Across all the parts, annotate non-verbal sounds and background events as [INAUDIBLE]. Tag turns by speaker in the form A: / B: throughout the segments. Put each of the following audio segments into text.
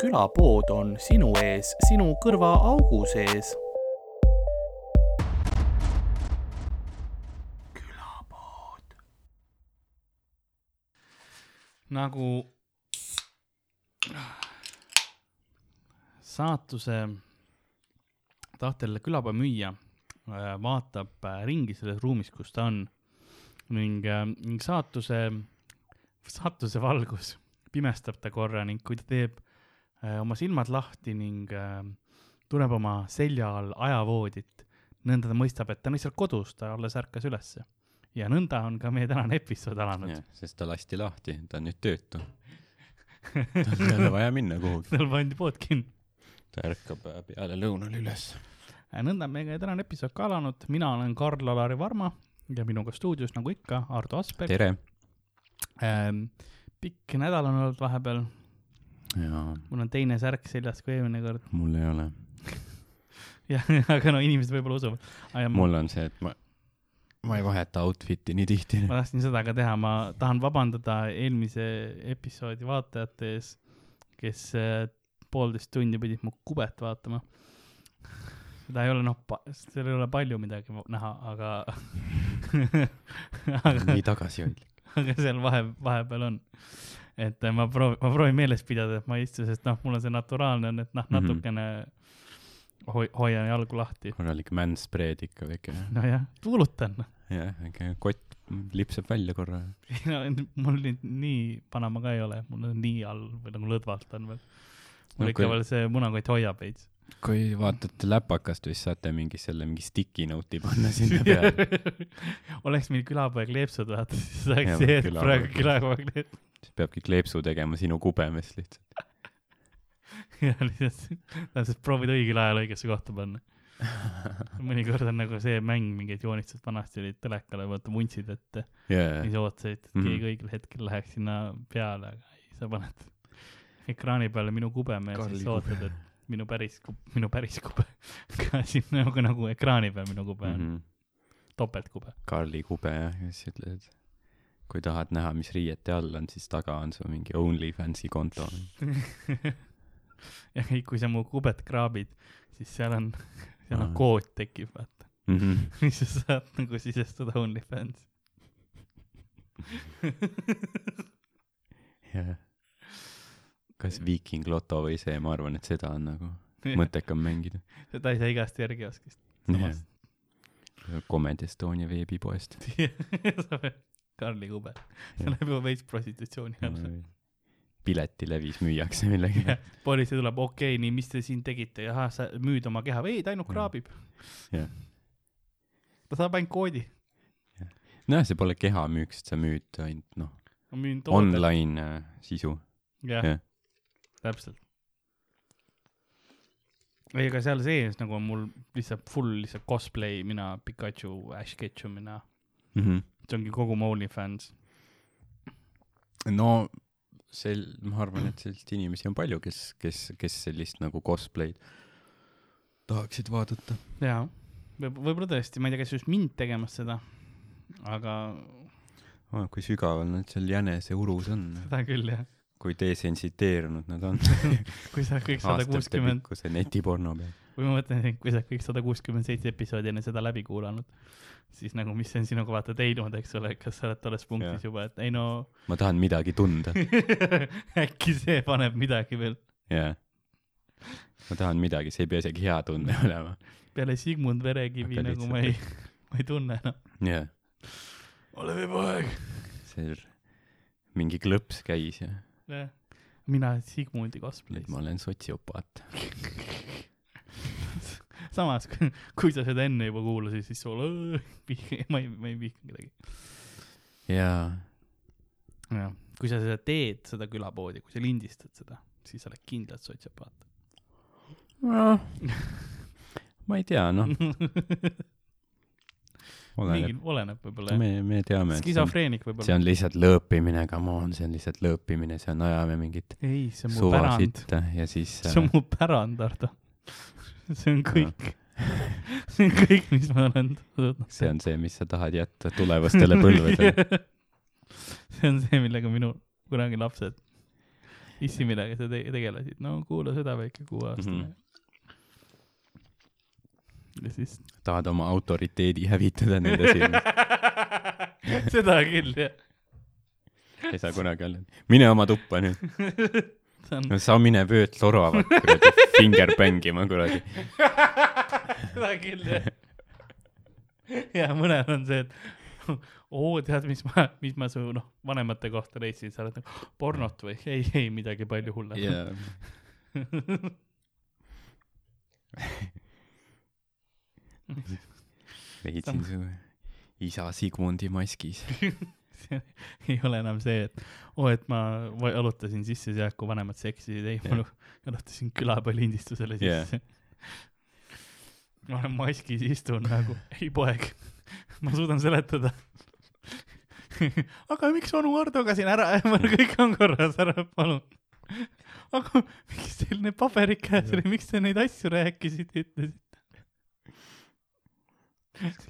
A: külapood on sinu ees, sinu kõrvaaugu sees. külapood .
B: nagu saatuse tahtel külapäeva müüja äh, vaatab äh, ringi selles ruumis , kus ta on ning , ning saatuse , saatuse valgus pimestab ta korra ning kui ta teeb äh, oma silmad lahti ning äh, tunneb oma selja all ajavoodit , nõnda ta mõistab , et ta on lihtsalt kodus , ta alles ärkas ülesse . ja nõnda on ka meie tänane episood alanud .
C: sest ta lasti lahti , ta on nüüd töötu . tal ei ole vaja minna kuhugi .
B: tal pandi pood kinni .
C: ta ärkab äh, peale lõunal üles .
B: nõnda on meie tänane episood ka alanud , mina olen Karl-Alari Varma ja minuga stuudios nagu ikka Ardo Asperg .
C: tere .
B: Ähm, pikk nädal on olnud vahepeal ,
C: jaa ,
B: mul on teine särk seljas kui eelmine kord . [LAUGHS]
C: mul ei ole .
B: jah , aga no inimesed võib-olla usuvad . Ma,
C: mul on see , et ma , ma ei vaheta outfit'i nii [LAUGHS] tihti .
B: ma tahtsin seda ka teha , ma tahan vabandada eelmise episoodi vaatajate ees , kes äh, poolteist tundi pidid mu kubet vaatama . seda ei ole noh , seal ei ole palju midagi näha , aga [LAUGHS] aga
C: nii tagasihoidlik .
B: [LAUGHS] aga seal vahe , vahepeal on . et eh, ma proovin , ma proovin meeles pidada , et ma ei istu , sest noh , mul on see naturaalne on , et noh ,
C: Mhm.
B: natukene hoi- , hoian jalgu lahti .
C: korralik manspread ikka väike .
B: nojah , tuulutan . [LAUGHS]
C: jah , väike kott lipsab välja korra .
B: no, mul nüüd nii vana ma ka ei ole , mul on nii all või nagu lõdvalt on veel . mul
C: No
B: no, ikka
C: kui-
B: veel see munakott hoiab veits .
C: kui vaatate läpakast , siis saate mingi selle , mingi sticky note'i panna [LAUGHS] sinna peale .
B: [LAUGHS] oleks meil külapoeg Leepsud vaata , [LAUGHS] siis
C: Jaa,
B: oleks see , et
C: külapoeg
B: praegu
C: Leepsud.
B: külapoeg Leepsud
C: siis peabki kleepsu tegema sinu kubemest [LAUGHS] lihtsalt .
B: ja [LAUGHS] lihtsalt , täpselt proovid õigel ajal õigesse kohta panna . [LAUGHS] mõnikord on nagu see mäng , mingid joonistused vanasti olid telekale , vaata vuntsid ette ,
C: jaa ,
B: siis ootasid , et
C: Mhm.
B: keegi õigel hetkel läheks sinna peale , aga ei , sa paned [LAUGHS] ekraani peale minu kubeme ja
C: Karli
B: siis
C: kube.
B: ootad , et minu päris , minu päris kube [LAUGHS] ka sinna nagu , nagu ekraani peal minu kube on ,
C: jaa .
B: topeltkube . [LAUGHS]
C: Karli Kube jah , kes ütleb , et kui tahad näha , mis riiete all on , siis taga on sul mingi OnlyFansi konto .
B: ja kõik , kui sa mu kubet kraabid , siis seal on , seal on
C: Aa.
B: kood tekib , vaata , [LAUGHS]
C: [LAUGHS] ma
B: mis sa saad nagu sisestada OnlyFans .
C: kas Viiking Loto või see , ma arvan , et seda on nagu mõttekam mängida .
B: [LAUGHS] seda ei saa igast järgi oskast . samas
C: Comedy Estonia veebipoest .
B: sa pead [LAUGHS] Karli kube , see läheb juba veits prostitutsiooni alla .
C: piletilevis müüakse millegi
B: Jah. politsei tuleb , okei okay, , nii , mis te siin tegite , ahah , sa müüd oma keha , ei , ta ainult
C: Jah.
B: kraabib .
C: Jah.
B: ta saab ainult koodi ,
C: nojah , see pole kehamüük , sest sa müüd ainult noh ,
B: ma müün toodet .
C: online äh, sisu .
B: jah
C: jah. ,
B: täpselt . ei , aga seal sees nagu on mul lihtsalt full lihtsalt cosplay , mina Pikachu , Ash Ketchum , mina , see ongi kogu mu OnlyFans .
C: no sel- , ma arvan , et selliseid inimesi on palju , kes , kes , kes sellist nagu cosplay'd tahaksid vaadata .
B: jaa , võib , võib-olla tõesti , ma ei tea , kas just mind tegemas seda , aga
C: oh, . kui sügaval nad seal jäneseurus on ,
B: seda küll jah ,
C: kui desensiteerunud nad [LAUGHS] on .
B: kui sa kõik sada kuuskümmend ,
C: pikkuse netiporno peal .
B: või ma mõtlen , et kui sa kõik sada kuuskümmend seitse episoodi enne seda läbi kuulanud , siis nagu , mis on sinuga vaata teinud , eks ole , kas sa oled tolles punktis
C: Jah.
B: juba , et ei no [LAUGHS]
C: ma tahan midagi tunda ,
B: äkki see paneb midagi veel .
C: jaa . ma tahan midagi , see ei pea isegi hea tunne [LAUGHS] olema .
B: peale Sigmund Verekivi
C: Aga
B: nagu ma ei , ma ei tunne enam .
C: jaa ,
B: oleme juba aeg .
C: see mingi klõps käis ja
B: mina Sigmundi cosplay's
C: nüüd . ma olen sotsiopaat .
B: [LAUGHS] samas , kui sa seda enne juba kuulasid , siis sul , [LAUGHS] ma ei , ma ei vihka kedagi .
C: jaa ,
B: jah , kui sa seda teed , seda külapoodi , kui sa lindistad seda , siis sa oled kindlalt sotsiopaat .
C: noh , ma ei tea ,
B: [LAUGHS]
C: noh ,
B: mingi ,
C: oleneb ,
B: oleneb võib-olla jah .
C: me , me teame , et see on,
B: skisofreenik
C: see
B: võib-olla .
C: on lihtsalt lõõpimine , come on , see on lihtsalt lõõpimine , see on , ajame mingit
B: ei , see on mu
C: suva
B: pärand ,
C: sitta ja siis äh,
B: see on mu pärand , Ardo . [LAUGHS] see on kõik , [LAUGHS] see on kõik , mis ma olen tundnud .
C: see on see , mis sa tahad jätta
B: [LAUGHS]
C: tulevastele põlvedele .
B: see on see , millega minu kunagi lapsed issi , millega sa te tegelesid , no kuula seda väike kuueaastane
C: Mhm.
B: mm . -hmm. ja siis
C: tahad oma autoriteedi hävitada nende
B: [LAUGHS]
C: silmis ,
B: seda küll jah ,
C: ei saa kunagi olla . mine oma tuppa nüüd ,
B: see on
C: no sa mine vööd soravat kuradi , finger bängima kuradi .
B: [LAUGHS] seda küll jah . [LAUGHS] ja mõnel on see , et [LAUGHS] oo , tead , mis ma , mis ma su noh , vanemate kohta leidsin , sa oled nagu pornot või [LAUGHS] ei , ei midagi palju hullemat
C: jaa .
B: [LAUGHS]
C: leidsin su isa Sigmundi
B: [LAUGHS]
C: maskis .
B: see ei ole enam see , et oo , et ma va- jalutasin sisse sealt , kui vanemad seksisid , ei , ma [LAUGHS]
C: Jah.
B: lu- jalutasin külapallindistusele
C: Jah.
B: sisse [LAUGHS] ma olen maskis , istun
C: [LAUGHS]
B: nagu , ei poeg , ma suudan seletada . [LAUGHS] aga miks onu Ardo ka siin ära , [LAUGHS] kõik on korras , ära palun . [LAUGHS] aga miks teil need paberid käes oli , miks te neid asju rääkisite , ütlesite ,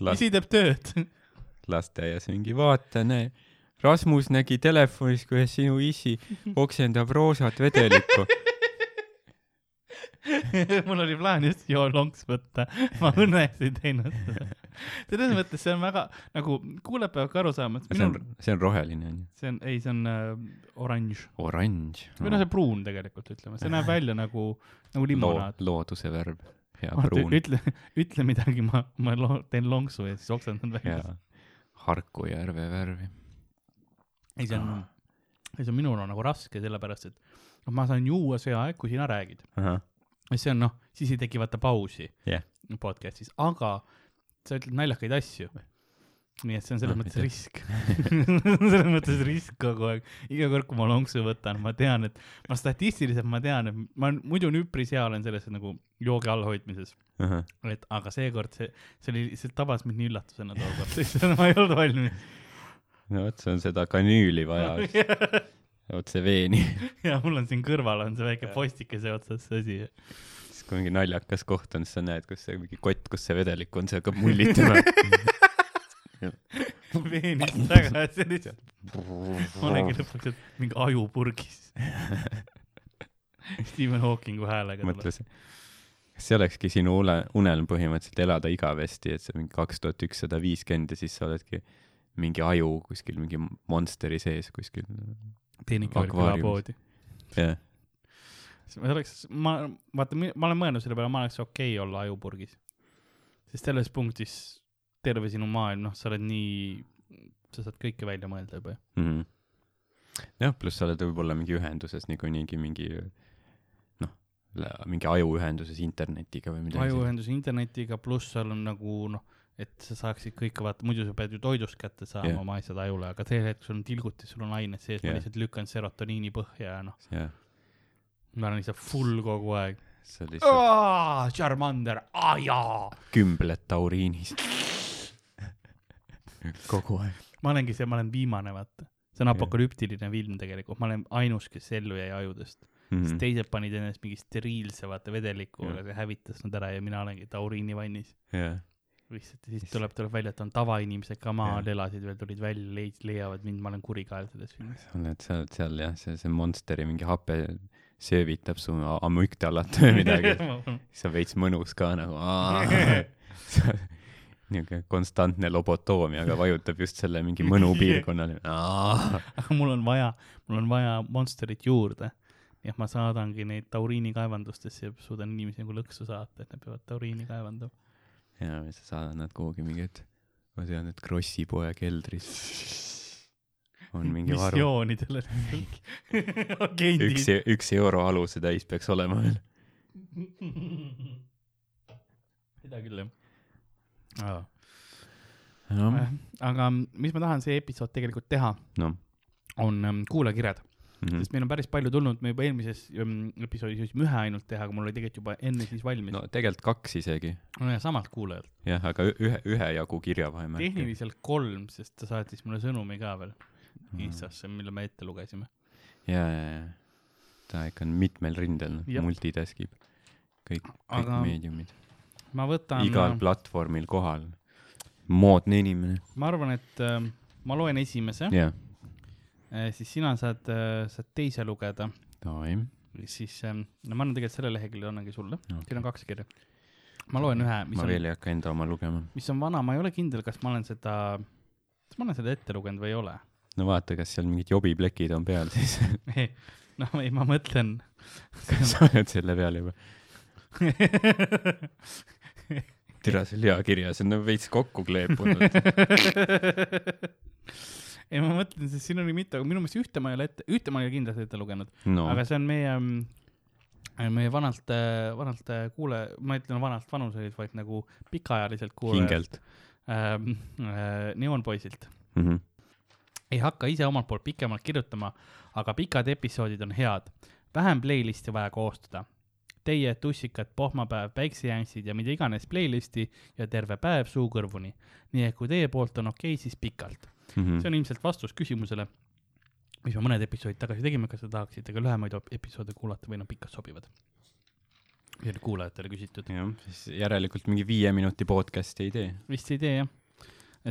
C: las ,
B: isi teeb tööd . [LAUGHS]
C: lasteaias mingi vaata , näe . Rasmus nägi telefonis , kuidas sinu
B: [LAUGHS]
C: isi oksendab roosat vedelikku .
B: [LAUGHS] mul oli plaan just joolonks võtta ,
C: [LAUGHS]
B: ma õnneks ei teinud seda . selles mõttes see on väga nagu kuulajad peavad ka aru saama , et
C: see on
B: minul ,
C: see on roheline onju .
B: see on , ei , see on äh, oranž
C: oranž .
B: või noh , see pruun tegelikult ütleme , see näeb välja nagu , nagu limonaad .
C: looduse värv . hea
B: Martin ,
C: Ah, pruun
B: ütle , ütle midagi , ma , ma lo- teen lonksu ja siis oksendan välja
C: ja . Harku järve värvi .
B: ei , see on , ei see on minul on nagu raske , sellepärast et noh , ma saan juua see aeg , kui sina räägid . Ja see on noh , siis ei teki vaata pausi
C: Jah.
B: podcast'is , aga sa ütled naljakaid asju . nii et see on selles
C: Ah,
B: mõttes
C: aitäh.
B: risk . [LAUGHS] selles mõttes risk kogu aeg , iga kord , kui ma lonksu võtan , ma tean , et ma statistiliselt ma tean , et ma olen- muidu on üpris hea olen selles nagu joogi allhoidmises , et aga seekord see , see oli , see tabas mind nii üllatusena tookord , [LAUGHS] ma ei olnud
C: no vot , see on seda kanüüli vaja , [LAUGHS]
B: valmis .
C: otse veeni .
B: [LAUGHS] ja mul on siin kõrval on see väike postikese otsas see asi
C: siis kui mingi naljakas koht on , siis sa näed , kus see mingi kott , kus see vedelik on , see hakkab mullitama . [LAUGHS]
B: [LAUGHS] veenist tagasi lihtsalt . ma olengi lõpuks , et mingi ajupurgis . [LAUGHS] Stephen Hawkingu häälega
C: mõtles , kas see olekski sinu ule , unelm põhimõtteliselt elada igavesti , et sa mingi kaks tuhat ükssada viiskümmend ja siis sa oledki mingi aju kuskil mingi monsteri sees kuskil .
B: tuleb . teenikavõrk
C: akvaariumis.
B: külapoodi .
C: jah ,
B: see oleks , ma , vaata , ma olen mõelnud selle peale , ma oleks okei okay olla ajupurgis . sest selles punktis terve sinu maailm , noh , sa oled nii , sa saad kõike välja mõelda juba .
C: mm . -hmm. jah , pluss sa oled võib-olla mingi ühenduses niikuinii mingi noh , mingi ajuühenduses internetiga või midagi .
B: ajuühendus internetiga , pluss seal on nagu noh , et sa saaksid kõike vaata , muidu sa pead ju toidust kätte saama
C: Jah.
B: yeah. oma asjad ajule , aga sel hetkel sul on tilgutis , sul on ained sees yeah. ,
C: Jah.
B: ma lihtsalt lükkan serotoniini põhja ja noh ,
C: jah ,
B: ma olen lihtsalt full kogu aeg .
C: sa lihtsalt
B: Charmander , aa jaa .
C: kümbled tauriinist . kogu aeg .
B: ma olengi see , ma olen viimane , vaata . see on apokalüptiline film tegelikult , ma olen ainus , kes ellu jäi ajudest mm. ,
C: Mhm.
B: sest teised panid ennast mingi steriilse , vaata , vedeliku ,
C: Jah.
B: aga see hävitas nad ära ja mina olengi tauriinivannis .
C: jah ,
B: lihtsalt ja siis tuleb , tuleb välja , et on tavainimesed ka maal ,
C: Jah.
B: elasid veel , tulid välja , leid- , leiavad mind , ma olen kurikael selles filmis .
C: sa oled , sa oled seal jah , see , see monsteri mingi hape söövitab su a- amükdalat või [LAUGHS]
B: [LAUGHS]
C: midagi , siis on veits mõnus ka nagu . niisugune konstantne lobotoomia , aga vajutab just selle mingi mõnu piirkonnale .
B: aga mul on vaja , mul on vaja monsterit juurde . nii et ma saadangi neid tauriinikaevandustesse ja suudan inimesi nagu lõksu saata , et nad peavad tauriini kaevandama .
C: ja siis sa saadad nad kuhugi mingi , et ma tean , et Krossi poe keldris on
B: [LAUGHS]
C: mingi varu . [LAUGHS]
B: missioonidele lihtsalt . [LAUGHS] agendid
C: üks , üks euro aluse täis peaks olema veel .
B: [LAUGHS] seda küll jah .
C: noh ,
B: aga mis ma tahan see episood tegelikult teha ,
C: noh .
B: on ähm, kuulajakirjad .
C: Hmm. Mhm.
B: sest meil on päris palju tulnud , me juba eelmises mm, episoodis jõudsime ühe ainult teha , aga mul oli tegelikult juba enne siis valmis no.
C: no . tegelikult kaks isegi ,
B: samalt kuulajalt ,
C: jah , aga ü- ühe , ühe jagu kirjavahemärki .
B: tehniliselt kolm , sest ta saatis mulle sõnumi ka veel
C: Hmm.
B: Instasse , mille me ette lugesime .
C: ja , ja , ja ta ikka on mitmel rindel ,
B: Jep.
C: multitask ib kõik , kõik aga...
B: Aga-
C: meediumid ,
B: ma
C: igal
B: võtan ,
C: platvormil kohal . moodne inimene ,
B: ma arvan , et äh, ma loen esimese , Äh,
C: jah ,
B: siis sina saad , saad äh, teise lugeda
C: Noi.
B: siis ähm, no ma annan tegelikult selle lehekülje annangi sulle okay. , siin on
C: Okay.
B: kaks kirja . ma loen ühe , mis
C: ma
B: on ,
C: veel ei hakka enda oma lugema .
B: mis on vana , ma ei ole kindel , kas ma olen seda , kas ma olen seda ette lugenud või ei ole . [LAUGHS]
C: no vaata , kas seal mingid jobiplekid on peal siis .
B: noh , ei , ma mõtlen ,
C: kas sa oled selle peal juba ? türa , see on hea kirja , see on nagu veits kokku kleepunud .
B: [LAUGHS] ei , ma mõtlen , sest siin oli mitu , aga minu meelest ühte ma ei ole ette , ühte ma ei ole kindlasti ette lugenud
C: no
B: no. , aga see on meie , meie vanalt , vanalt äh, kuule , ma ütlen vanalt vanuseid , vaid nagu pikaajaliselt kuulajalt
C: hingelt
B: ähm, äh, neoonpoisilt .
C: mm . -hmm.
B: ei hakka ise omalt poolt pikemalt kirjutama , aga pikad episoodid on head . vähem playlisti vaja koostada . Teie tussikad , pohmapäev , päiksejänssid ja mida iganes playlisti ja terve päev suu kõrvuni . nii et kui teie poolt on okei , siis pikalt .
C: Mm -hmm.
B: see on ilmselt vastus küsimusele , mis me mõned episoodid tagasi tegime , kas te tahaksite ka lühemaid op- episoode kuulata või nad pikad sobivad ? see oli kuulajatele küsitud .
C: jah , siis järelikult mingi viie minuti podcast'i ei tee .
B: vist ei tee jah .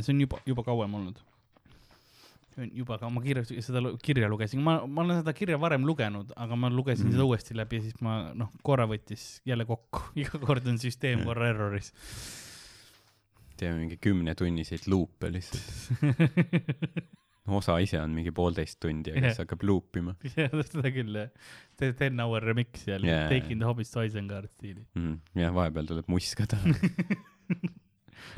B: see on juba , juba kauem olnud . see on juba kaua , ma kirja , seda lu- kirja lugesin , ma , ma olen seda kirja varem lugenud , aga ma lugesin mm. seda
C: Mhm.
B: uuesti läbi ja siis ma noh , korra võttis jälle kokku , [LAUGHS] iga kord on süsteem
C: Mhm.
B: korra
C: [LAUGHS]
B: erroris .
C: teeme mingi kümnetunniseid luupe lihtsalt . osa ise on mingi poolteist tundi , aga
B: Jah.
C: siis hakkab luupima
B: seda küll jah , see Ten Hour remix seal yeah.
C: Jaa. ,
B: Taking the Hobbits Isengard stiili .
C: mm. . jah , vahepeal tuleb muiskada .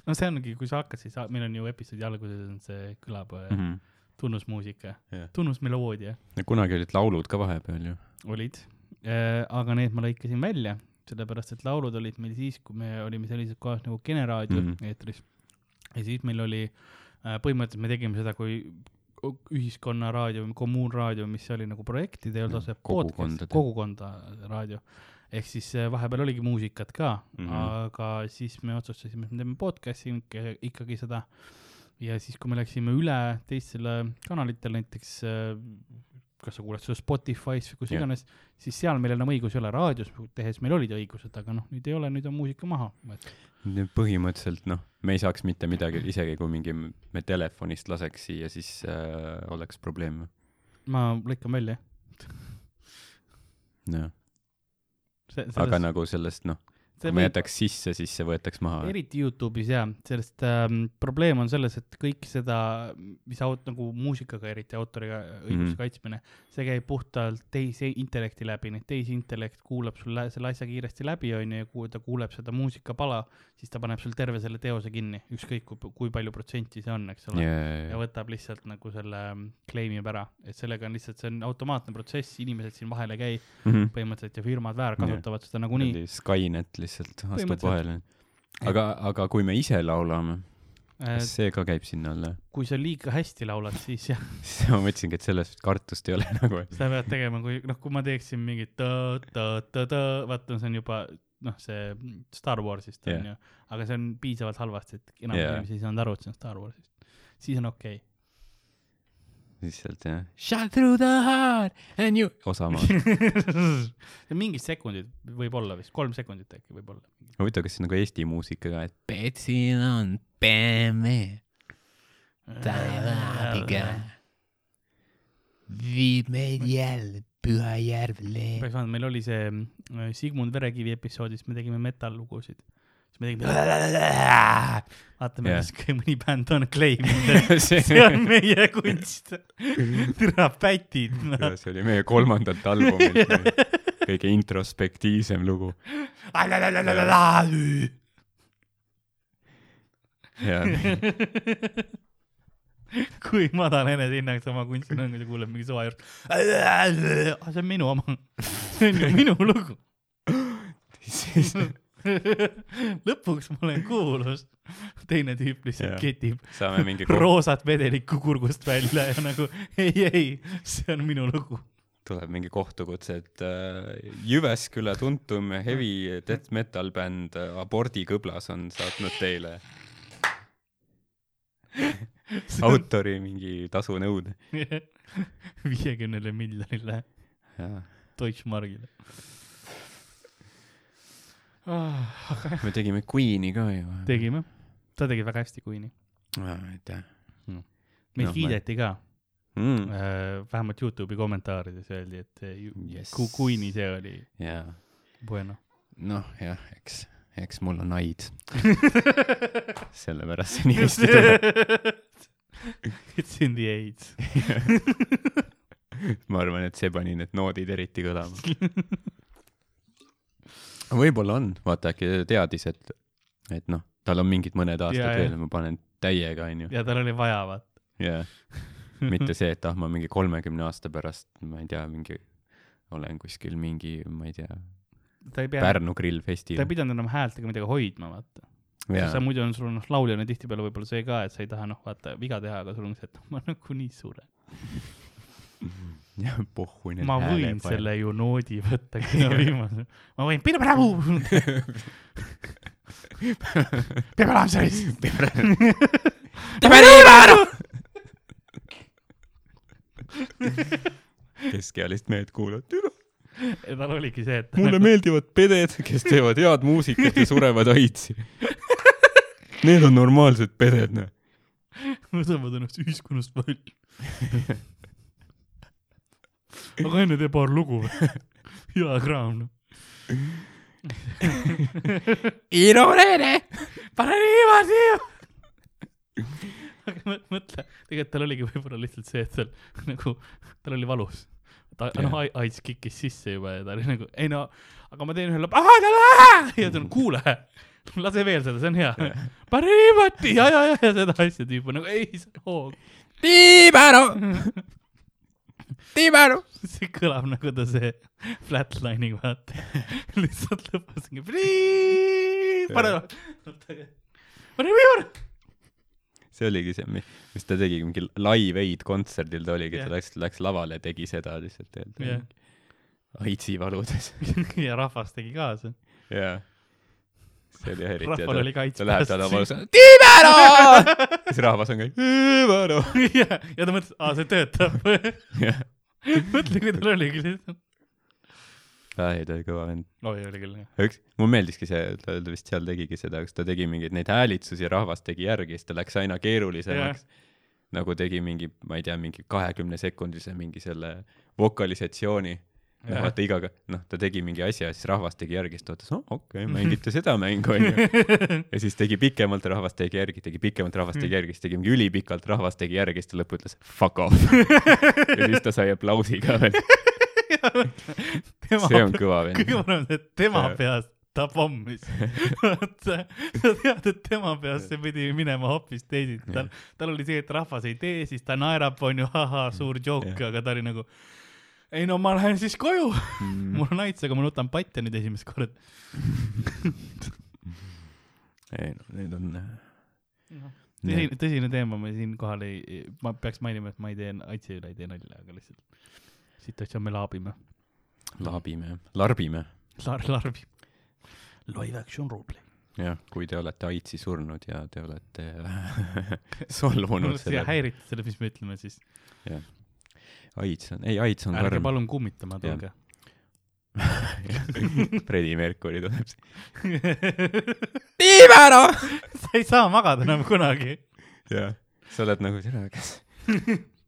B: no see ongi , kui sa hakkad , siis ha- meil on ju episoodi alguses on see kõlab
C: Mhm.
B: mm -hmm. tunnusmuusika
C: Jah.
B: yeah. , tunnusmeloodia
C: kunagi olid laulud ka vahepeal ju .
B: olid , aga need ma lõikasin välja , sellepärast et laulud olid meil siis , kui me olime sellises kohas nagu Kene raadio mm
C: Mhm.
B: -hmm. eetris . ja siis meil oli , põhimõtteliselt me tegime seda , kui ühiskonna raadio või kommuunraadio , mis oli nagu projektid , ei olnud otseselt podcast
C: Kogukondade. ,
B: kogukonda raadio . ehk siis eh, vahepeal oligi muusikat ka mm ,
C: Mhm.
B: -hmm. aga siis me otsustasime , et me teeme podcast'i ikka- ikkagi seda . ja siis , kui me läksime üle teistele kanalitele , näiteks eh, kas sa kuulad seda Spotify's või kus
C: Jah.
B: iganes , siis seal meil enam õigus ei ole , raadios tehes meil olid õigused , aga noh , nüüd ei ole , nüüd on muusika maha võetud .
C: põhimõtteliselt noh , me ei saaks mitte midagi , isegi kui mingi me telefonist laseks siia , siis äh, oleks probleem .
B: ma lõikan välja ,
C: jah ,
B: jah .
C: aga nagu sellest noh , kui me jätaks sisse , siis see võetaks maha .
B: eriti Youtube'is jaa , sellest ähm, probleem on selles , et kõik seda , mis aut- , nagu muusikaga eriti autoriga õiguse mm
C: Mhm.
B: -hmm. kaitsmine , see käib puhtalt teise intellekti läbi , nii et tehisintellekt kuulab sul lä- selle asja kiiresti läbi , onju , ja kui ta kuuleb seda muusikapala , siis ta paneb sul terve selle teose kinni , ükskõik kui , kui palju protsenti see on , eks ole ja
C: ja ,
B: võtab lihtsalt nagu selle , claim ib ära , et sellega on lihtsalt , see on automaatne protsess , inimesed siin vahele ei käi põhimõtteliselt ja firmad väärkasutavad seda nagunii .
C: Skynet lihtsalt astub
B: Põhimõtteliselt.
C: vahele . aga , aga kui me ise laulame , kas see ka käib sinna alla ?
B: Äh,
C: [LAUGHS]
B: kui sa liiga hästi laulad , siis [LAUGHS] jah ,
C: siis ma mõtlesingi , et sellest kartust ei ole [LAUGHS] nagu .
B: seda pead tegema , kui noh , kui ma teeksin mingit tõ-tõ-tõ-tõ , vaata , see on juba noh , see Star Warsist
C: Jah.
B: on ju , aga see on piisavalt halvasti , et enamus
C: Jah.
B: inimesi ei saanud aru , et see on Star Warsist , siis on
C: [LAUGHS]
B: okei okay. .
C: lihtsalt jah . Shut through the heart and [LAUGHS] you . osa ma .
B: mingid sekundid võib-olla vist , kolm sekundit äkki võib-olla .
C: huvitav , kas see on nagu Eesti muusika ka , et Betsil on BMW , ta on abiga . viib meid jälle [LAUGHS] Pühajärvele .
B: peaks vaatama , meil oli see äh, Sigmund Verekivi episoodis , me tegime metal-lugusid . siis me
C: [LAUGHS]
B: tegime . vaatame
C: Jah.
B: yeah. , kas mõni bänd on claim'inud , et [LAUGHS] see on meie kunst . türa pätid , noh .
C: [LAUGHS] see oli meie kolmandalt albumilt [LAUGHS] kõige introspektiivsem lugu ja
B: kui madal enesehinnang sama kunstil on , kui sa kuuled mingi suva juurde . Ah, see on minu oma , see on ju minu lugu .
C: siis
B: lõpuks ma olen kuulus , teine tüüp lihtsalt
C: Jah.
B: ketib
C: saame mingi [LAUGHS] ko- ,
B: roosat vedelikku kurgust välja ja nagu ei , ei , see on minu lugu .
C: tuleb mingi kohtukutse , et äh, Jyväskylä tuntum heavy death metal bänd äh, Abordikõblas on saatnud teile autori mingi tasunõude .
B: [LAUGHS] viiekümnele miljonile
C: me
B: Deutschmargile .
C: Mhm. tegime Queen'i ka ju .
B: tegime , sa tegid väga hästi , Queen'i .
C: aitäh .
B: meid
C: Noh, ma-
B: kiideti ka ,
C: mm. .
B: Äh, vähemalt Youtube'i kommentaarides öeldi , et see ju-
C: Yes.
B: ku- kuini see oli
C: jaa ,
B: [LAUGHS] bueno .
C: noh jah , eks , eks mul on aid . sellepärast see nimesti tuleb .
B: It's in the AIDS .
C: ma arvan , et see pani need noodid eriti kõlama . [LAUGHS] võib-olla on , vaata äkki ta teadis , et , et noh , tal on mingid mõned aastad
B: Jaa,
C: ja,
B: jah.
C: veel , ma panen täiega , onju .
B: ja tal oli vaja vaata .
C: jaa , mitte see , et ah , ma mingi kolmekümne aasta pärast , ma ei tea , mingi , olen kuskil mingi , ma ei tea ,
B: ta ei pea ,
C: Pärnu grillfestil
B: ta ei . pidanud enam häältega midagi hoidma , vaata . sa
C: jaa ,
B: muidu on sul noh , lauljana tihtipeale võib-olla see ka , et sa ei taha noh , vaata viga teha , aga sul on see , et [LAUGHS] ma nagu nagunii suren .
C: [LAUGHS] pohhu .
B: ma võin . selle ju noodi võtta , kui on viimane . ma võin , pidame rahu .
C: peame olema selles .
B: teeme liiva ära .
C: keskealist mehed kuulavad , türa ,
B: tal oligi see , et
C: mulle meeldivad peded , kes teevad head muusikat ja surevad [LAUGHS] aitsi . Need on normaalsed peded , noh .
B: [LAUGHS] võtavad ennast ühiskonnast välja . aga enne tee paar lugu [LAUGHS] või ? hea kraam noh .
C: Iro Reene , pane liiva siia .
B: aga mõ- mõtle , tegelikult tal oligi võib-olla lihtsalt see , et tal nagu , tal oli valus . ta
C: Jah.
B: noh , AIDS kikkis sisse juba ja ta oli nagu , ei no , aga ma teen ühe lõpu , ahah , ta läheb ja ta on , kuule , lase veel seda , see on hea . pane niimoodi ja , ja , ja , ja seda asja tüüp on nagu , ei , see on hoog .
C: [LAUGHS] Tiibäru , Tiibäru .
B: see kõlab nagu ta see flatlining , vaata . lihtsalt lõpus on nii , pane , pane viimane .
C: see oligi see , mis ta tegi mingi Live Aid kontserdil ta oligi ,
B: Jah.
C: ta läks , läks lavale , tegi seda lihtsalt
B: Jah. .
C: aitsi
B: [LAUGHS]
C: valudes .
B: ja rahvas tegi kaasa .
C: jaa . see oli häiritav .
B: rahval oli kaitse
C: ta läheb talle valusa , Tiibäru . [LAUGHS] siis rahvas on kõik , [LAUGHS] Tiibäru .
B: ja , ja ta mõtles , aa , see töötab . [LAUGHS] mõtle , kui tal oligi lihtsalt .
C: ei , ta oli kõva vend .
B: oi , oli küll , jah .
C: üks , mulle meeldiski see , ta ta vist seal tegigi seda , kus ta tegi mingeid neid häälitsusi ja rahvas tegi järgi , siis ta läks aina keerulisemaks . nagu tegi mingi , ma ei tea , mingi kahekümne sekundise mingi selle vokalisatsiooni . noh , vaata igaga , noh , ta tegi mingi asja , siis rahvas tegi järgi , siis ta vaatas , okei okay, , mängite seda mängu , onju . ja siis tegi pikemalt , rahvas tegi järgi , tegi pikemalt , rahvas tegi järgi , siis tegi mingi ülipikalt , rahvas tegi järgi , siis ta lõppu ütles fuck off . ja siis ta sai aplausi ka veel . see on kõva
B: kõige
C: vend .
B: parem on see , et tema
C: Jaa.
B: peas ta pommis .
C: [LAUGHS]
B: sa tead , et tema peas see pidi minema hoopis teisiti , tal , tal oli see , et rahvas ei tee , siis ta naerab , onju , ahhaa , suur joke ,
C: Jah.
B: aga ta oli nagu ei no ma lähen siis koju mm. , [LAUGHS] mul on aits , aga ma nutan patja nüüd esimest korda .
C: ei no need on .
B: tõsine , tõsine teema , ma siinkohal ei , ma peaks mainima , et ma ei tee , aitsi üle ei tee nalja , aga lihtsalt situatsioon me laabime .
C: laabime , larbime .
B: Lar- , larbi . Live action roleplay .
C: jah , kui te olete aitsi surnud ja te olete [LAUGHS] solvunud
B: ja
C: selle .
B: häirite selle , mis me ütleme siis .
C: aits on , ei aits on
B: ärge
C: karm .
B: palun kummitama
C: Jah.
B: tulge .
C: [LAUGHS] Freddie Mercury tuleb .
B: sa
C: viime ära
B: [LAUGHS] ei saa magada enam kunagi .
C: jah , sa oled nagu , kas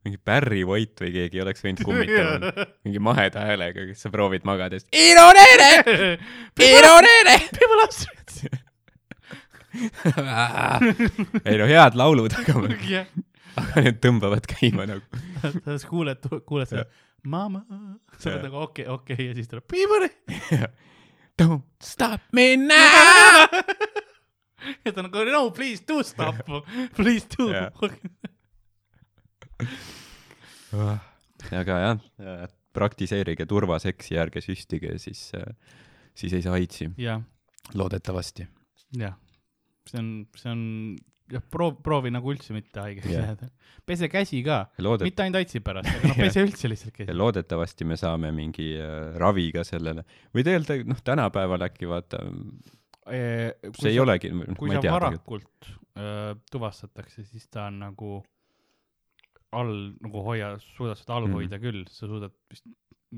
C: mingi Barry White või keegi oleks võinud
B: [LAUGHS]
C: kummitada mingi maheda häälega , kes sa proovid magada , [LAUGHS] siis Iro Reene , Iro Reene .
B: People are [LAUGHS] straight .
C: ei no head laulud , aga ,
B: jah ,
C: aga need tõmbavad käima nagu .
B: sa sa kuuled , kuuled seda
C: Jah.
B: mama , sa oled
C: Jah.
B: nagu okei , okei ja siis tuleb people .
C: Don't stop me now .
B: ja ta on nagu no please do stop , [LAUGHS] please do
C: Jah. . aga jah , praktiseerige turvaseksi , ärge süstige , siis , siis ei saa aitsi ,
B: jah ,
C: loodetavasti .
B: jah , see on , see on , jah , proov , proovi nagu üldse mitte haigeks
C: Jah.
B: jääda . [LAUGHS] pese käsi ka ,
C: loodet- ,
B: mitte ainult aitsi pärast , aga noh , pese üldse lihtsalt
C: [LAUGHS] ja
B: käsi .
C: loodetavasti me saame mingi äh, ravi ka sellele või tegelikult noh , tänapäeval äkki vaata , see ei olegi , noh,
B: Eh,
C: ma
B: kui
C: ei
B: sa
C: tea tegelikult ,
B: varakult öö, tuvastatakse , siis ta on nagu all nagu hoia , suudad seda all
C: Mhm.
B: hoida küll , sa suudad vist ,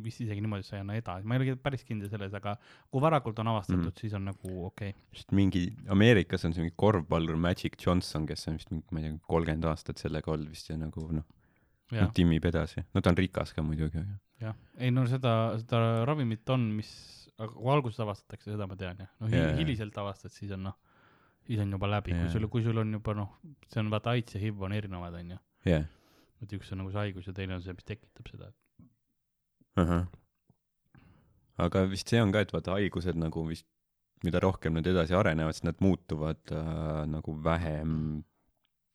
B: vist isegi niimoodi , et sa ei anna edasi , ma ei ole päris kindel selles , aga kui varakult on avastatud ,
C: Mhm.
B: siis on nagu okei okay. .
C: sest mingi Ameerikas on see mingi korvpallur Magic Johnson , kes on vist mingi , ma ei tea , kolmkümmend aastat sellega olnud vist ja nagu noh ,
B: jah ,
C: timmib edasi , no ta on rikas ka muidugi , aga
B: jah . ei no seda , seda ravimit on , mis , aga kui alguses avastatakse , seda ma tean jah . noh
C: Jaa.
B: yeah. , hiliselt avastad , siis on noh , siis on juba läbi yeah. ,
C: Jaa.
B: kui sul , kui sul on juba noh , see on vaata AIDS ja HIV on erinevad , on ju .
C: jah
B: et üks on nagu see haigus ja teine on see , mis tekitab seda .
C: yeah. . aga vist see on ka , et vaata haigused nagu vist , mida rohkem nad edasi arenevad , siis nad muutuvad äh, nagu vähem ,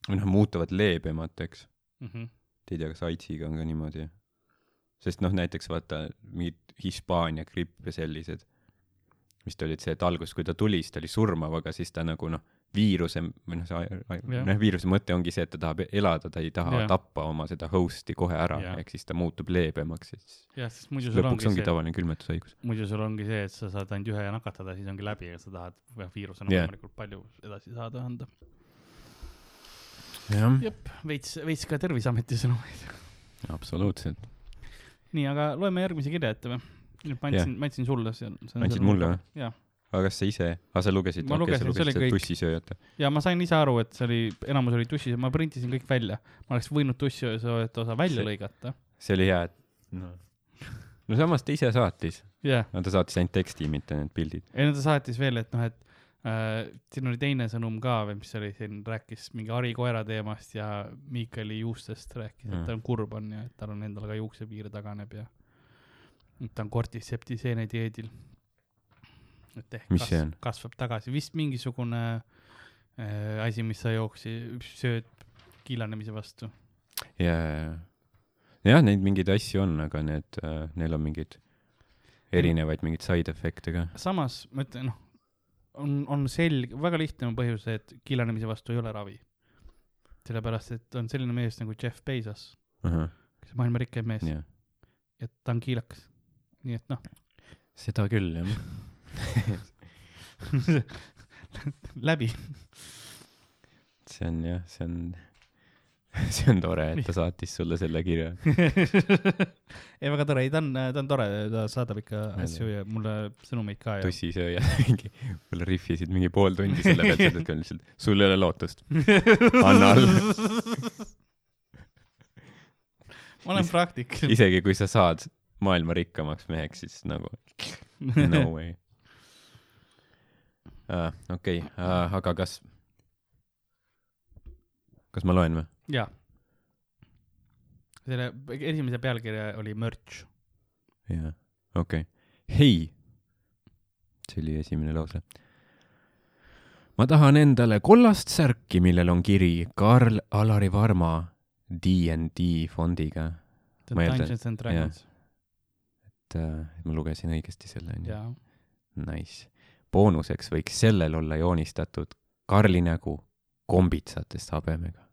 C: või noh , muutuvad leebemateks .
B: Mm -hmm.
C: ei tea , kas AIDSiga on ka niimoodi ? sest noh , näiteks vaata mingid Hispaania gripp ja sellised , vist olid see , et alguses , kui ta tuli , siis ta oli surmav , aga siis ta nagu noh , viiruse või noh , see
B: Jah.
C: noh , viiruse mõte ongi see , et ta tahab elada , ta ei taha
B: Jah.
C: ja. tappa oma seda host'i kohe ära
B: Jah. ,
C: ehk siis ta muutub leebemaks ja siis
B: jah , sest muidu sul ongi,
C: lõpuks ongi
B: ongi see ,
C: tavaline külmetushaigus .
B: muidu sul ongi see , et sa saad ainult ühe nakatada , siis ongi läbi ja sa tahad jah, viirusena
C: Jaa.
B: yeah. võimalikult palju edasi saada anda .
C: jah ,
B: jep , veits , veits ka Terviseameti sõnumeid .
C: absoluutselt .
B: [LAUGHS] nii , aga loeme järgmise kirja ette või ? nüüd ma andsin yeah. , ma andsin sulle , see on .
C: Andsid mulle või? ?
B: jaa ,
C: aga kas sa ise , aa sa lugesid ,
B: Ma lugesin, see oli kõik.
C: tussisööjate .
B: ja ma sain ise aru , et see oli , enamus oli tussi , ma printisin kõik välja . ma oleks võinud tussisööjate osa välja
C: See-
B: see. lõigata .
C: see oli hea , et no. no samas ta ise saatis ,
B: jah yeah. ,
C: no ta saatis ainult teksti , mitte need pildid .
B: ja nüüd ta saatis veel , et noh , et äh, siin oli teine sõnum ka või mis oli siin , rääkis mingi harikoera teemast ja Miikali juustest rääkis mm. ,
C: Mm.
B: et ta on kurb on ja et tal on endal ka juuksepiir taganeb ja et ta on kortiseptiseene dieedil . et ehk
C: Mis see on?
B: kasvab tagasi , vist mingisugune äh, asi , mis sa jooksi- , sööd kiilanemise vastu .
C: ja , ja , jah , neid mingeid asju on , aga need äh, , neil on mingid erinevaid mingeid side efekt'e ka .
B: samas ma ütlen , noh , on , on selge , väga lihtne on põhjus , et killanemise vastu ei ole ravi . sellepärast , et on selline mees nagu Jeff Bezos , kes on maailma rikkaim mees yeah. ,
C: jah ,
B: et ta on kiilakas . nii et noh
C: seda küll jah .
B: noh, [LAUGHS] läbi . [LAUGHS]
C: see on jah , see on , [LAUGHS] see on tore , et ta saatis sulle selle kirja .
B: ei , väga tore , ei ta on , ta on tore , ta saadab ikka
C: Meeldib.
B: asju ja mulle sõnumeid ka ja .
C: tussisööja [LAUGHS] mingi , võib-olla rihvisid mingi pool tundi selle pealt , et ütleme lihtsalt , sul ei ole lootust . anna alla .
B: ma olen praktik .
C: isegi kui sa saad maailma rikkamaks meheks , siis nagu no way uh, . okei okay. uh, , aga kas , kas ma loen või ?
B: [LAUGHS] jaa . selle esimese pealkirja oli mürts .
C: jaa , okei okay. . hei , see oli esimene lause . ma tahan endale kollast särki , millel on kiri Karl Alari Varma DND fondiga , Ma eeldan-
B: Dungeons and Dragons .
C: et uh, ma lugesin õigesti selle onju .
B: jaa .
C: Nice . boonuseks võiks sellel olla joonistatud Karli nägu kombitsatest habemega .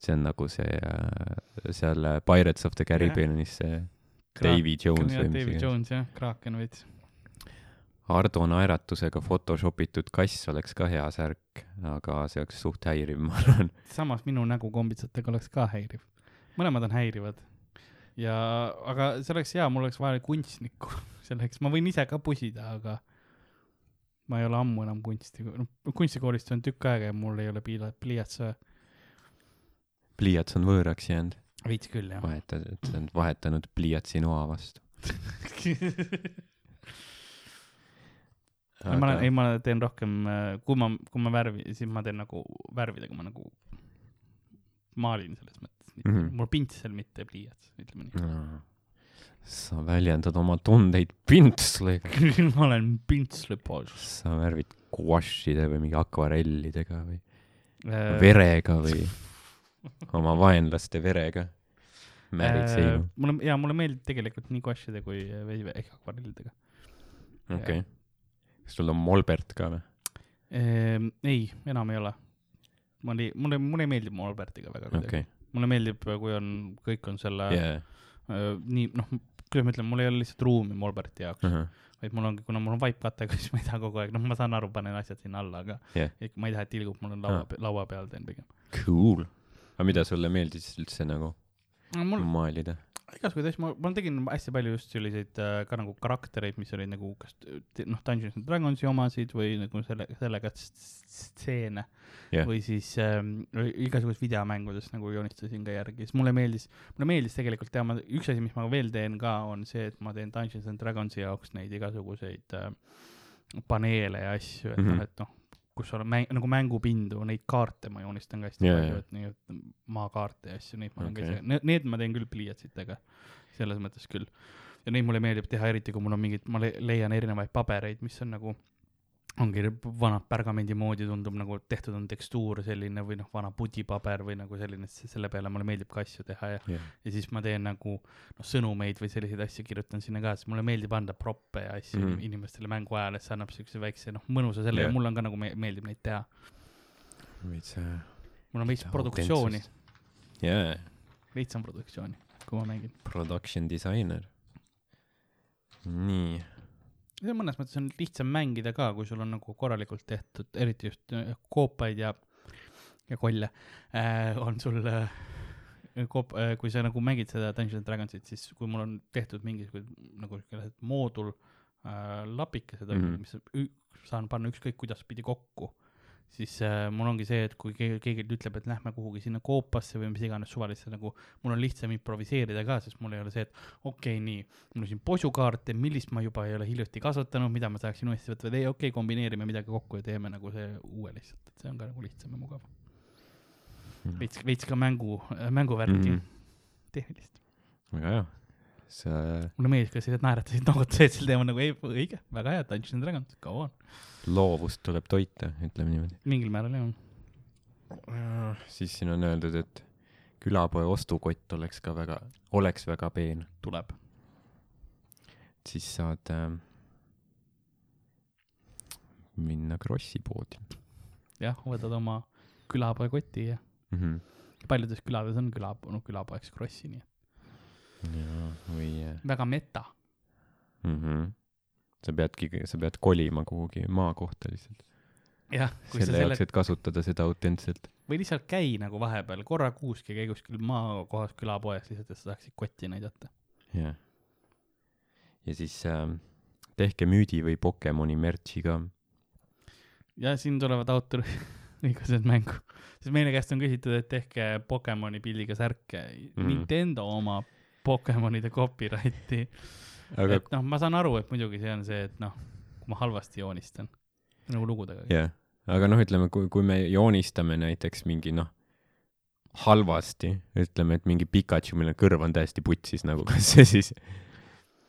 C: see on nagu see äh, seal äh, Pirates of the Caribbeanis see Davy Jones või mis
B: Davy
C: iganes .
B: Jones jah , Kraken veits .
C: Ardo naeratusega photoshop itud kass oleks ka hea särk , aga see oleks suht häiriv , [LAUGHS] ma arvan .
B: samas minu nägu kombitsatega oleks ka häiriv . mõlemad on häirivad . ja , aga see oleks hea , mul oleks vaja kunstnikku [LAUGHS] selleks , ma võin ise ka pusida , aga ma ei ole ammu enam kunsti , noh kunstikoolist on tükk aega ja mul ei ole piila- , pliiatsa .
C: pliiats on võõraks jäänud ,
B: veits küll [LAUGHS] jah .
C: vahetad , et sa oled vahetanud pliiatsi noa vastu .
B: Aga... ma olen , ei , ma teen rohkem , kui ma , kui ma värvi , siis ma teen nagu värvidega , ma nagu maalin selles mõttes mm . -hmm.
C: Mhm.
B: mul pintsel , mitte pliiats , ütleme
C: Mm. sa väljendad oma tundeid pintsliga .
B: nii . [LAUGHS] ma olen pintslipoos .
C: sa värvid guašide või mingi akvarellidega või
B: Äh,
C: verega või oma vaenlaste verega määrid
B: Äh,
C: seinu .
B: mulle , jaa , mulle meeldib tegelikult nii guašide kui äh, vei- ehk akvarellidega . Äh,
C: okei . kas sul on Molbert ka või ?
B: Ehm, ei , enam ei ole . ma oli , mulle , mulle ei meeldi mu Albertiga väga
C: okei ,
B: mulle meeldib , kui on , kõik on selle yeah.
C: jaa .
B: äh, nii , noh , kuidas ma ütlen , mul ei ole lihtsalt ruumi mu Alberti jaoks .
C: Hmm.
B: vaid mul ongi , kuna mul on vaipkatega , [LAUGHS] siis ma ei taha kogu aeg , noh , ma saan aru , panen asjad sinna alla , aga
C: Jah.
B: yeah. ma ei taha , et tilgub mul on laua
C: Ah.
B: ah. , laua peal teen pigem
C: Cool . aga mida sulle meeldis üldse nagu
B: no, . mul ,
C: maalida ?
B: igasuguseid asju , ma , ma tegin hästi palju just selliseid äh, ka nagu karaktereid , mis olid nagu kas t- noh , Dungeons and Dragonsi omasid või nagu selle , sellega s- s- stseene
C: Jah.
B: või siis ähm, igasugustes videomängudes nagu joonistasin ka järgi , siis mulle meeldis , mulle meeldis tegelikult teha , ma , üks asi , mis ma veel teen ka , on see , et ma teen Dungeons and Dragonsi jaoks neid igasuguseid äh, paneele ja asju , et
C: Mhm.
B: noh , et noh , kus on mäng, nagu mängupindu , neid kaarte ma joonistan ka hästi yeah,
C: Jaa,
B: palju
C: jaa.
B: yeah. , et nii-öelda maakaarte ja asju , neid ma olen okay.
C: Okei.
B: ka ise , need , need ma teen küll pliiatsitega , selles mõttes küll . ja neid mulle meeldib teha , eriti kui mul on mingid , ma le- leian erinevaid pabereid , mis on nagu , ongi vana pergamendi moodi tundub nagu tehtud on tekstuur selline või noh , vana pudipaber või nagu selline , selle peale mulle meeldib ka asju teha ja ,
C: jah ,
B: ja siis ma teen nagu noh , sõnumeid või selliseid asju kirjutan sinna ka , sest mulle meeldib anda proppe ja asju mm
C: Mhm.
B: -hmm. inimestele mängu ajal , et see annab siukse väikse noh , mõnusa selle
C: Jah.
B: yeah. ja mulle on ka nagu me meeldib neid teha .
C: veits äh,
B: mul on veits produktsiooni ,
C: autentsust. jaa ,
B: veits on produktsiooni , kui ma mängin .
C: production disainer . nii ,
B: see on mõnes mõttes on lihtsam mängida ka , kui sul on nagu korralikult tehtud , eriti just äh, koopaid ja , ja kolle äh, on sul äh, koop- , kui sa nagu mängid seda Dungeons and Dragonsit , siis kui mul on tehtud mingisugune nagu siuke moodul äh, lapike seda mm ,
C: Mhm.
B: -hmm. mis ü- saan panna ükskõik kuidas pidi kokku , siis äh, mul ongi see , et kui keegi , keegi ütleb , et lähme kuhugi sinna koopasse või mis iganes suvalisse nagu , mul on lihtsam improviseerida ka , sest mul ei ole see , et okei okay, , nii , mul on siin posukaarte , millist ma juba ei ole hiljuti kasutanud , mida ma saaksin uuesti võtta , või ei , okei okay, , kombineerime midagi kokku ja teeme nagu see uue lihtsalt , et see on ka nagu lihtsam ja mugav . veits , veits ka mängu , mänguvärki mm
C: Mhm.
B: -hmm. tehnilist .
C: väga hea . sa ,
B: mulle meeldis ka see , et naeratasid noogutasid sel teemal nagu ei , õige , väga hea , Dungeons and Dragons , go on .
C: loovust tuleb toita , ütleme niimoodi .
B: mingil määral jah .
C: siis siin on öeldud , et külapoe ostukott oleks ka väga , oleks väga peen ,
B: tuleb .
C: siis saad äh, minna Krossi poodi
B: jah , võtad oma külapoekoti ja
C: mm . -hmm.
B: paljudes külades on küla , no külapoeks Krossi , nii et
C: ja , või äh,
B: väga meta .
C: mm -hmm. sa peadki , sa pead kolima kuhugi maakohta lihtsalt ,
B: jah , kui sa
C: selle
B: selle
C: jaoks , et kasutada seda autentselt .
B: või lihtsalt käi nagu vahepeal korra kuuski , käi kuskil maakohas külapoes lihtsalt , et sa saaksid kotti näidata .
C: jah . ja siis äh, tehke müüdi või Pokemoni merch'i ka .
B: ja siin tulevad [LAUGHS] autoriõigused mängu , sest meile käest on küsitud , et tehke Pokemoni pildiga särke mm. .
C: Mhm.
B: Nintendo oma Pokemonide copyrighti Aga... ,
C: aga
B: et noh , ma saan aru , et muidugi see on see , et noh , kui ma halvasti joonistan nagu lugudega yeah. ,
C: jah , aga noh , ütleme , kui , kui me joonistame näiteks mingi noh , halvasti , ütleme , et mingi Pikachu , mille kõrv on täiesti putsis nagu , [LAUGHS] kas see siis ,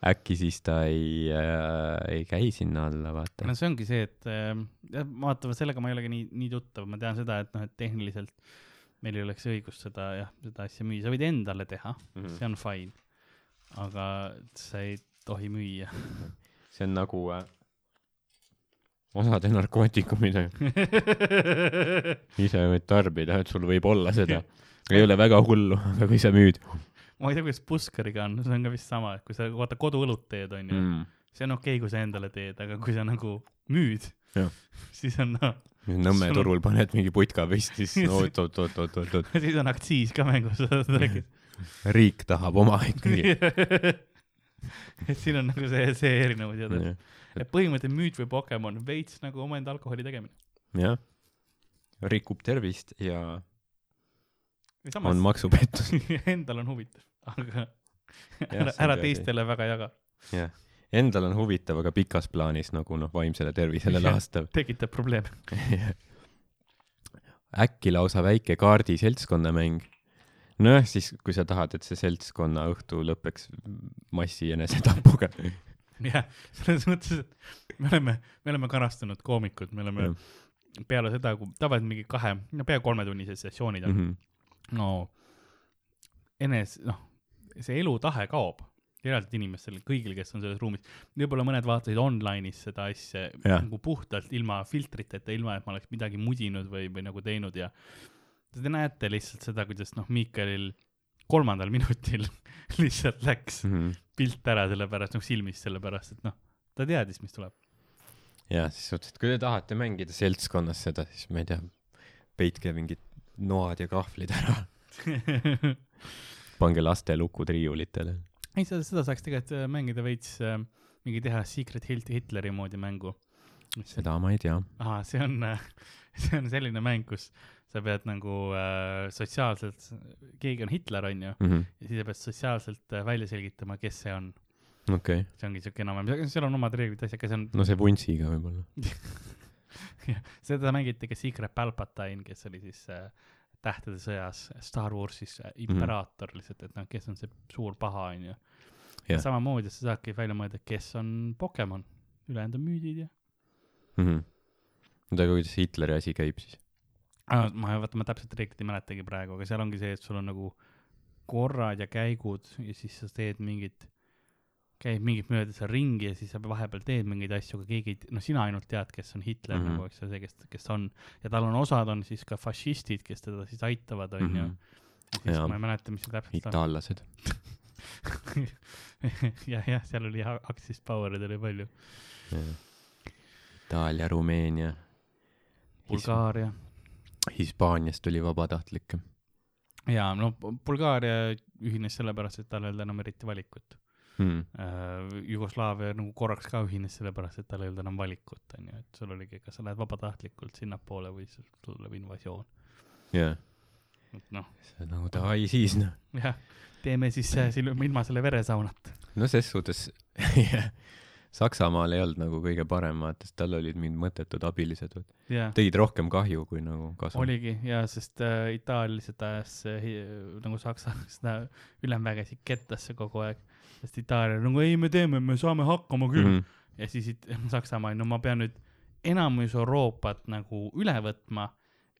C: äkki siis ta ei äh, , ei käi sinna alla , vaata
B: no . see ongi see , et ähm, jah , vaata , sellega ma ei olegi nii , nii tuttav , ma tean seda , et noh , et tehniliselt meil ei oleks õigust seda jah , seda asja müüa , sa võid endale teha ,
C: Hmm.
B: see on fine , aga sa ei tohi müüa .
C: [LAUGHS] see on nagu äh, osade narkootikumid , ise võid tarbida , et sul võib olla
B: [LAUGHS]
C: seda . ei ole väga hullu , [LAUGHS] aga kui sa müüd
B: ma ei tea , kuidas puskariga on , see on ka vist sama , et kui sa vaata koduõlut teed , onju mm. ,
C: mm. ,
B: see on okei okay, , kui sa endale teed , aga kui sa nagu müüd
C: Jah. ,
B: [LAUGHS] siis on noh ,
C: Nõmme
B: Sul on-
C: turul paned mingi putka püsti , siis no, oot-oot-oot-oot-oot ,
B: siis on aktsiis ka mängus , [LAUGHS] sa räägid .
C: riik tahab
B: [LAUGHS]
C: oma ikkagi .
B: et siin on nagu see , see erinevus ja täpselt . et põhimõte müüd või Pokemon , veits nagu omaenda alkoholi tegemine .
C: jah , rikub tervist ja
B: samas
C: on maksupettus .
B: [LAUGHS] endal on huvitav , aga ära , ära . teistele väga jaga ,
C: jah , endal on huvitav , aga pikas plaanis nagu noh , vaimsele tervisele
B: Jah.
C: laastav . [LAUGHS]
B: tekitab probleeme .
C: äkki lausa väike kaardi seltskonnamäng . nojah , siis kui sa tahad , et see seltskonna õhtu lõpeks massi enesetapuga . [LAUGHS]
B: [LAUGHS] jah , selles mõttes , et me oleme , me oleme karastunud koomikud , me oleme ja. peale seda , kui tavaliselt mingi kahe , no pea kolmetunnised sessioonid on mm ,
C: Mhm,
B: -hmm. no enes- , noh , see elutahe kaob eraldi inimestel , kõigil , kes on selles ruumis , võib-olla mõned vaatasid online'is seda asja
C: Jah.
B: nagu puhtalt ilma filtriteta , ilma et ma oleks midagi mudinud või , või nagu teinud ja te näete lihtsalt seda , kuidas noh , Miikalil kolmandal [LAUGHS] minutil lihtsalt läks
C: mhm.
B: pilt ära sellepärast , noh silmist sellepärast , et noh , ta teadis , mis tuleb . [LAUGHS]
C: ja siis suhtes , et kui te tahate mängida seltskonnas seda , siis ma ei tea , peitke mingid noad ja kahvlid ära . pange laste lukud riiulitele .
B: ei , seda , seda saaks tegelikult äh, mängida veits äh, mingi teha Secret Hit- Hitleri moodi mängu .
C: seda ma ei tea .
B: ahah , see on , [LAUGHS] see on selline mäng , kus sa pead nagu äh, sotsiaalselt , keegi on Hitler , onju ,
C: Mhm.
B: ja siis sa pead sotsiaalselt äh, välja selgitama , kes see on .
C: okei ,
B: see ongi siuke enam-vähem , seal on omad reeglid , asjad , aga see on ,
C: no see vuntsiga võib-olla .
B: [LAUGHS] seda mängiti ka Secret Palpatine , kes oli siis äh, tähtede sõjas Star Warsis äh, imperaator lihtsalt , et noh , kes on see suur paha , onju .
C: Jah.
B: samamoodi sa saadki välja mõelda , kes on Pokemon , ülejäänud on müüdid ja
C: oota , aga kuidas Hitleri asi käib siis ?
B: ah, . ma , vaata , ma täpselt reeglit ei mäletagi praegu , aga seal ongi see , et sul on nagu korrad ja käigud ja siis sa teed mingit , käid mingit mööda seal ringi ja siis sa vahepeal teed mingeid asju , aga keegi ei , noh , sina ainult tead , kes on Hitler mm
C: Mhm.
B: -hmm. nagu , eks ole , see , kes , kes ta on . ja tal on osad on siis ka fašistid , kes teda siis aitavad , onju .
C: Mhm.
B: siis
C: jaa.
B: ma ei mäleta , mis see täpselt on .
C: itaallased .
B: [LAUGHS] jah , jah , seal oli jah , Axis Powerid oli palju .
C: Itaalia , Rumeenia .
B: Bulgaaria .
C: Hispaaniast tuli vabatahtlikke .
B: jaa , no Bulgaaria ühines sellepärast , et tal ei olnud enam eriti valikut .
C: Hmm.
B: äh, Jugoslaavia nagu korraks ka ühines sellepärast , et tal ei olnud enam valikut , onju , et sul oligi , kas sa lähed vabatahtlikult sinnapoole või siis tuleb invasioon .
C: jah ,
B: et noh ,
C: see on nagu davai siis noh .
B: jah , teeme siis äh, sil- ilma selle veresaunata .
C: no ses suhtes [LAUGHS] Saksamaal ei olnud nagu kõige parem , vaata , sest tal olid mingid mõttetud abilised ,
B: jah ,
C: tegid rohkem kahju kui nagu kasu .
B: oligi ja sest äh, Itaalia lihtsalt ajas äh, hi- nagu Saksa [LAUGHS] seda ülemvägesid kettasse kogu aeg , sest Itaalia nagu ei , me teeme , me saame hakkama küll mm .
C: Mm.
B: ja siis it- Saksamaa , no ma pean nüüd enamus Euroopat nagu üle võtma ,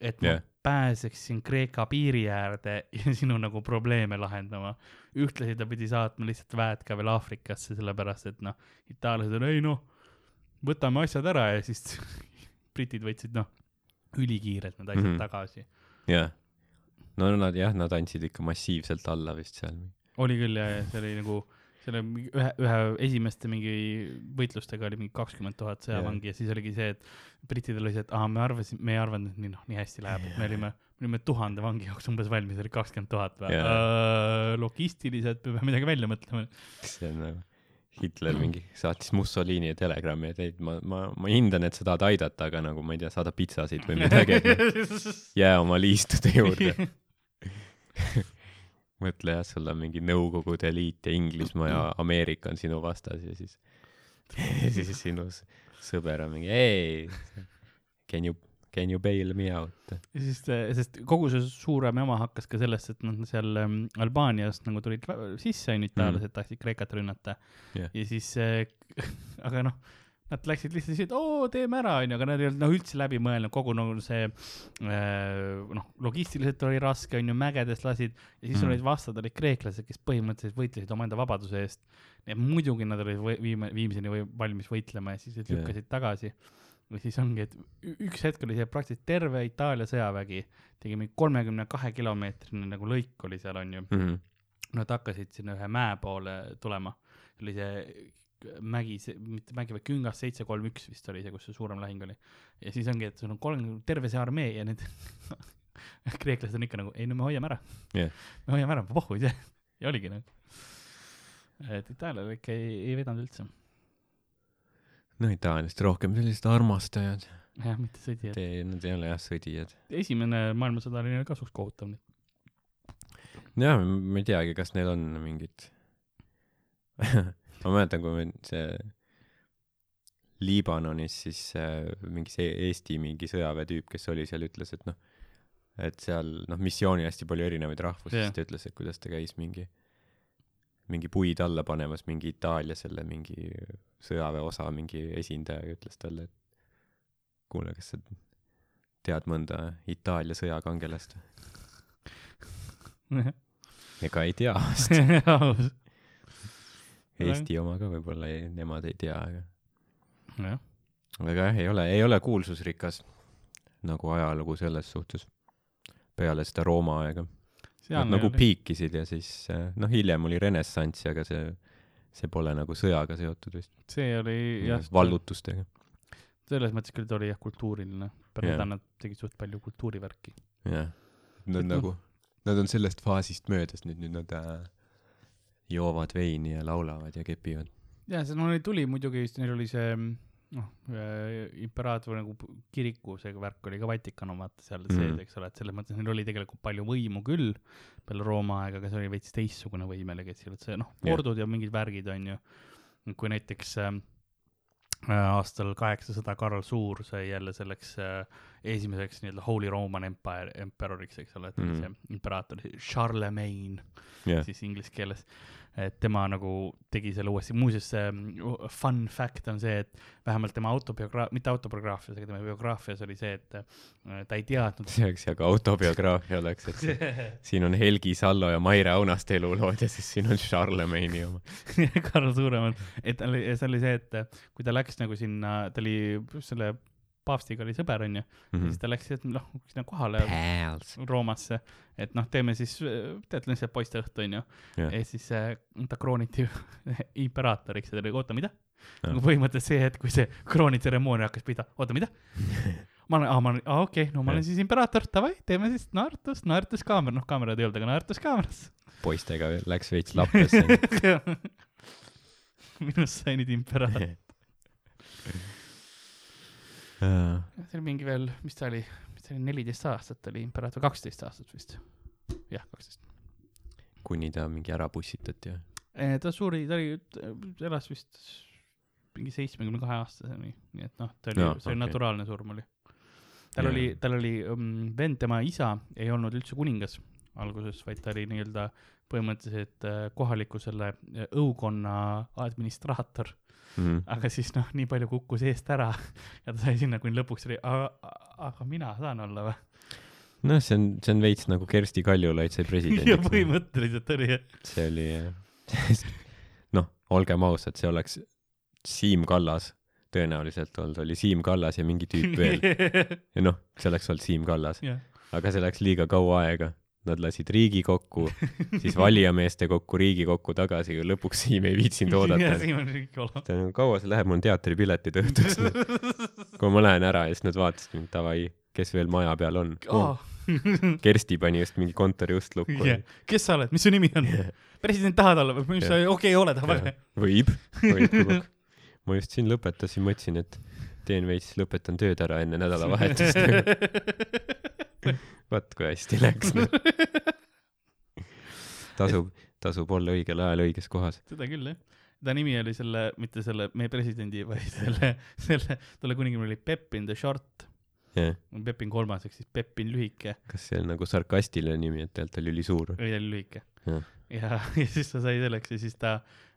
B: et ma
C: Jah.
B: yeah. pääseksin Kreeka piiri äärde ja [LAUGHS] sinu nagu probleeme lahendama . ühtlasi ta pidi saatma lihtsalt väed ka veel Aafrikasse , sellepärast et noh , itaallased on ei noh , võtame asjad ära ja siis [LAUGHS] britid võtsid noh , ülikiirelt need asjad mm
C: Mhm.
B: -hmm. tagasi .
C: jah . no nad jah , nad andsid ikka massiivselt alla vist seal .
B: oli küll ja , ja see oli nagu selle mingi ühe , ühe esimeste mingi võitlustega oli mingi kakskümmend tuhat sõjavangi yeah. ja siis oligi see , et brittidel oli see , et aa , me arvasime , me ei arvanud , et nii noh , nii hästi läheb yeah. , et me olime , me olime tuhande vangi jaoks umbes valmis , oli kakskümmend tuhat või
C: Jaa.
B: yeah. ? logistiliselt me peame midagi välja mõtlema .
C: see on nagu Hitler mingi saatis Mussolini telegrammi , et ei , ma , ma , ma hindan , et sa tahad aidata , aga nagu ma ei tea , saada pitsasid või midagi , et noh,
B: [LAUGHS]
C: jää oma liistude juurde . [LAUGHS] mõtle jah , sul on mingi Nõukogude Liit ja Inglismaa ja Ameerika on sinu vastas ja siis , [LAUGHS] siis sinu s- sõber on mingi ei , can you , can you bail me out ?
B: ja siis , sest kogu see suurem jama hakkas ka sellest , et nad seal ähm, Albaaniast nagu tulid vä- sisse , onju , itaallased tahtsid Kreekat rünnata
C: Mhm. Jah.
B: ja siis äh, , [LAUGHS] aga noh , nad läksid lihtsalt siit , oo , teeme ära , onju , aga nad ei olnud noh üldse läbi mõelnud , kogu nagu see äh, noh , logistiliselt oli raske , onju , mägedest lasid ja siis
C: Mm.
B: mm. olid vastad olid kreeklased , kes põhimõtteliselt võitlesid omaenda vabaduse eest . ja muidugi nad olid või- viima- , viimseni või valmis võitlema ja siis nad
C: Jah.
B: lükkasid tagasi või siis ongi , et ü- üks hetk oli see praktiliselt terve Itaalia sõjavägi tegi mingi kolmekümne kahe kilomeetrine nagu lõik oli seal onju , nad hakkasid sinna ühe mäe poole tulema , oli see mägi , see mitte mägi , vaid küngas seitse kolm üks vist oli see , kus see suurem lahing oli . ja siis ongi , et sul on kolm , terve see armee ja need [LAUGHS] kreeklased on ikka nagu , ei no me hoiame ära
C: Jah.
B: me hoiame ära , pohhu ei tea , ja oligi nagu . et Itaalial ikka ei, ei vedanud üldse ,
C: no Itaaliast rohkem sellised armastajad .
B: jah , mitte sõdi , et
C: Te , nad ei ole jah sõdijad .
B: esimene maailmasõda oli neil kasuks kohutav , nii
C: jah , ma ei teagi , kas neil on mingid [LAUGHS] ma mäletan , kui meil see Liibanonis siis äh, mingi see Eesti mingi sõjaväetüüp , kes oli seal , ütles , et noh , et seal noh , missioonil hästi palju erinevaid rahvusi yeah. ,
B: Jah.
C: siis ta ütles , et kuidas ta käis mingi , mingi puid alla panemas mingi Itaalia selle mingi sõjaväeosa mingi esindajaga , ütles talle , et kuule , kas sa tead mõnda Itaalia sõjakangelast ?
B: et
C: ega ei tea
B: [LAUGHS]
C: [LAUGHS]
B: aus . Väga-
C: Eesti oma ka võib-olla ei, nemad ei tea , aga ,
B: jah ,
C: aga jah , ei ole , ei ole kuulsusrikas nagu ajalugu selles suhtes peale seda Rooma aega .
B: seal
C: Nad nagu . piikisid ja siis eh, noh , hiljem oli renessanss , aga see , see pole nagu sõjaga seotud vist ,
B: see oli jah ,
C: vallutustega .
B: selles mõttes küll ta oli jah , kultuuriline ,
C: Jah.
B: pärast seda nad tegid suht palju kultuurivärki .
C: jah , nad
B: Et noh-
C: nagu Nad on sellest faasist möödas nüüd , nüüd nad äh, joovad veini ja laulavad ja kepivad .
B: ja see , no neil tuli muidugi , neil oli see noh , imperaator nagu p- kiriku see värk oli ka Vatikan on vaata seal
C: Mhm.
B: sees , eks ole , et selles mõttes neil oli tegelikult palju võimu küll peale Rooma aega , aga see oli veits teistsugune võim jällegi , et seal olid see noh ,
C: Jah.
B: kordud ja mingid värgid onju . kui näiteks äh, aastal kaheksasada Karl Suur sai jälle selleks äh, esimeseks nii-öelda Holy Roman Empire , emperoriks , eks ole , et mm
C: Mhm.
B: -hmm. see imperaator , Charlemagne
C: jah ,
B: [LAUGHS] siis inglise keeles . et tema nagu tegi selle uuesti , muuseas see mm, fun fact on see , et vähemalt tema autobiograaf , mitte autobiograafias , aga tema biograafias oli see , et äh, ta ei teadnud . [LAUGHS]
C: see oleks hea ka autobiograafia oleks , et see- siin on Helgi Sallo ja Maire Aunaste elulood ja siis siin on Charlemagne'i oma .
B: Karl Suuremal , et tal oli , see oli see , et äh, kui ta läks nagu sinna , ta oli selle paavstiga oli sõber onju mm ,
C: Mhm.
B: -hmm. siis ta läks et noh sinna kohale
C: Pals .
B: Roomasse , et noh , teeme siis , tead , lihtsalt poisteõhtu onju .
C: Jah.
B: ja siis äh, ta krooniti [LAUGHS] imperaatoriks ja ta oli , oota , mida ?
C: Jah.
B: nagu põhimõtteliselt see hetk , kui see kroonitseremoonia hakkas pihta , oota ,
C: [LAUGHS]
B: mida ? ma olen , aa , ma olen , aa , okei okay, , no ma olen
C: Jah.
B: siis imperaator , davai , teeme siis naertus , naertuskaamera , noh , kaamerad ei olnud , aga naertuskaameras .
C: poistega veel läks veits [LAUGHS] lappesse .
B: [LAUGHS] minust sai nüüd imperaator .
C: Äh,
B: see oli mingi veel , mis ta oli , mis ta oli , neliteist aastat oli imperaator , kaksteist aastat vist . jah , kaksteist .
C: kuni ta mingi ära pussitati või ?
B: Eh, ta suri , ta oli , elas vist mingi seitsmekümne kahe aastaseni , nii et noh , ta oli
C: Jaa,
B: no, , see oli
C: okei.
B: okay. naturaalne surm oli . tal
C: Jaa.
B: oli , tal oli um, vend , tema isa ei olnud üldse kuningas alguses , vaid ta oli nii-öelda põhimõtteliselt äh, kohaliku selle äh, õukonna administraator ,
C: Mhm.
B: aga siis noh , nii palju kukkus eest ära [LAUGHS] ja ta sai sinna , kuni lõpuks oli , aga mina saan olla või ?
C: noh , see on , see on veits nagu Kersti Kaljulaid sai
B: ja
C: presidendiks .
B: põhimõtteliselt oli jah .
C: see oli jah , noh , olgem ausad , see oleks Siim Kallas tõenäoliselt olnud , oli Siim Kallas ja mingi tüüp
B: [LAUGHS]
C: veel . ja noh , see oleks olnud Siim Kallas ,
B: jah ,
C: aga see läks liiga kaua aega . Nad lasid riigi kokku , siis valijameeste kokku , riigi kokku tagasi ja lõpuks Siim ei
B: [LAUGHS]
C: viitsinud
B: ja
C: oodata .
B: siin on kõik olemas .
C: ta nagu kaua see läheb , mul on teatripiletid õhtuks . kui ma lähen ära ja siis nad vaatasid mind , davai , kes veel maja peal on oh. ?
B: [LAUGHS]
C: Kersti pani just mingi kontoriust lukku
B: jah , kes sa oled , mis su nimi on ? president tahad olla või mis sa , okei , oled , aga väga
C: Jah. võib , võib kuluks . ma just siin lõpetasin , mõtlesin , et teen veits , lõpetan tööd ära enne nädalavahetust .
B: hea .
C: vaat kui hästi läks . tasub , tasub olla õigel ajal õiges kohas .
B: [LAUGHS] seda küll , jah . ta nimi oli selle , mitte selle meie presidendi , vaid selle , selle , tolle kuningil oli Pepin the Short ,
C: jah ,
B: Pepin kolmas ehk siis Pepin lühike ,
C: kas see on nagu sarkastiline nimi , et tegelikult oli ülisuur ?
B: või ta oli lühike . ja
C: Jah. ,
B: ja [LAUGHS] siis ta sai selleks ja siis ta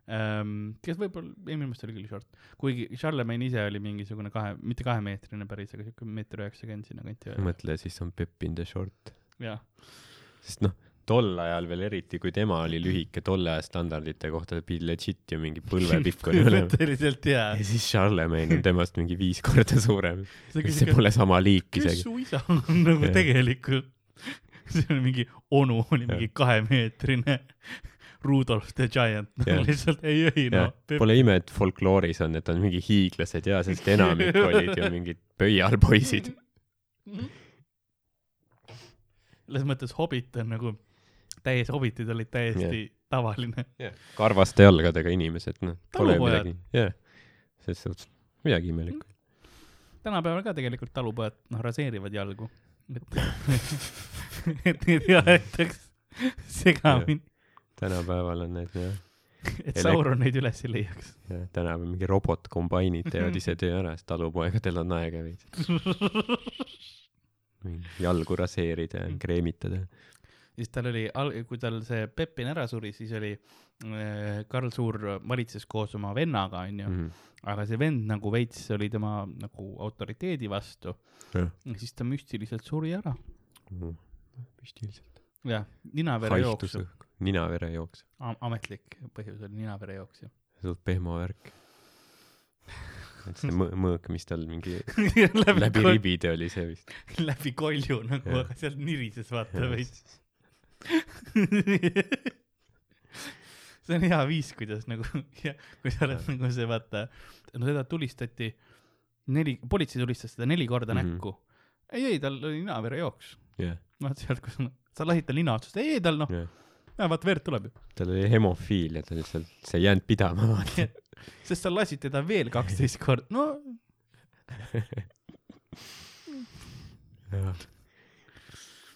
B: ähm, , kes võib-olla , ei minu meelest oli küll Short , kuigi Charlemagne ise oli mingisugune kahe , mitte kahemeetrine päris , aga siuke meeter üheksakümmend sinna kanti oli .
C: mõtle , siis on Pepin the Short .
B: jah ,
C: sest noh , tol ajal veel eriti , kui tema oli lühike tolle aja standardite kohta , Bill Legit ja mingi
B: [LAUGHS]
C: põlvepikk oli olemas .
B: põhimõtteliselt jaa
C: ja . siis Charlemagne on temast mingi viis korda suurem . see
B: kes
C: pole sama liik isegi .
B: su isa on [LAUGHS] nagu
C: Jah.
B: tegelikult , see oli mingi onu , oli mingi kahemeetrine Rudolf the Giant ,
C: Jah.
B: lihtsalt ei , ei
C: jah
B: noh , Pep
C: Pole ime , et folklooris on , et on mingi hiiglased ja sest enamik olid ju mingid pöialpoisid .
B: selles mõttes Hobbit on nagu , täies Hobbitid olid täiesti tavaline .
C: karvaste jalgadega inimesed , noh , pole ju
B: Talupojad.
C: midagi , jah . selles suhtes midagi imelikku .
B: tänapäeval ka tegelikult talupojad , noh , raseerivad jalgu .
C: [LAUGHS]
B: et , et neid ei aetaks segamini ,
C: tänapäeval on need jah ,
B: et
C: Elek-
B: Sauron neid üles ei leiaks .
C: jah , tänapäeval mingi robotkombainid
B: Mhm.
C: teevad ise töö ära , sest talupoegadel on aega
B: [LAUGHS]
C: veits . jalgu raseerida ja kreemitada .
B: siis tal oli , kui tal see Pepin ära suri , siis oli äh, Karl Suur valitses koos oma vennaga , onju ,
C: Mhm.
B: aga see vend nagu veits oli tema nagu autoriteedi vastu .
C: Jah.
B: siis ta müstiliselt suri ära .
C: müstiliselt .
B: jah , ninaverejooks
C: haihtus , õhku , ninaverejooks ,
B: ametlik põhjus oli [LAUGHS] ninaverejooks , jah .
C: suht pehmo värk . et see mõ- mõõk , mis tal
B: [LAUGHS]
C: mingi läbi
B: kol-
C: ribide oli
B: [LAUGHS]
C: see vist .
B: läbi kolju nagu ,
C: Jah.
B: aga [LAUGHS] sealt nirises vaata
C: Jah.
B: veits . [LAUGHS] see on hea viis , kuidas nagu [LAUGHS] ja kui sa oled nagu see vaata , no teda tulistati neli , politsei tulistas teda neli korda mm -hmm.
C: Mhm.
B: näkku . ei , ei , tal oli ninaverejooks ,
C: jah ,
B: noh , sealt , kus on , sa lasid ta nina otsast , ei tal noh ,
C: Jah.
B: vaata verd tuleb ju ,
C: tal oli hemofiilia , ta lihtsalt , see ei jäänud pidama , vaata .
B: sest sa lasid teda [LAUGHS] veel kaksteist korda , no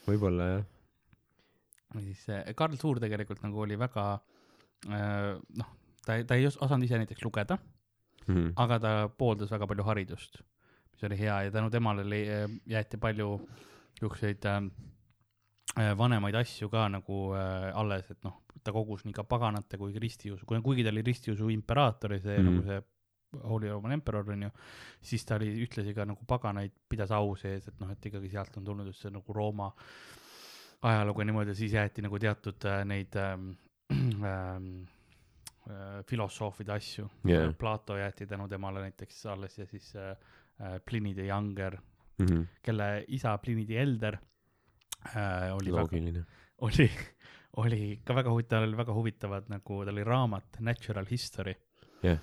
C: võib-olla jah .
B: ja siis äh, Karl Suur tegelikult nagu oli väga äh, noh , ta , ta ei os- osanud ise näiteks lugeda ,
C: Mhm,
B: aga ta pooldas väga palju haridust , mis oli hea ja tänu temale oli- äh, jäeti palju niisuguseid äh, äh, vanemaid asju ka nagu äh, alles , et noh , ta kogus nii ka paganate kui kristiusu , kuigi ta oli ristiusu imperaator ja see mm.
C: Mhm.
B: nagu see Holy Roman Emperor onju , siis ta oli ühtlasi ka nagu paganaid pidas au sees , et noh , et ikkagi sealt on tulnud just see nagu Rooma ajalugu ja niimoodi , siis jäeti nagu teatud äh, neid ähm, [CLEARS THROAT] ähm, äh, filosoofide asju
C: Jah.
B: Plato jäeti tänu temale näiteks alles ja siis äh, äh, Pliny the Younger ,
C: mhm.
B: kelle isa Pliny the Elder äh, oli väga ,
C: loogiline .
B: [LAUGHS] oli , oli ka väga huvitav , tal oli väga huvitavad nagu , tal oli raamat Natural History
C: Jah.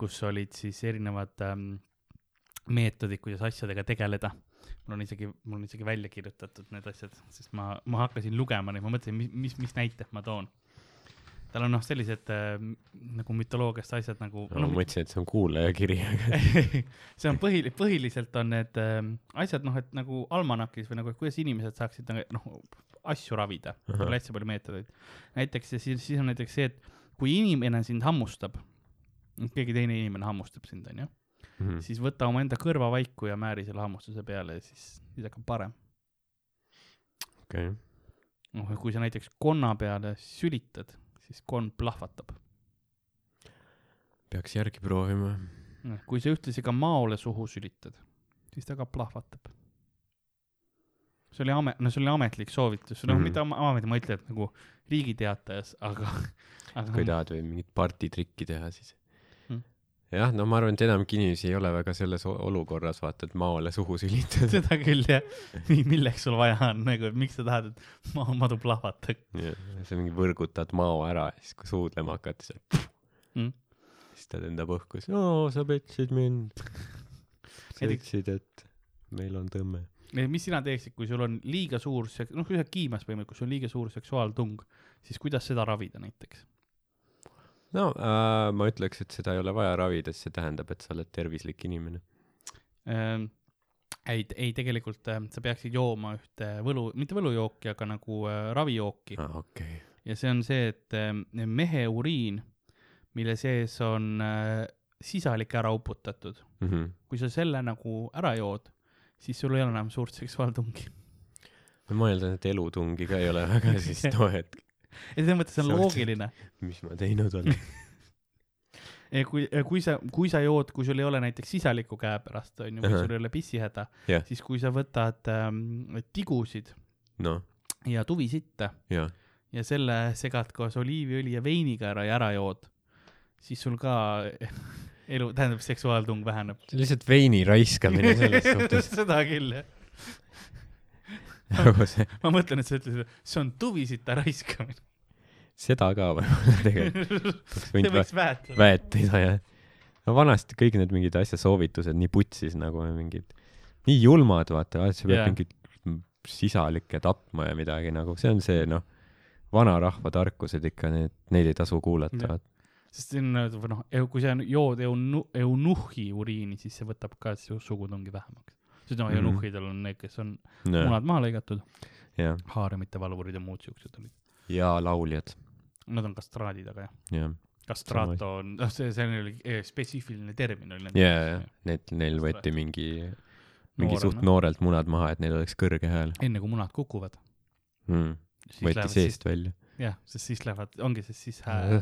B: kus olid siis erinevad ähm, meetodid , kuidas asjadega tegeleda . mul on isegi , mul on isegi välja kirjutatud need asjad , sest ma , ma hakkasin lugema neid , ma mõtlesin , mis , mis , mis näited ma toon . tal on noh , sellised äh, nagu mütoloogiast asjad nagu
C: ma
B: no,
C: mõtlesin , et see on kuulajakiri , [LAUGHS] aga
B: [LAUGHS] see on põhili- , põhiliselt on need ähm, asjad noh , et nagu almanakis või nagu , et kuidas inimesed saaksid nagu, noh , asju ravida ,
C: Ahah.
B: oli hästi palju meetodeid . näiteks ja siis , siis on näiteks see , et kui inimene sind hammustab , keegi teine inimene hammustab sind , onju ,
C: Mhm.
B: siis võta omaenda kõrvavaiku ja määri selle hammustuse peale ja siis , siis hakkab parem .
C: okei .
B: noh , kui sa näiteks konna peale sülitad , siis konn plahvatab .
C: peaks järgi proovima .
B: kui sa ühtlasi ka maole suhu sülitad , siis ta ka plahvatab . see oli ame- , no see oli ametlik soovitus , noh mm
C: Mhm.
B: -hmm. mitte am- ametlik , ma ütlen , et nagu Riigi Teatajas , aga , [LAUGHS]
C: kui
B: aga
C: tahad veel mingit partitrikki teha , siis
B: Mhm.
C: jah , no ma arvan , et enamik inimesi ei ole väga selles o- olukorras , vaata , et maole suhu sülitada .
B: [LAUGHS]
C: [LAUGHS]
B: seda küll jah , milleks sul vaja on , nagu miks sa tahad , et ma- madu plahvataks .
C: sa mingi võrgutad mao ära ja siis , kui suudlema hakkad , siis
B: Mhm.
C: on siis ta lendab õhku , siis oo , sa petsid mind . sa
B: Näiteks-
C: ütlesid , et meil on tõmme .
B: mis sina teeksid , kui sul on liiga suur sek- , noh , kui sa oled kiimas põhimõtteliselt , kui sul on liiga suur seksuaaltung , siis kuidas seda ravida näiteks ?
C: no äh, ma ütleks , et seda ei ole vaja ravida , sest see tähendab , et sa oled tervislik inimene .
B: Ähm, ei , ei tegelikult äh, sa peaksid jooma ühte võlu , mitte võlujooki , aga nagu äh, ravijooki
C: aa , Ah, okei .
B: ja see on see , et ähm, mehe uriin , mille sees on äh, sisalik ära uputatud ,
C: Mhm.
B: kui sa selle nagu ära jood , siis sul ei ole enam suurt seksuaaltungi . [LAUGHS]
C: ma eeldan , et elutungi ka ei ole [LAUGHS] väga siis too hetk ,
B: ja selles mõttes on
C: See on-
B: loogiline ,
C: mis ma teinud olen .
B: kui , kui sa , kui sa jood , kui sul ei ole näiteks sisalikku käepärast , onju , või
C: Ahah.
B: sul ei ole pissihäda
C: Jah.
B: siis kui sa võtad ähm, tigusid
C: noh ,
B: ja tuvisitta
C: jaa .
B: ja selle segad koos oliiviõli ja veiniga ära ja ära jood , siis sul ka [LAUGHS] elu , tähendab , seksuaaltung väheneb .
C: see on lihtsalt veini raiskamine [LAUGHS] selles suhtes ,
B: [LAUGHS] seda küll , jah .
C: nagu see ,
B: ma mõtlen , et sa ütlesid , see on tuvisita raiskamine .
C: seda ka võib-olla tegelikult [LAUGHS]
B: [LAUGHS] see
C: oleks võinud vä-
B: võiks väetada .
C: väet teha jah . no vanasti kõik need mingid asja soovitused nii putsis nagu ja mingid , nii julmad vaata , et sa pead
B: Jaa.
C: yeah. mingit sisalikke tapma ja midagi nagu , see on see noh , vanarahva tarkused ikka , need , neid ei tasu
B: Jah.
C: kuulata .
B: sest see on , või noh , kui sa jood eunu- , eunuhhi uriini , siis see võtab ka su sugutungi vähemaks . sest noh ,
C: Mhm.
B: eunuhhidel on need , kes on
C: jah ,
B: munad maha lõigatud ,
C: ja,
B: haaremite valvurid ja muud siuksed olid .
C: ja lauljad ,
B: Nad on kastraadid , aga jah .
C: jah ,
B: kastraato on , noh , see , see oli eh, spetsiifiline termin oli .
C: ja , ja , need , neil võeti mingi , mingi Noorena. suht . noorelt munad maha , et neil oleks kõrge hääl
B: enne kui munad kukuvad .
C: mm. . võeti seest välja .
B: jah , sest siis lähevad , ongi , sest siis hääl ,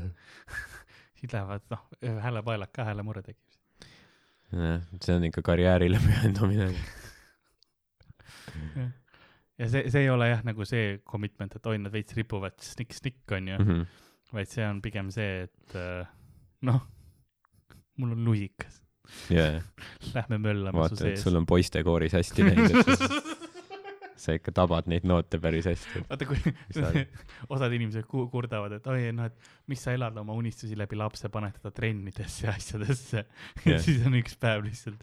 B: siis lähevad , noh , häälepaelad ka häälemure tekib .
C: see on ikka karjäärile [LAUGHS] pühendumine .
B: ja see , see ei ole jah , nagu see commitment , et oi , nad veits ripuvad snikk-snikk , onju ,
C: Mhm.
B: vaid see on pigem see , et äh, noh , mul on lusikas ,
C: jaa , jaa .
B: lähme möllame su
C: vaata , et
B: sees .
C: sul on poistekooris hästi läinud , et
B: [LAUGHS]
C: sa- sa ikka tabad neid noote päris hästi .
B: vaata , kui [LAUGHS] osad inimesed ku- kurdavad , et oi , noh , et mis sa elad oma unistusi läbi lapse , paned teda trennidesse ja asjadesse . [LAUGHS]
C: Jah.
B: siis on üks päev lihtsalt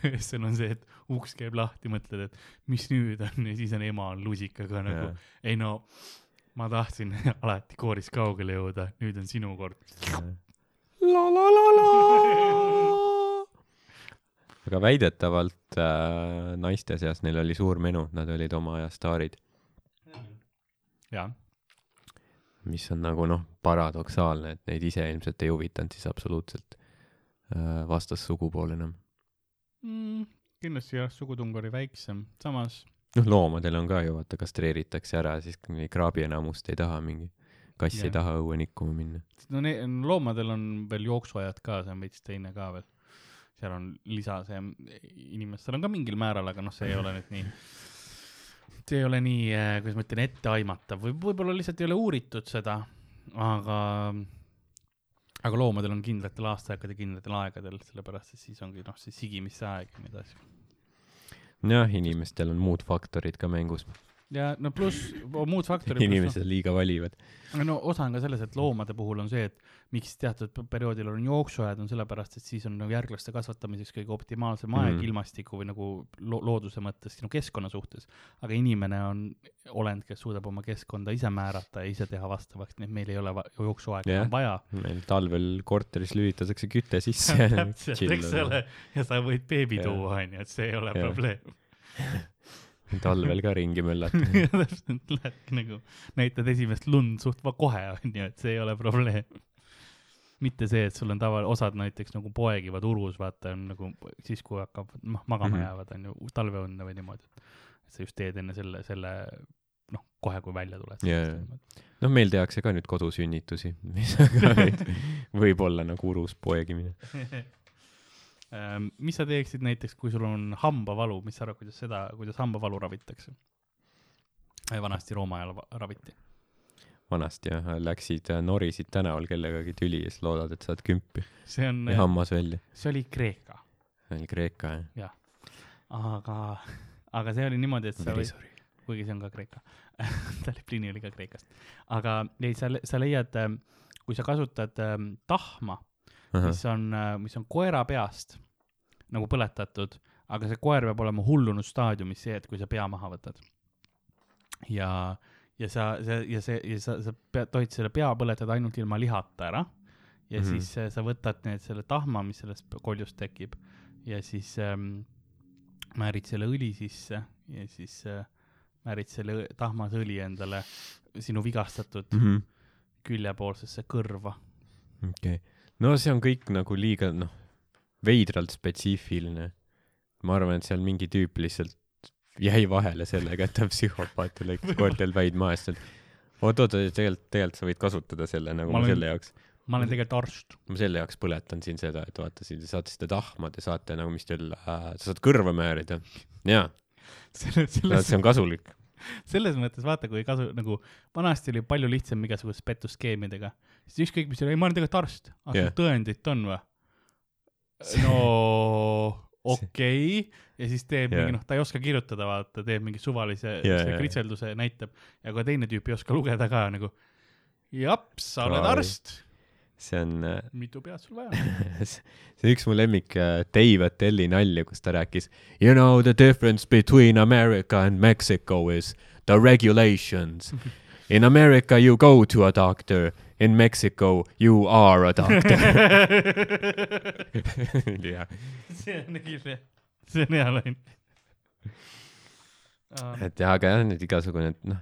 B: [LAUGHS] sul on see , et uks käib lahti , mõtled , et mis nüüd on ja siis on ema on lusikaga nagu
C: Jaa.
B: ei no ma tahtsin [LAUGHS] alati koorist kaugele jõuda , nüüd on sinu kord .
C: la la la la . [LAUGHS] aga väidetavalt äh, naiste seas neil oli suur menu , nad olid oma aja staarid ,
B: jah ,
C: mis on nagu noh , paradoksaalne , et neid ise ilmselt ei huvitanud siis absoluutselt äh, vastassugupool enam .
B: Mm. kindlasti jah , sugutung oli väiksem , samas
C: noh , loomadel on ka ju vaata kastreeritakse ära , siis kui mingi kraabi enamust ei taha mingi , kass yeah.
B: Jah.
C: ei taha õue nikkuma minna .
B: no ne- loomadel on veel jooksuajad ka , see on veits teine ka veel . seal on lisa , see inimestel on ka mingil määral , aga noh , see ei ole nüüd nii , see ei ole nii , kuidas ma ütlen , etteaimatav või võib-olla lihtsalt ei ole uuritud seda , aga , aga loomadel on kindlatel aastaaegadel , kindlatel aegadel , sellepärast et siis ongi noh , see sigimise aeg ja nii edasi .
C: jah , inimestel on muud faktorid ka
B: [LAUGHS]
C: mängus ,
B: ja no pluss muud faktorid .
C: inimesed liiga valivad .
B: no osa on ka selles , et loomade puhul on see , et miks teatud p- perioodil on jooksuajad , on sellepärast , et siis on nagu järglaste kasvatamiseks kõige optimaalsem aeg
C: Mhm.
B: mm. ilmastiku või nagu lo looduse mõttes , sinu keskkonna suhtes . aga inimene on olend , kes suudab oma keskkonda ise määrata ja ise teha vastavaks , nii et meil ei ole va- jooksuaega
C: Jah.
B: yeah.
C: [LAUGHS]
B: vaja .
C: meil talvel korteris lülitatakse küte
B: [LAUGHS]
C: sisse .
B: täpselt , eks ole , ja sa võid beebi
C: Jah.
B: tuua , onju , et see ei ole
C: Jah.
B: probleem .
C: talvel ka ringi
B: [LAUGHS]
C: möllata .
B: ja täpselt lähebki nagu , näitad esimest lund suht va- kohe onju , et see ei ole probleem . mitte see , et sul on tava , osad näiteks nagu poegivad urus , vaata on nagu siis , kui hakkab noh magama mm
C: Mhm.
B: -hmm. jäävad onju , talveunne või niimoodi , et sa just teed enne selle , selle noh , kohe kui välja tuled
C: Jaa, jaa. . noh , meil tehakse ka nüüd kodusünnitusi , [LAUGHS] mis on ka
B: [LAUGHS]
C: veid- võib-olla nagu urus poegimine .
B: Ähm, mis sa teeksid näiteks , kui sul on hambavalu , mis sa arvad , kuidas seda , kuidas hambavalu ravitakse ? vanasti Rooma ajal va- raviti .
C: vanasti jah , läksid , norisid tänaval kellegagi tüli ja siis loodad , et saad kümpi
B: see on ,
C: ja hammas välja .
B: see oli Kreeka
C: see oli Kreeka jah .
B: aga , aga see oli niimoodi , et sa võid ,
C: sorry .
B: kuigi see on ka Kreeka , [LAUGHS] Taliplini oli ka Kreekast , aga ei , sa , sa leiad , kui sa kasutad ähm, tahma , mis on , mis on koera peast nagu põletatud , aga see koer peab olema hullunud staadiumis , see , et kui sa pea maha võtad . ja , ja sa , see ja see ja sa , sa pead , tohid selle pea põletada ainult ilma lihata ära ja mm
C: Mhm.
B: -hmm. siis äh, sa võtad need , selle tahma , mis sellest koljust tekib ja siis ähm, määrid selle õli sisse ja siis äh, määrid selle õ- tahmas õli endale sinu vigastatud mm -hmm. küljepoolsesse kõrva .
C: Mhm. okei , no see on kõik nagu liiga noh , veidralt spetsiifiline . ma arvan , et seal mingi tüüp lihtsalt jäi vahele sellega , et ta on psühhopaat ja lõikas
B: [LAUGHS]
C: koertel päid maha , siis ta oot-oot , tegelikult , tegelikult sa võid kasutada selle nagu
B: Ma
C: ma, ma
B: olen-
C: selle jaoks ,
B: ma olen tegelikult arst . [LAUGHS]
C: ma selle jaoks põletan siin seda , et vaata , siin te saate seda tahma , te saate nagu , mis teil äh, , sa saad kõrva määrida . jaa ,
B: selles , selles
C: see , on kasulik .
B: selles mõttes vaata , kui kasu nagu vanasti oli palju lihtsam igasuguste pettuskeemidega , siis ükskõik mis oli , ei ma olen tegelikult arst , aga
C: Jah.
B: yeah. tõendit on või ? no
C: [LAUGHS]
B: okei okay. ja siis teeb yeah.
C: Jah.
B: mingi noh , ta ei oska kirjutada , vaata , teeb mingi suvalise
C: Jah,
B: yeah,
C: jah.
B: kritselduse , näitab ja ka teine tüüp ei oska lugeda ka nagu . japs , sa oled
C: Aa,
B: arst ,
C: see on äh,
B: mitu pead sul vaja on ?
C: [LAUGHS]
B: [LAUGHS]
C: see on üks mu lemmik äh, Dave Atteli nalju , kus ta rääkis You know the difference between America and Mexico is the [LAUGHS] regulations . In America you go to a doctor , in Mexico you are [LAUGHS] a doctor . jah ,
B: see on õige , see on hea lain um, .
C: et jah , aga jah , need igasugune , et noh ,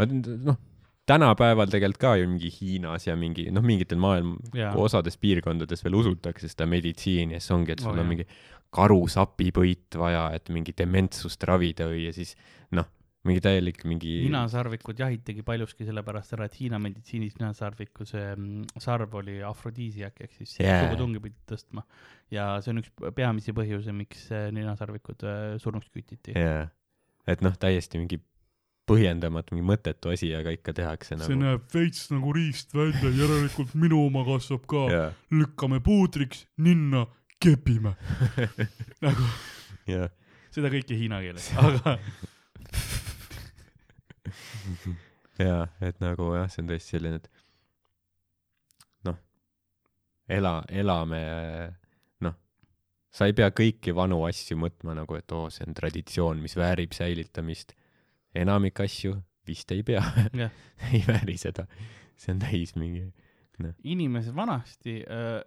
C: vaat n- noh , tänapäeval tegelikult ka ju mingi Hiinas ja mingi noh , mingitel maailma
B: jaa ,
C: osades piirkondades veel usutakse seda meditsiini ja siis ongi , et sul
B: Oo,
C: oh, on
B: jah.
C: mingi karusapipõit vaja , et mingi dementsust ravida või ja siis noh , mingi täielik mingi
B: ninasarvikud jahitigi paljuski sellepärast ära , et Hiina meditsiinis ninasarviku see mm, sarv oli afrodiisiak ehk siis
C: Jaa.
B: yeah. sugutungi pidi tõstma . ja see on üks peamisi põhjusi , miks eh, ninasarvikud eh, surnuks kütiti .
C: jaa , et noh , täiesti mingi põhjendamatu , mingi mõttetu asi , aga ikka tehakse
D: see
C: nagu .
D: näeb veits nagu riist välja , järelikult minu oma kasvab ka .
B: nagu-
C: jaa ,
D: lükkame puudriks , ninna kepime .
C: jaa .
B: seda kõike hiina
C: [LAUGHS]
B: keeles , aga
C: jaa , et nagu jah , see on tõesti selline , et noh , ela , elame noh , sa ei pea kõiki vanu asju mõtma nagu , et oo , see on traditsioon , mis väärib säilitamist . enamik asju vist ei pea [LAUGHS]
B: Jah. ,
C: ei vääri seda . see on täis mingi ,
B: inimesed vanasti ,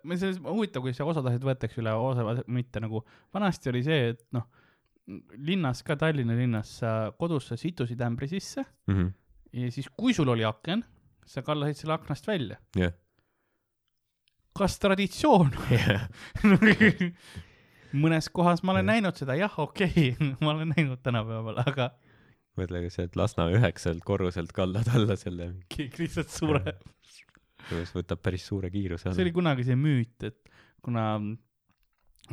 B: ma selles , huvitav , kuidas osatasid võetakse üle , osa mitte nagu , vanasti oli see , et noh , linnas ka , Tallinna linnas sa kodus sa situsid ämbri sisse
C: mm . -hmm.
B: ja siis , kui sul oli aken , sa kallasid selle aknast välja . [LAUGHS]
C: Jah.
B: kas traditsioon ? [LAUGHS]
C: Yeah.
B: mõnes kohas ma olen
C: Jah.
B: näinud seda , jah , okei [LAUGHS] okay, , ma olen näinud tänapäeval , aga
C: mõtle , kui sa oled Lasna üheksalt korruselt kallad alla selle ,
B: keegi lihtsalt sureb .
C: kuidas võtab päris suure kiiruse
B: see oli
C: alla .
B: kunagi see müüt , et kuna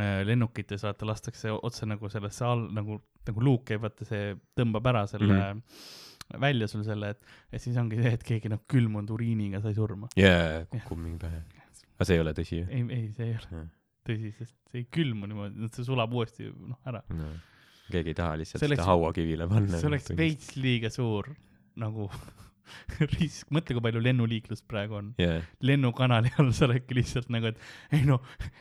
B: äh, lennukites vaata lastakse otse nagu sellesse all nagu , nagu luuk käib , vaata see tõmbab ära selle mm , -hmm. välja sul selle , et , et siis ongi see , et keegi noh külmunud uriiniga sai surma .
C: jaa , kukub mingi pähe . aga see ei ole tõsi ju ?
B: ei , ei , see ei ole
C: Jah.
B: tõsi , sest see ei külmu niimoodi , see sulab uuesti noh ära .
C: no. keegi ei taha lihtsalt
B: See
C: seda
B: oleks-
C: hauakivile panna .
B: see oleks veits liiga suur nagu [LAUGHS] risk , mõtle , kui palju lennuliiklust praegu on .
C: jaa ,
B: lennukanali all sa oledki lihtsalt nagu , et ei no ,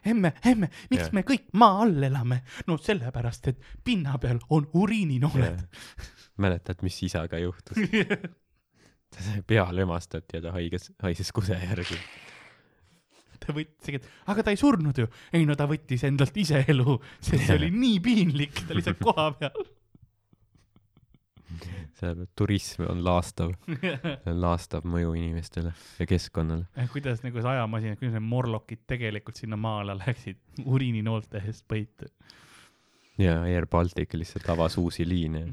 B: emme , emme , miks
C: Jah.
B: yeah. me kõik maa all elame ? no sellepärast , et pinna peal on
C: jaa
B: uriininooled .
C: mäletad , mis isaga
B: [LAUGHS]
C: juhtus ? ta sai pea lömastati ja ta haiges , haises kuse järgi .
B: ta võtsigi , et aga ta ei surnud ju . ei no ta võttis endalt ise elu , sest see oli nii piinlik , ta [LAUGHS] lihtsalt koha peal .
C: sellepärast turism on laastav ,
B: [LAUGHS]
C: laastav mõju inimestele ja keskkonnale .
B: kuidas nagu see ajamasin , kuidas need morlokid tegelikult sinna maa alla läksid , uriininoolte eest põita .
C: ja Air Baltic lihtsalt avas uusi liine .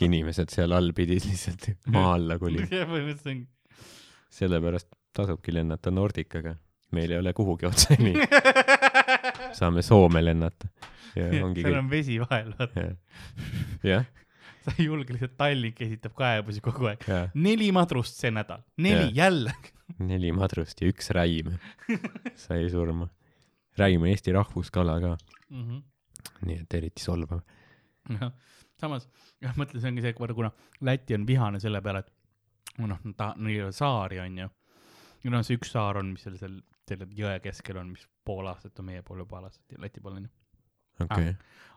C: inimesed seal all pidid lihtsalt maa alla
B: [LAUGHS]
C: kolima .
B: põhimõtteliselt on
C: sellepärast tasubki lennata Nordicaga . meil ei ole kuhugi
B: [LAUGHS]
C: otseni . saame Soome lennata . ja ongi
B: seal
C: kõik .
B: on vesi vahel , vaata .
C: jah , jah ,
B: sa ei julge lihtsalt , Tallink esitab kaebusi kogu aeg .
C: jah.
B: neli madrust see nädal , neli
C: Jah.
B: jälle .
C: neli madrust ja üks räim sai surma . räim on Eesti rahvuskala ka ,
B: Mhm.
C: nii et eriti solvav .
B: samas , jah , mõtle , see ongi see , kuna Läti on vihane selle peale , et noh , ta , neil on saari , onju . ja noh , see üks saar on , mis seal , seal , selle jõe keskel on , mis pool aastat on meie pool juba aastat ja Läti pool onju .
C: okei okay. ,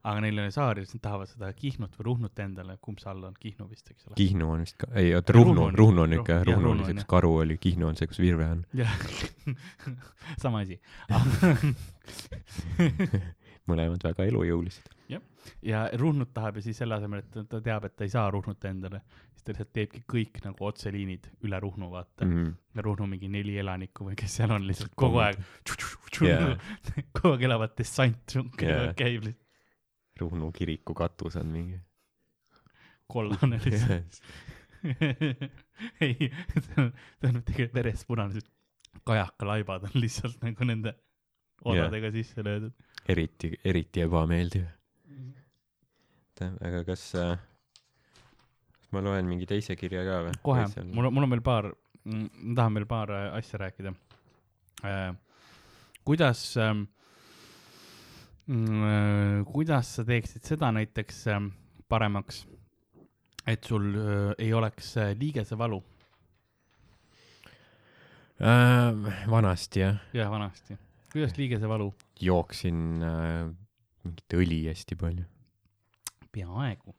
B: aga neil on saari , siis nad tahavad seda Kihnut või Ruhnut endale , kumb see all on , Kihnu vist , eks ole .
C: Kihnu on vist ka , ei oota ,
B: Ruhnu
C: Ruhnu
B: on-
C: on , Ruhnu on ikka ,
B: jah,
C: Ruhnu
B: Ruhnu
C: oli
B: on,
C: see , kus
B: jah.
C: karu oli , Kihnu on see , kus virve on .
B: jah , [LAUGHS] sama [LAUGHS] asi .
C: mõlemad väga elujõulised .
B: ja Ruhnut tahab ja siis selle asemel , et ta- ta teab , et ta ei saa Ruhnut endale , siis ta lihtsalt teebki kõik nagu otseliinid üle Ruhnu , vaata mm. . ja Ruhnu mingi neli elanikku või kes seal on lihtsalt kogu aeg ,
C: Jaa.
B: [LAUGHS] kogu aeg elavad dessant ,
C: Jaa.
B: käib lihtsalt
C: Ruhnu kiriku katus on mingi .
B: kollane lihtsalt . [LAUGHS] ei , ta on tegelikult verespunane , kajakalaibad on lihtsalt nagu nende osadega sisse löödud .
C: [LAUGHS] eriti , eriti ebameeldiv . aga kas äh, , kas ma loen mingi teise kirja ka või ?
B: kohe , mul on , mul on veel paar , ma tahan veel paar äh, asja rääkida . kuidas , ähm, kuidas sa teeksid seda näiteks ähm, paremaks , et sul äh, ei oleks äh, liigesevalu ,
C: äh, . vanasti jah ,
B: jah , vanasti , kuidas liigesevalu ?
C: jooksin äh, mingit õli hästi palju .
B: peaaegu .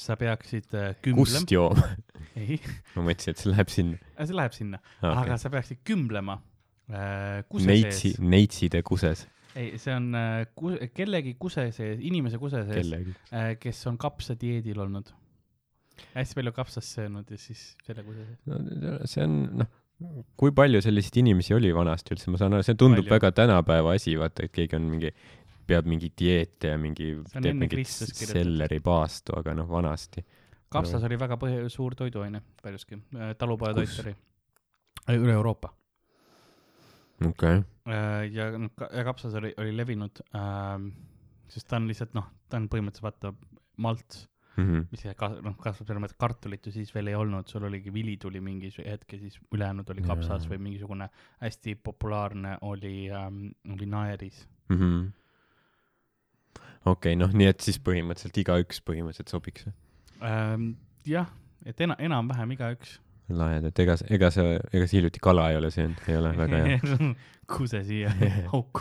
B: sa peaksid äh, kümblema
C: kust , jooma ? [LAUGHS]
B: ei ,
C: ma mõtlesin , et see läheb sinna
B: see läheb sinna okay. ,
C: ah, .
B: aga sa peaksid kümblema . kuse
C: Neitsi ,
B: sees ,
C: neitside kuses
B: ei , see on äh, ku- kellegi kuse sees , inimese kuse sees .
C: kellegi .
B: äh, kes on kapsadieedil olnud , hästi palju kapsast söönud ja siis selle kuidas .
C: no see on , noh , kui palju selliseid inimesi oli vanasti üldse , ma saan aru , see tundub
B: Palju.
C: palju. väga tänapäeva asi , vaata , et keegi on mingi , peab mingi dieete ja mingi ,
B: See on
C: teeb
B: enne
C: mingit
B: Kristust kirjutatud.
C: selleripaastu , aga noh , vanasti .
B: kapsas oli väga põhi- , suur toiduaine paljuski , talupojatoit oli Äh, üle Euroopa
C: okei okay. ,
B: Äh, ja , ja kapsas oli , oli levinud , sest ta on lihtsalt noh , ta on põhimõtteliselt vaata malts ,
C: mm . -hmm.
B: mis ise ka- noh , kasvab selles mõttes , et kartulit ju siis veel ei olnud , sul oligi vili tuli mingi s- hetk ja siis ülejäänud oli kapsas
C: Jaa.
B: või mingisugune hästi populaarne oli , oli naeris .
C: mm -hmm. okei okay, , noh , nii et siis põhimõtteliselt igaüks põhimõtteliselt sobiks või ?
B: Ähm, jah , et ena- , enam-vähem igaüks
C: lahedad , ega , ega sa , ega sa hiljuti
B: [LAUGHS]
C: [LAUGHS] kala ei ole söönud , ei ole väga hea .
B: kuse siia auku .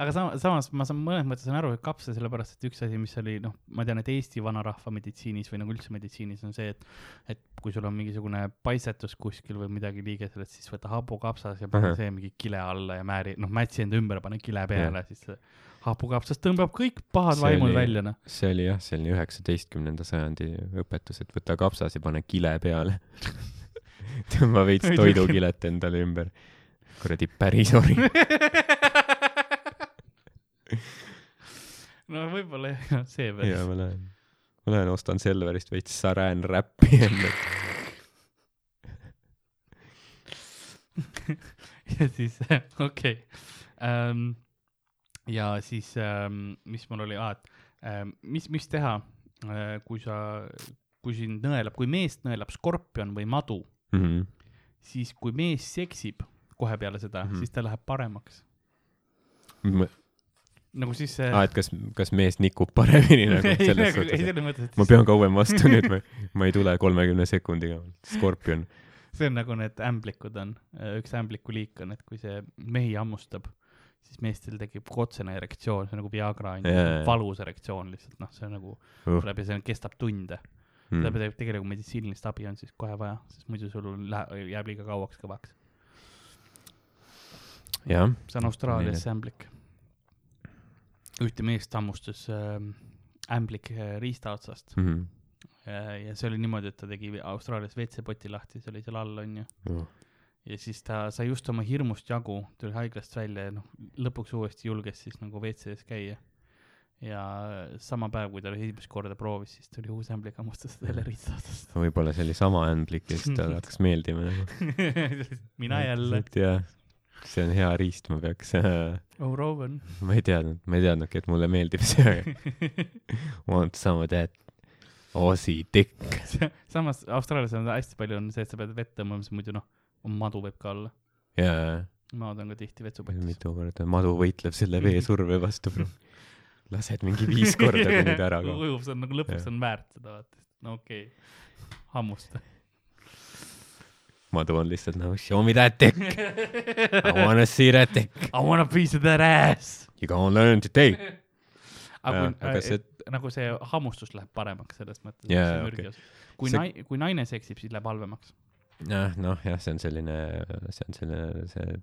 B: aga sama , samas ma saan mõnes mõttes saan aru , et kapsa , sellepärast et üks asi , mis oli noh , ma tean , et Eesti vanarahva meditsiinis või nagu üldse meditsiinis on see , et , et kui sul on mingisugune paisetus kuskil või midagi liigeselt , siis võta hapukapsas ja pane
C: Ahah.
B: see mingi kile alla ja määri , noh , mätsi enda ümber , pane kile peale , siis see hapukapsas tõmbab kõik pahad
C: See
B: vaimud
C: oli-
B: välja ,
C: [LAUGHS]
B: noh . [LAUGHS]
C: see oli jah , selline üheksateistkümnenda sajandi õpetus , et võta kapsas ja pane kile peale . [LAUGHS] tõmba veits
B: Ei,
C: toidukilet endale ümber . kuradi pärisori .
B: no võib-olla jah , see
C: ja
B: veel .
C: ma lähen , ma lähen ostan Selverist veits saräänräppi endale .
B: [LAUGHS] ja siis , okei . ja siis , mis mul oli , aa , et ähm, mis , mis teha , kui sa , kui sind nõelab , kui meest nõelab skorpion või madu ,
C: Mhm.
B: siis kui mees seksib kohe peale seda mm ,
C: Mhm.
B: -hmm. siis ta läheb paremaks . nagu siis see
C: aa , et kas , kas mees nikub
B: [LAUGHS]
C: paremini nagu
B: ei ,
C: selles
B: nagu- ei,
C: suhtes ?
B: selles mõttes , et
C: ma pean kauem vastu nüüd , ma , ma ei tule kolmekümne sekundiga . skorpion .
B: see on nagu need ämblikud on , üks ämbliku liik on , et kui see mehi hammustab , siis meestel tekib otsene erektsioon , see on nagu Viagra on ju
C: Jaa, jaa. ,
B: valus erektsioon lihtsalt , noh , see on nagu
C: Uh.
B: läbi , see on- kestab tunde mm. ,
C: Mm.
B: sellepärast et tegelikult meditsiinilist abi on siis kohe vaja , sest muidu sul läheb , jääb liiga kauaks kõvaks .
C: jah ,
B: see on Austraalias see ämblik . ühte meest hammustas ähm, ämblik äh, riista otsast
C: mhm.
B: ja, ja see oli niimoodi , et ta tegi Austraalias WC-poti lahti , see oli seal all onju .
C: Uh.
B: ja siis ta sai just oma hirmust jagu , tuli haiglast välja ja noh , lõpuks uuesti julges siis nagu WC-s käia . ja äh, sama päev , kui ta esimest korda proovis , siis tuli uus ämblik hammustas talle ritta otsast . [LAUGHS]
C: võib-olla see oli sama ämblik ja siis talle hakkas meeldima nagu .
B: mina jälle ,
C: jah , see on hea riist , ma peaks , [LAUGHS] ma
B: Oroven .
C: ei teadnud , ma ei teadnudki , et mulle meeldib see . [LAUGHS] Want some of that Aussie dick .
B: samas Austraalias on hästi palju on see , et sa pead vett tõmbama , sest muidu noh , madu võib ka olla .
C: jaa ,
B: maad on ka tihti vetsupotis .
C: mitu korda , madu võitleb selle
B: [LAUGHS]
C: veesurve vastu . lased mingi viis korda , kui nüüd ära kaob .
B: [LAUGHS] ujub , see on nagu lõpuks
C: Jah.
B: on väärt seda vaata , no okei okay. , hammusta .
C: madu on lihtsalt nagu show me that dick , I wanna see that dick ,
B: I want a piece of that ass .
C: you gonna learn today .
B: aga,
C: Jaa,
B: kui,
C: aga
B: aga
C: see-
B: see... nagu see hammustus läheb paremaks selles mõttes
C: Jaa,
B: see
C: okei.
B: mürgi osa. kui
C: See-
B: see... nai- , kui naine seksib , siis läheb halvemaks .
C: jah , noh jah , see on selline , see on selline , see ,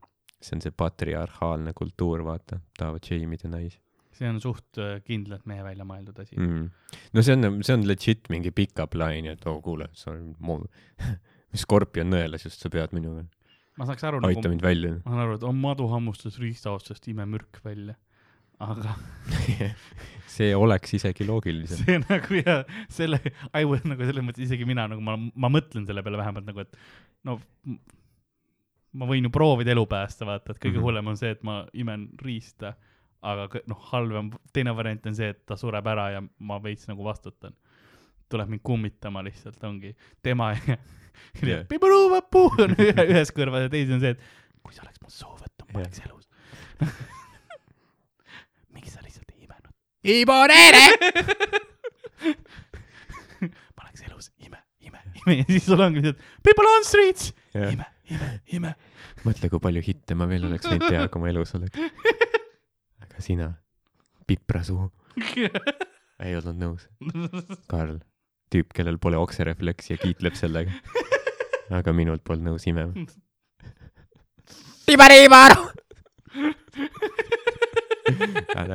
C: see on see patriarhaalne kultuur , vaata , tahavad shame'ida naisi .
B: see on suht äh, kindlalt mehe välja mõeldud asi mm. .
C: mm. . no see on , see on legit mingi pick-up line , et oo oh, kuule , sa oled mu [LAUGHS] skorpion nõelas just , sa pead minuga ,
B: ma saaks aru
C: aita
B: nagu ,
C: mind välja .
B: ma saan aru , et on maduhammustus riista otsast imemürk välja . aga
C: [LAUGHS] see oleks isegi
B: [LAUGHS]
C: loogilisem .
B: see nagu ja selle , I would nagu selles mõttes isegi mina nagu ma , ma mõtlen selle peale vähemalt nagu , et no m- ma võin ju proovida elu päästa , vaata , et kõige
C: Mhm.
B: hullem on see , et ma imen riista , aga kõ- noh , halvem , teine variant on see , et ta sureb ära ja ma veits nagu vastutan . tuleb mind kummitama lihtsalt , ongi tema ja [LAUGHS]
C: Jah.
B: piburuvapuu on ühe- ühes kõrvas ja teise on see , et kui see oleks mu soov , et ma
C: Jah.
B: oleks elus . miks sa lihtsalt ei imenud ?
C: Ibo Neere !
B: [LAUGHS] ma oleks elus ime , ime , ime ja siis sul ongi lihtsalt people on streets , ime , ime , ime .
C: mõtle , kui palju hitte ma veel oleks võinud teha , kui ma elus oleks . aga sina , piprasuu , ei olnud nõus . Karl , tüüp , kellel pole okserefleksi ja kiitleb sellega . aga minult polnud nõus imema .
E: Tibaribaru!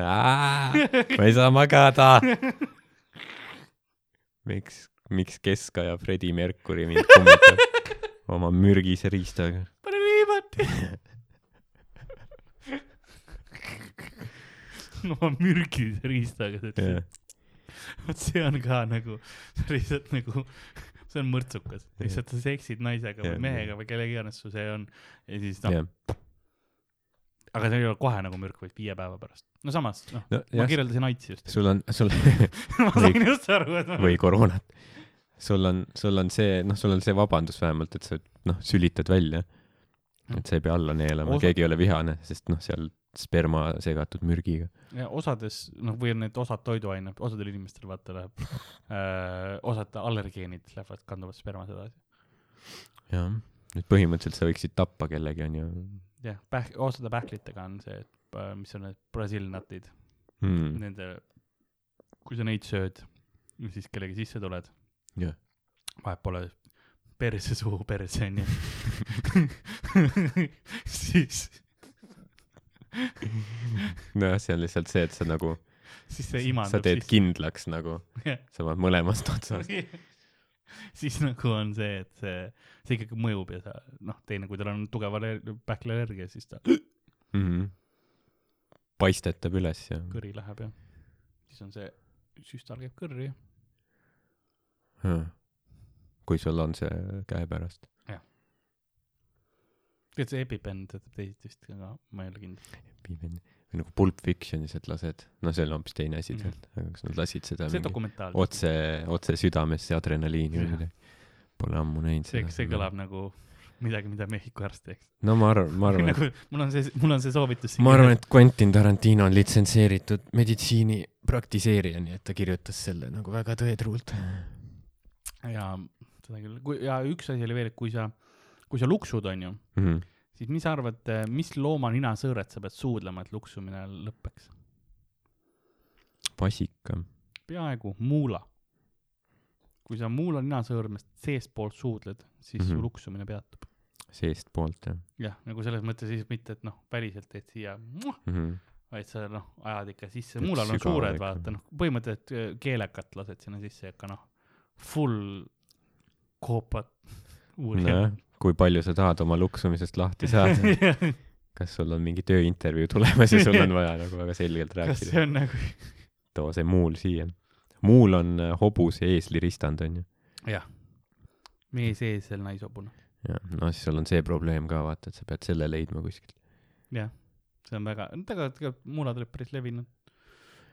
C: ma ei saa magada . miks , miks keskaja Freddie Mercury mind kummitab oma mürgise riistaga ?
B: [LAUGHS] pane [LAUGHS] liivad . oma mürgise riistaga , ta ütles , vot see on ka nagu [LAUGHS] see on lihtsalt nagu , see on mõrtsukas ,
C: Jah.
B: lihtsalt sa seksid naisega
C: Jah.
B: või mehega või kellega iganes sul see on ja siis noh ,
C: jah ,
B: aga see ei ole kohe nagu mürk , vaid viie päeva pärast . no samas , noh , ma
C: nojah ,
B: kirjeldasin aitsi just . [LAUGHS]
C: sul on , sul [LAUGHS]
B: ma sain just aru , et ma
C: või koroonat . sul on , sul on see , noh , sul on see vabandus vähemalt , et sa noh , sülitad välja . et sa ei pea alla neelama ,
B: Osa-
C: keegi ei ole vihane , sest noh , seal sperma segatud mürgiga .
B: Ja osades , noh , või on need osad toiduained , osadel inimestel vaata läheb äh, , osad allergeenid lähevad , kanduvad spermas edasi .
C: jah , et põhimõtteliselt sa võiksid tappa kellegi , onju .
B: jah , pähk- , osade pähklitega on see , et äh, mis on need brasilnatid mm. ,
C: mm. .
B: nende , kui sa neid sööd , siis kellegi sisse tuled
C: Jah. .
B: vahet pole , perse suhu perse
C: [LAUGHS]
B: onju . [LAUGHS] siis ,
C: nojah , see on lihtsalt see , et sa nagu ,
B: siis see
C: sa
B: imandab [LAUGHS]
C: teed
B: sisse .
C: kindlaks nagu , sa paned mõlemast
B: [LAUGHS]
C: otsast .
B: siis nagu on see , et see , see ikkagi mõjub ja sa noh , teine , kui tal on tugev aller- , pähklialergia , siis ta
C: mm . -hmm. paistetab üles ja
B: kõri läheb ja siis on see , süstal käib kõrri ja
C: Jah. kui sul on see käepärast .
B: tead see EpiPen töötab teisiti vist , aga ma ei ole kindel .
C: või nagu Pulp Fictionis , et lased , no see on hoopis teine asi
B: Jah.
C: tegelikult , aga kas nad lasid seda
B: see
C: mingi
B: dokumentaal ,
C: otse , otse südamesse adrenaliini või
B: Jah.
C: midagi ? Pole ammu näinud
B: see ,
C: seda .
B: see kõlab . nagu midagi , mida Mehhiko arst teeks .
C: no ma arvan , ma arvan ,
B: nagu mul on see , mul on see soovitus .
C: ma arvan , et Quentin Tarantino on litsenseeritud meditsiini praktiseerija , nii et ta kirjutas selle nagu väga tõetruult .
B: Mhm. ja seda küll , kui ja üks asi oli veel , et kui sa , kui sa luksud , onju ,
C: Mhm.
B: siis mis sa arvad , mis looma ninasõõret sa pead suudlema , et luksumine lõpeks ?
C: vasika .
B: peaaegu muula . kui sa muula ninasõõrmest seestpoolt suudled , siis mm -hmm.
C: Mhm.
B: su luksumine peatub .
C: seestpoolt jah
B: jah , nagu selles mõttes siis mitte , et noh , väliselt teed siia ,
C: mm -hmm. .
B: vaid sa noh , ajad ikka sisse ,
C: Teed
B: muulal on
C: sügavale
B: suured ,
C: ikka.
B: vaata noh , põhimõtteliselt öö, keelekat lased sinna sisse ikka noh , full koopad uurija .
C: nojah , kui palju sa tahad oma luksumisest
B: [LAUGHS]
C: lahti saada , kas sul on mingi tööintervjuu tulemas ja sul on vaja nagu väga selgelt
B: kas
C: rääkida
B: see . on nagu ,
C: too see muul siia . muul on äh, hobuse eeslirisstand onju .
B: jah , mees ees , seal naishobune ,
C: jah , no siis sul on see probleem ka vaata , et sa pead selle leidma kuskilt .
B: jah , see on väga , tegelikult tegelikult muulad olid päris levinud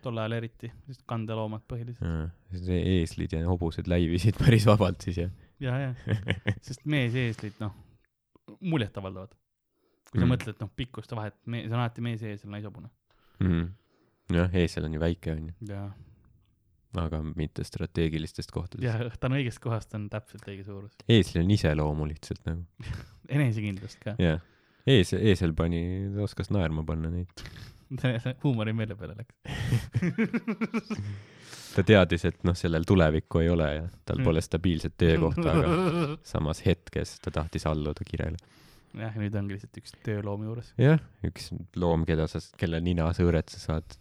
B: tol ajal eriti , sest kandeloomad põhiliselt
C: see eeslid ja hobused läivisid [LAUGHS] päris vabalt siis jah .
B: ja ,
C: [LAUGHS]
B: ja sest mees eeslid noh , muljetavaldavad , kui sa
C: Mm.
B: mm. mõtled noh , pikkuste vahet , mees on alati mees ees , seal naishobune ,
C: Mm. jah , eesel on ju väike onju ,
B: jah
C: aga mitte strateegilistest kohtadest .
B: ja ta on õigest kohast , on täpselt õige suurus .
C: eesli on iseloomu lihtsalt nagu .
B: enesekindlust ka .
C: jah , ees , eesel pani , ta oskas naerma panna neid .
B: [LAUGHS] huumori meele peale läks .
C: ta teadis , et noh , sellel tulevikku ei ole ja
B: Mm.
C: tal pole stabiilset töökohta , aga
B: [LAUGHS]
C: samas hetkes ta tahtis alluda kirele .
B: jah , nüüd ongi lihtsalt üks tööloom juures .
C: jah , üks loom , keda sa , kelle nina sa õõret sa saad .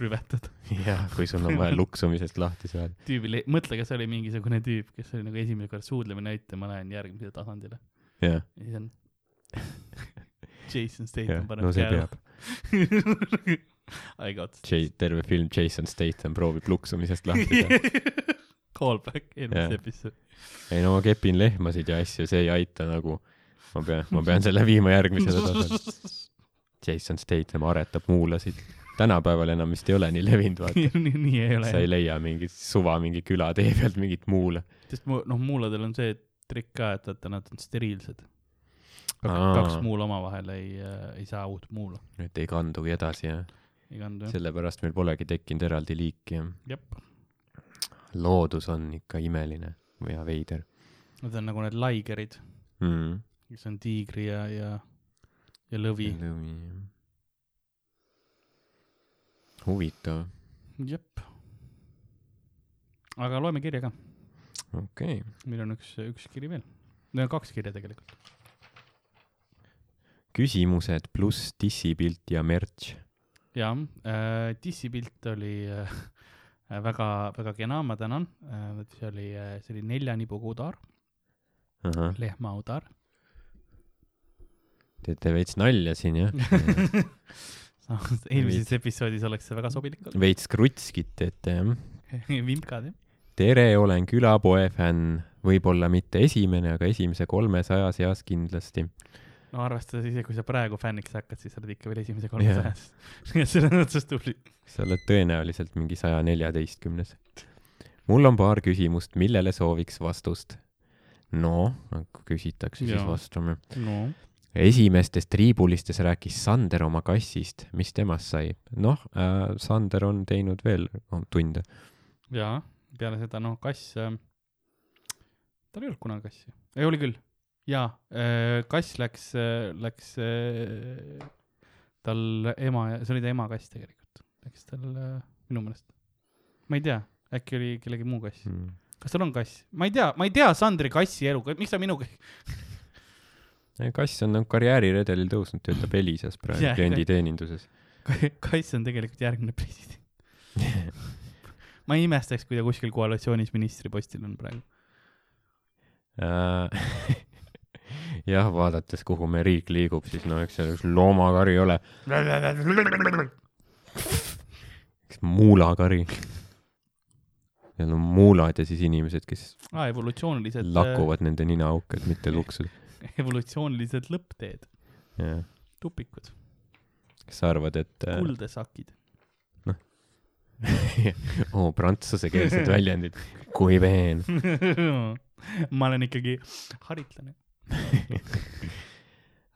B: rüvetad .
C: jah , [LAUGHS] kui sul on vaja luksumisest lahti saada .
B: tüübil , mõtle , kas oli mingisugune tüüp , kes oli nagu esimene kord suudlemine näitaja , ma lähen järgmisele tasandile .
C: jah ,
B: ja
C: [LAUGHS]
B: siis on Jason Statham
C: jah ,
B: paneb
C: no see peab .
B: käe . [LAUGHS] I got
C: J- , terve film Jason Statham proovib luksumisest [LAUGHS] lahti saada .
B: it . [LAUGHS] Callback eelmise
C: Jah.
B: episoodi .
C: ei no ma kepin lehmasid ja asju , see ei aita nagu . ma pean , ma pean selle viima järgmisele [LAUGHS] tasandile . Jason Statham aretab muulasid . tänapäeval enam vist ei ole nii levinud , [LAUGHS] vaata .
B: [LAUGHS] nii nii ei ole
C: sa . ei leia mingit suva mingi küla tee pealt mingit muula .
B: sest mu- noh , muuladel on see trikk ka , et vaata , nad on steriilsed .
C: Aa.
B: kaks muula omavahel ei , ei saa uut muula ,
C: et ei kandugi edasi ja
B: ei kandu jah .
C: sellepärast meil polegi tekkinud eraldi liiki ja
B: jep ,
C: loodus on ikka imeline ja veider
B: nad on nagu need laigerid ,
C: mm. .
B: kes on tiigri ja , ja , ja lõvi .
C: huvitav ,
B: jep . aga loeme kirja ka ,
C: okei okay. .
B: meil on üks , üks kiri veel . meil on kaks kirja tegelikult .
C: küsimused pluss dissipilt ja merch .
B: jaa äh, , dissipilt oli äh, väga , väga kena , ma tänan äh, . see oli , see oli nelja nibuga udar , lehma udar .
C: teete veits nalja siin jah ?
B: [LAUGHS] samas eelmises episoodis oleks see väga sobilik olnud .
C: veits krutskit teete jah ?
B: [LAUGHS] vimkad jah .
C: tere , olen külapoe fänn , võib-olla mitte esimene , aga esimese kolmesaja seas kindlasti .
B: no arvestades ise , kui sa praegu fänniks hakkad , siis sa oled ikka veel esimese
C: Jah.
B: kolmesajas . [LAUGHS] nii et selles mõttes tubli .
C: sa oled tõenäoliselt mingi saja neljateistkümnes . mul on paar küsimust , millele sooviks vastust . no , kui küsitakse , siis
B: Jaa.
C: vastame .
B: no
C: esimestes triibulistes rääkis Sander oma kassist , mis temast sai ? noh äh, , Sander on teinud veel oh, tunde .
B: ja peale seda noh , kass äh, , tal ei olnud kunagi kassi , ei oli küll . ja äh, kass läks äh, , läks äh, tal ema , see oli ta ema kass tegelikult , läks tal äh, minu meelest , ma ei tea , äkki oli kellegi muu kass ,
C: mm. .
B: kas tal on kass , ma ei tea , ma ei tea Sandri kassi elu , miks ta minu ,
C: kass on nagu karjääriredelil tõusnud , töötab Elisas praegu
B: Jah.
C: yeah, klienditeeninduses .
B: kass on tegelikult järgmine [LAUGHS] president . ma ei imestaks , kui ta kuskil koalitsioonis ministripostil on praegu .
C: Äh, [LAUGHS] jah , vaadates , kuhu meie riik liigub , siis no eks seal üks loomakari ole . üks muulakari . Need on muulad ja siis inimesed , kes
B: aa , evolutsioonilised , äh,
C: lakuvad nende ninaauke , et mitte luksuda .
B: [LAUGHS] evolutsioonilised lõppteed ,
C: kas
B: tupikud ,
C: sa arvad , et äh,
B: kuldesakid . [LAUGHS]
C: oo , Oh, prantsusekeelsed väljendid , kui veen .
B: ma olen ikkagi haritlane .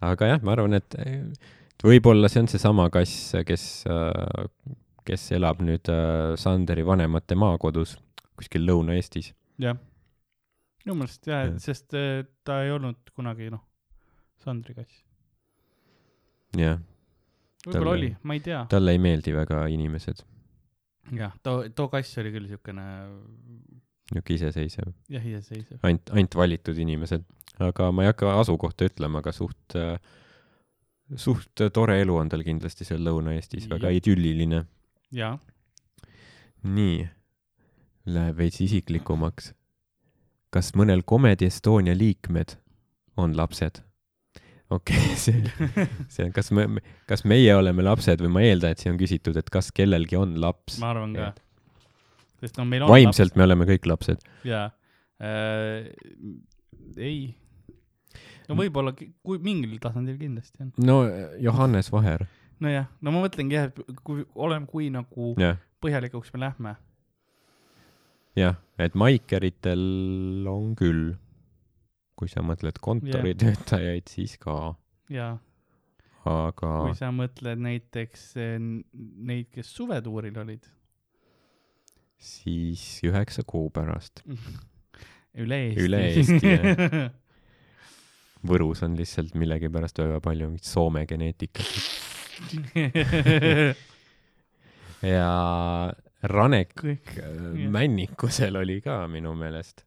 C: aga jah , ma arvan , et et võib-olla see on seesama kass , kes , kes elab nüüd äh, Sanderi vanemate maakodus kuskil Lõuna-Eestis .
B: jah . minu meelest jah
C: Jah. ,
B: sest äh, ta ei olnud kunagi noh , Sandri kass .
C: jah ,
B: võib-olla
C: Tal-
B: oli , ma ei tea .
C: talle ei meeldi väga inimesed ,
B: jah , too , too kass oli küll siukene
C: niisugune iseseisev ,
B: jah , iseseisev .
C: ainult , ainult valitud inimesed . aga ma ei hakka asukohta ütlema , aga suht , suht tore elu on tal kindlasti seal Lõuna-Eestis , väga idülliline .
B: jaa ,
C: nii , läheb veits isiklikumaks . kas mõnel Comedy Estonia liikmed on lapsed ? okei [LAUGHS] okay, , see , see on , kas me , kas meie oleme lapsed või ma eeldan , et siin on küsitud , et kas kellelgi on laps .
B: ma arvan ka . sest no meil on .
C: vaimselt . me oleme kõik lapsed .
B: jaa äh, . ei . no võib-olla , kui mingil tasandil kindlasti on .
C: no eh, Johannes Vaher ,
B: nojah , no ma mõtlengi jah , et kui oleme , kui nagu
C: jah ,
B: põhjalikuks me lähme .
C: jah , et maikeritel on küll . kui sa mõtled kontoritöötajaid , siis ka ,
B: ja
C: aga
B: kui sa mõtled näiteks eh, n- neid , kes suvetuuril olid
C: siis üheksa kuu pärast .
B: üle Eesti .
C: Üle Eesti,
B: [LAUGHS]
C: jah. Võrus on lihtsalt millegipärast väga palju mingit Soome geneetikat .
B: [LAUGHS]
C: ja Ranek
B: kõik .
C: äh, Männikusel oli ka minu meelest .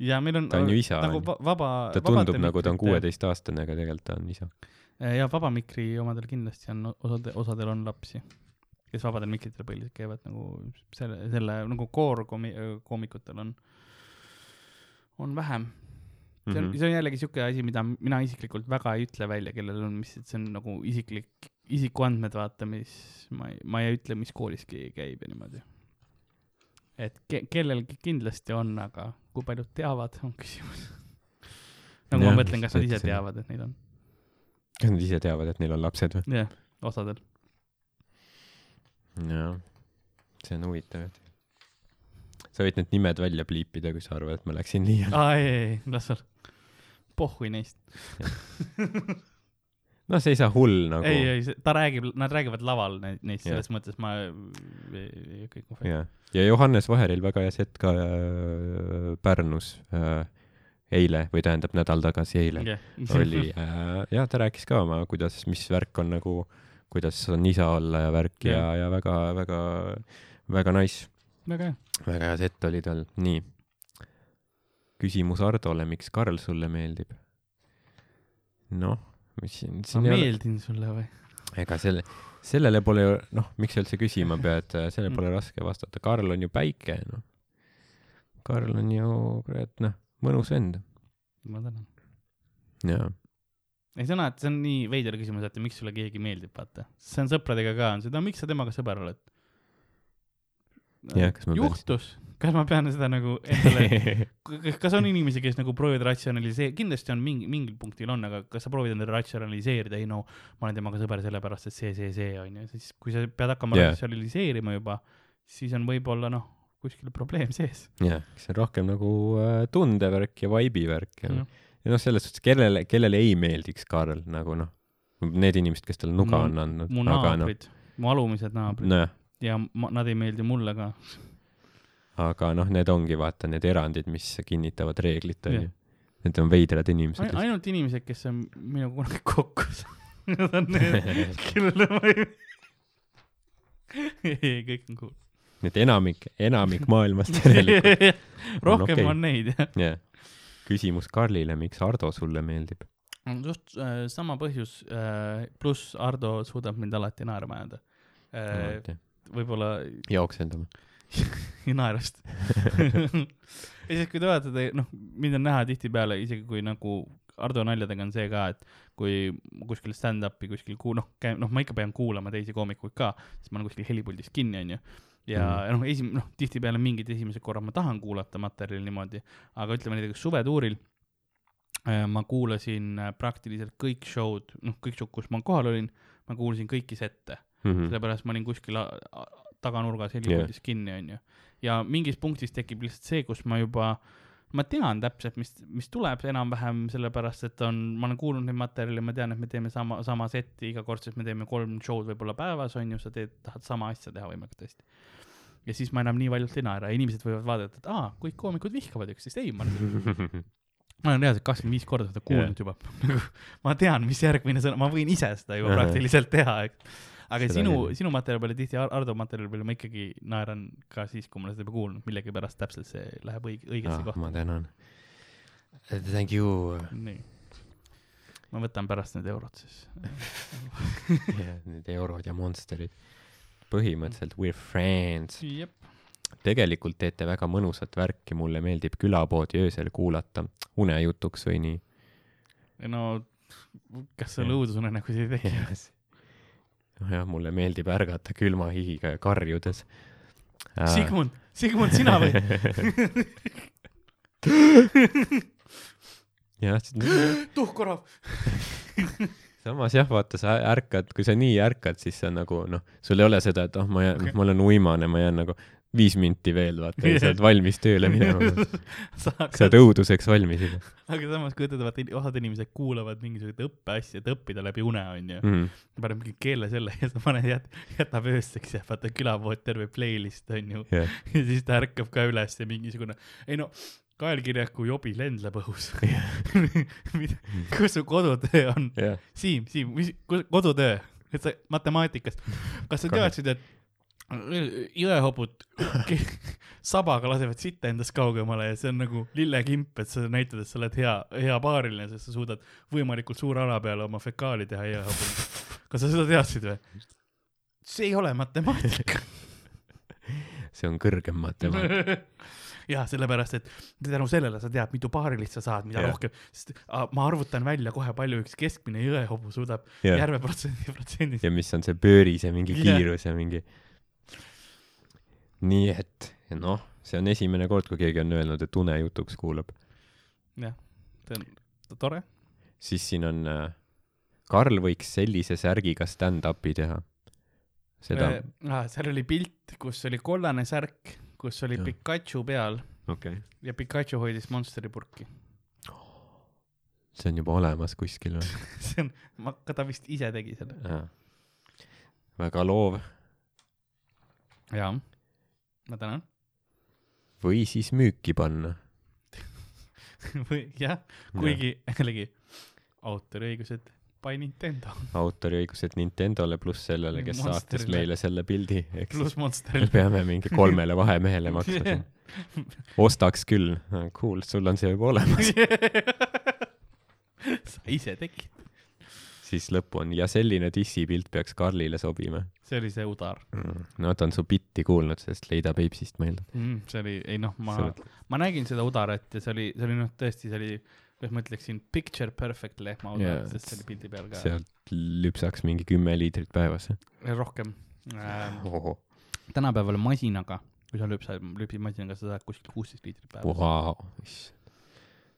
B: ja meil on .
C: ta on ju isa ,
B: nagu va- vaba .
C: ta tundub nagu
B: äh,
C: ta on . kuueteistaastane , aga tegelikult ta on isa .
B: ja Vaba Mikri omadel kindlasti on , osad , osadel on lapsi , kes vabadel mikritel põhiliselt käivad nagu selle , selle nagu koorkomi- , koomikutel on , on vähem . see
C: Mhm.
B: on mm , -hmm. see on jällegi siuke asi , mida mina isiklikult väga ei ütle välja , kellel on , mis , see on nagu isiklik , isikuandmed , vaata , mis ma ei , ma ei ütle , mis koolis keegi käib ja niimoodi . et ke- , kellelgi kindlasti on , aga kui paljud teavad , on küsimus . [LAUGHS] nagu ja,
C: Jah,
B: ma mõtlen , kas nad ise
C: ütlesin.
B: teavad , et neil on ,
C: kas nad ise teavad , et neil on lapsed või ?
B: jah , osadel .
C: jah , see on huvitav , et sa võid need nimed välja pliipida , kui sa arvad , et ma läksin liiale .
B: aa , ei , ei , ei , las olla . pohhui neist .
C: noh , see ei saa hull nagu .
B: ei , ei , ta räägib , nad räägivad laval ne- neist ,
C: Jah.
B: selles mõttes ma ei- ei ei- kõik on fine .
C: ja , ja Johannes Vaheril väga hea set ka äh, Pärnus äh, eile või tähendab nädal tagasi eile oli äh, , jah , ta rääkis ka oma , kuidas , mis värk on nagu , kuidas on isa olla ja värk ja , ja väga , väga , väga nice ,
B: väga hea .
C: väga hea set oli tal , nii . küsimus Hardole , miks Karl sulle meeldib ? noh , mis siin ,
B: ma
C: siin ei ole ,
B: meeldin sulle või ?
C: ega selle , sellele pole ju , noh , miks sa üldse küsima pead , [LAUGHS] sellele pole raske vastata , Karl on ju päike , noh . Karl on ju , kurat , noh , mõnus vend ,
B: ma tänan .
C: jaa . [LAUGHS]
B: ei , see on alati , see on nii veider küsimus , et miks sulle keegi meeldib , vaata . see on sõpradega ka , on seda , miks sa temaga sõber oled ?
C: Jah, kas ma pean-
B: juhtus , kas ma pean seda nagu
C: [LAUGHS]
B: endale , kas on inimesi , kes nagu proovivad ratsionaliseerida , kindlasti on mingi , mingil punktil on , aga kas sa proovid endale ratsionaliseerida , ei no ma olen temaga sõber sellepärast , et see , see , see on ju , siis kui sa pead hakkama
C: Jah.
B: yeah. ratsionaliseerima juba , siis on võib-olla noh , kuskil probleem sees .
C: jah , see on rohkem nagu äh, tundevärk ja vaibi värk ja, ja noh , selles suhtes , kellele , kellele ei meeldiks Karl nagu noh , need inimesed , kes talle nuga
B: Mu-
C: on andnud ,
B: mu
C: aga noh ,
B: naabrid , mu alumised naabrid no.
C: nojah ,
B: ja ma, nad ei meeldi mulle ka .
C: aga noh , need ongi vaata need erandid , mis kinnitavad reeglit
B: Jah.
C: onju . Need on veidrad inimesed .
B: ainult inimesed , kes on minuga kunagi kokku saanud . [LAUGHS] Need on need ,
C: [LAUGHS]
B: kellele ma ei . [LAUGHS] ei , ei , kõik on cool .
C: et enamik ,
B: [LAUGHS]
C: enamik maailmast järelikult ,
B: rohkem
C: okei.
B: on, on neid jah .
C: jah . küsimus Karlile , miks Ardo sulle meeldib ?
B: just äh, sama põhjus äh, , pluss Ardo suudab mind alati naerma ajada äh, . võib-olla
C: jooksendame .
B: [LAUGHS] ei naera vist . ja siis , kui te vaatate , noh , mind on näha tihtipeale , isegi kui nagu Ardo naljadega on see ka , et kui kuskil stand-up'i kuskil kuu- , noh , noh , ma ikka pean kuulama teisi koomikuid ka , sest ma olen kuskil helipuldis kinni , onju . ja mm. noh , esim- , noh , tihtipeale mingid esimesed korrad ma tahan kuulata materjali niimoodi , aga ütleme näiteks suvetuuril äh, ma kuulasin äh, praktiliselt kõik show'd , noh , kõik show'd , kus ma kohal olin , ma kuulsin kõiki sette .
C: Mhm. [LAUGHS]
B: sellepärast ma olin kuskil a- a- taganurgas helipuldis yeah. kinni , onju . ja mingis punktis tekib lihtsalt see , kus ma juba , ma tean täpselt , mis , mis tuleb enam-vähem , sellepärast et on , ma olen kuulnud neid materjale , ma tean , et me teeme sama , sama seti iga kord , sest me teeme kolm show'd võib-olla päevas , onju , sa teed , tahad sama asja teha võimalikult hästi . ja siis ma enam nii valjult ei naera , inimesed võivad vaadata , et aa , kõik koomikud vihkavad üksteist , ei , ma olen ma olen reaalselt kakskümmend viis korda seda kuulnud yeah. juba . [LAUGHS] ma tean , mis järgmine sõna , ma võin ise seda juba
C: Ahah.
B: praktiliselt teha , eks . aga seda
C: Seda
B: sinu
C: küll. ,
B: sinu materjali peale tihti , Ardo materjali peale ma ikkagi naeran ka siis , kui ma olen seda juba kuulnud , millegipärast täpselt see läheb õige , õigesse
C: ah,
B: kohta .
C: ma tänan . Thank you .
B: nii . ma võtan pärast need eurod siis .
C: [LAUGHS] Need eurod ja monsterid . põhimõtteliselt we are friends .
B: jep .
C: tegelikult teete väga mõnusat värki , mulle meeldib külapoodi öösel kuulata unejutuks või nii .
B: [LAUGHS] no kas sul õudusunenägusid ei teki ?
C: Noh jah , mulle meeldib ärgata külma hihiga ja karjudes . Äh,
B: Sigmund , Sigmund , sina või ?
C: [LAUGHS] jah ,
B: Tuhkorov .
C: samas jah , vaata , sa ärkad , kui sa nii ärkad , siis sa nagu noh , sul ei ole seda , et oh , ma jään okay. , ma olen uimane , ma jään nagu viis minti veel , vaata , ja sa oled valmis tööle
B: [LAUGHS]
C: minema .
B: sa
C: sa
B: hakkad
C: oled õuduseks valmis juba
B: aga samas kujutad , vaata in- osad inimesed kuulavad mingisuguseid õppeasju , et õppida läbi une , onju .
C: mm. .
B: paneb mingi keele selle ja sa paned , jät- , jätab ööseks , jääb vaata külapood terve playlist , onju .
C: jah ,
B: ja siis ta ärkab ka üles ja mingisugune , ei no , kaelkirjaku jobi lend läheb õhus . [LAUGHS] kus su kodutöö on ?
C: jah ,
B: Siim , Siim , mis , kodutöö , et sa matemaatikast , kas sa teadsid , et jõehobud ke- sabaga lasevad sitta endast kaugemale ja see on nagu lillekimp , et sa näitad , et sa oled hea , hea paariline , sest sa suudad võimalikult suure ala peale oma fekaali teha jõehobuna . kas sa seda teadsid või ? see ei ole matemaatika .
C: see on kõrgem
B: [LAUGHS]
C: matemaatika .
B: ja sellepärast , et tänu sellele sa tead , mitu paarilist sa saad , mida
C: Jah.
B: yeah. rohkem , sest a, ma arvutan välja kohe palju üks keskmine jõehobu suudab
C: Jah.
B: yeah. järve protsendi , protsendis .
C: ja mis on see pööris ja mingi
B: Jah.
C: kiirus ja mingi . nii et noh , see on esimene kord , kui keegi on öelnud , et unejutuks kuulab ,
B: jah , see on t- tore .
C: siis siin on äh, Karl võiks sellise särgiga stand-up'i teha . seda ,
B: Ah, seal oli pilt , kus oli kollane särk , kus oli
C: Jah.
B: yeah. Pikachu peal
C: okei okay. ,
B: ja Pikachu hoidis Monsteri purki .
C: see on juba olemas kuskil või ?
B: [LAUGHS] [LAUGHS] see on , aga ta vist ise tegi seda .
C: Jaa. väga loov
B: jaa . ma tänan . [LAUGHS]
C: või siis müüki panna .
B: või jah , kuigi [LAUGHS] jällegi autoriõigused by Nintendo [LAUGHS]
C: autoriõigused Nintendole pluss sellele , kes saatis
B: Monsterile.
C: meile selle pildi , eks
B: pluss
C: [LAUGHS] me
B: Monsteril .
C: peame mingi kolmele vahemehele maksma [LAUGHS] siin . ostaks küll , cool , sul on see juba olemas .
B: [LAUGHS]
C: [LAUGHS]
B: sa ise tegid .
C: siis lõpp on ja selline dissipilt peaks Karlile sobima
B: see oli see udar
C: mm. . no ta on su bitti kuulnud , sest Leida Peipsist meeldib .
B: mm, . see oli , ei noh , ma
C: Sa mõtled- ,
B: ma nägin seda udarat ja see oli , see oli noh , tõesti , see oli , kuidas ma ütleksin , picture perfect lehma udarat
C: Jaa,
B: yeah, , sest
C: et
B: see oli pildi peal ka .
C: sealt lüpsaks mingi kümme liitrit päevas .
B: rohkem ähm, . tänapäeval masinaga , kui sa lüpsad , lüpsid masinaga , sa saad kuskil kuusteist liitrit päevas .
C: Vau , issand .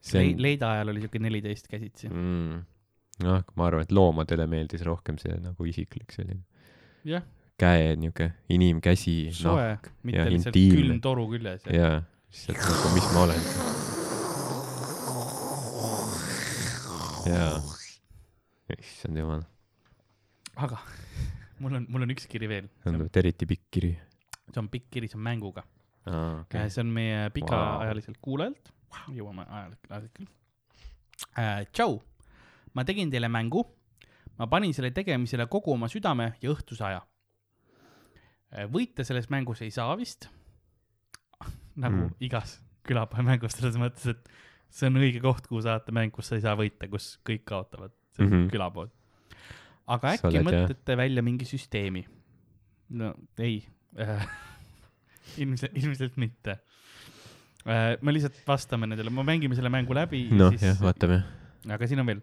C: see
B: Le
C: on ,
B: leida ajal oli siuke neliteist käsitsi mm. .
C: mm, noh , ma arvan , et loomadele meeldis rohkem see nagu isiklik selline
B: jah ,
C: käe niuke , inimkäsi , noh ,
B: soe no, , mitte
C: jah,
B: lihtsalt
C: intiimne.
B: külm toru küljes ja,
C: jaa , lihtsalt nagu , mis ma olen . jaa , issand jumal ,
B: aga [LAUGHS] mul on , mul on üks kiri veel , see on,
C: tundub eriti pikk kiri .
B: see on pikk kiri , see on mänguga .
C: aa , okei
B: okay. . Äh, see on meie pikaajaliselt wow. kuulajalt , jõuame ajalik- , ajalik küll äh, . tšau , ma tegin teile mängu , ma panin selle tegemisele kogu oma südame ja õhtuse aja . võita selles mängus ei saa vist . nagu
C: Mm.
B: mm. igas külapäevamängus selles mõttes , et see on õige koht , kuhu saata mäng , kus sa ei saa võita , kus kõik kaotavad , see on mm
C: Mhm.
B: -hmm. külapood . aga
C: Sa
B: äkki
C: oled, jah.
B: mõtlete välja mingi süsteemi ? no ei [LAUGHS] ilmselt , ilmselt mitte . me lihtsalt vastame nendele , me mängime selle mängu läbi ja
C: noh , jah ,
B: siis ,
C: vaatame .
B: aga siin on veel ,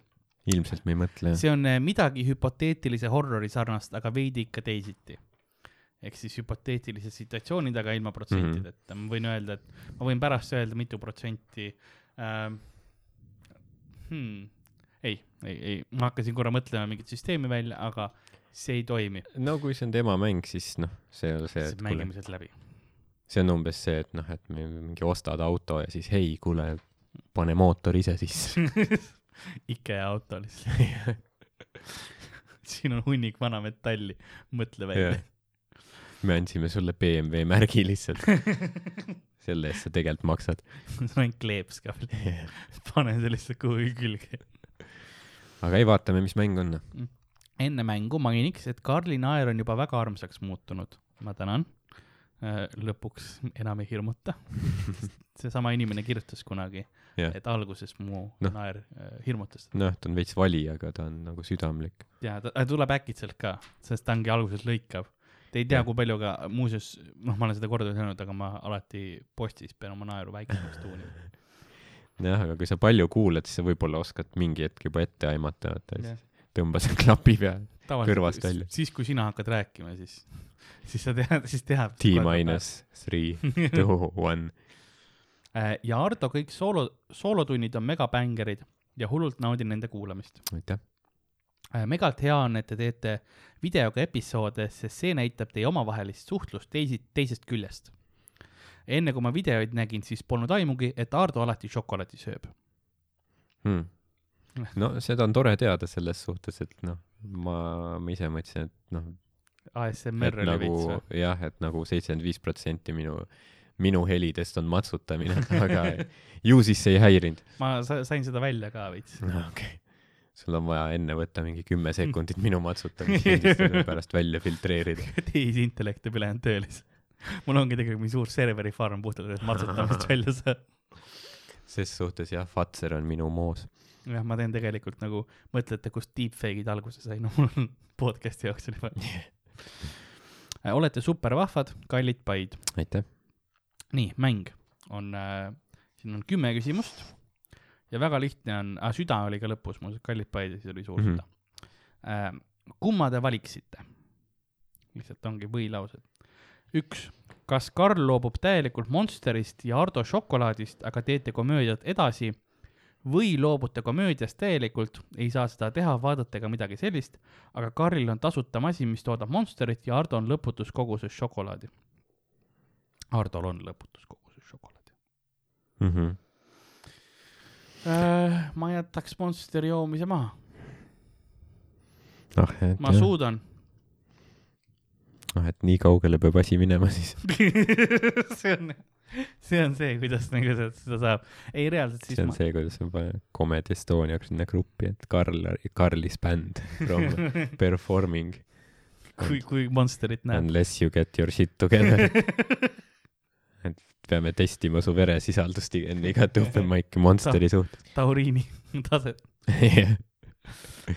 C: ilmselt me ei mõtle .
B: see on äh, midagi hüpoteetilise horrori sarnast , aga veidi ikka teisiti . ehk siis hüpoteetilised situatsioonid , aga ilma
C: Mhm.
B: protsentideta mm , -hmm. ma võin öelda , et ma võin pärast öelda , mitu protsenti ähm, . Hmm. ei , ei , ei , ma hakkasin korra mõtlema mingit süsteemi välja , aga see ei toimi ,
C: no kui see on tema mäng , siis noh , see ei ole see , et kuule ,
B: mängime sealt läbi .
C: see on umbes see , et noh , et me mingi ostad auto ja siis hei , kuule , pane mootor ise [LAUGHS] sisse .
B: [LAUGHS] IKEA auto
C: [LAUGHS]
B: lihtsalt . siin on hunnik vana metalli , mõtle välja
C: Jah. me andsime sulle BMW märgi [LAUGHS] lihtsalt . selle eest sa tegelikult maksad .
B: yeah. . [LAUGHS] see on kleeps ka veel , pane see lihtsalt kuhugi külge .
C: aga ei , vaatame , mis mäng on .
B: enne mängu mainiks , et Karli naer on juba väga armsaks muutunud . ma tänan . lõpuks enam ei
C: [LAUGHS]
B: hirmuta . seesama inimene kirjutas kunagi
C: Jah.
B: yeah. , et alguses mu
C: Noh.
B: no. naer äh, hirmutas teda
C: noh , ta on veits vali , aga ta on nagu südamlik .
B: ja ta, ta tuleb äkitselt ka , sest ta ongi alguses lõikav . Te ei tea , kui palju ka muuseas , noh , ma olen seda korduvalt öelnud , aga ma alati postis pean oma naeru väiksemaks tuunima .
C: jah , aga kui sa palju kuulad , siis sa võib-olla oskad mingi hetk juba ette aimata , vaata , siis tõmba see klapi peale . Kõrvast välja.
B: siis , kui sina hakkad rääkima , siis , siis sa tead , siis teab .
C: T minus three ,
B: [LAUGHS]
C: two , one .
B: Äh, ja Ardo kõik soolo , soolotunnid on megabängerid ja hullult naudin nende kuulamist .
C: aitäh .
B: megalt hea on , et te teete videoga episoode , sest see näitab teie omavahelist suhtlust teisi , teisest küljest . enne kui ma videoid nägin , siis polnud aimugi , et Ardo alati šokolaadi sööb .
C: Hmm. no seda on tore teada selles suhtes , et noh , ma , ma ise mõtlesin , et noh ,
B: ASMR
C: et
B: oli nagu...
C: nagu
B: veits või ?
C: jah , et nagu seitsekümmend viis protsenti minu , minu helidest on matsutamine , [LAUGHS] aga ju siis see ei häirinud .
B: ma sa- sain seda välja ka veits . [LAUGHS]
C: no okei okay. . sul on vaja enne võtta mingi
B: Hmm.
C: kümme sekundit minu matsutamist ja siis seda pärast välja
B: [LAUGHS]
C: filtreerida .
B: tehisintellekt teeb ülejäänud töö lihtsalt . [LAUGHS] mul ongi tegelikult mingi suur serveri farm puhtalt , et matsutamist välja saab .
C: ses suhtes jah , Fazer on minu moos .
B: jah , ma teen tegelikult nagu , mõtlete , kust deepfake'id alguse sai , no [LAUGHS] mul on podcast'i jaoks oli vaja . olete super vahvad , kallid Paid .
C: aitäh .
B: nii , mäng on äh, , siin on kümme küsimust ja väga lihtne on ah, , süda oli ka lõpus , mul kallid paid ja siis oli suur
C: Mhm.
B: süda mm. . kumma te valiksite ? lihtsalt ongi põhilaused . üks , kas Karl loobub täielikult Monsterist ja Ardo šokolaadist , aga teete komöödiat edasi või loobute komöödiast täielikult , ei saa seda teha , vaadata ega midagi sellist , aga Karlil on tasuta masin , mis toodab Monsterit ja Ardo on lõputus koguses šokolaadi . Hardol on lõputus koguses šokolaadi
C: Mm -hmm.
B: äh, . ma jätaks Monsteri joomise maha ,
C: ah , et
B: ma
C: jah. [LAUGHS]
B: suudan .
C: ah , et nii kaugele peab asi minema [LAUGHS] siis .
B: see on , see on see , kuidas nagu seda, seda saab . ei , reaalselt siis
C: see on
B: ma ,
C: see , kuidas on vaja Comedy Estoniaks sinna gruppi , et Karl , Karlis
B: [LAUGHS]
C: bänd from performing
B: kui , kui Monsterit [LAUGHS] näed .
C: unless you get your
B: [LAUGHS]
C: shit together . et peame testima su veresisaldust i- enne igat
B: [LAUGHS]
C: open mic'i Monsteri suhtes .
B: tauriini taset ,
C: [LAUGHS]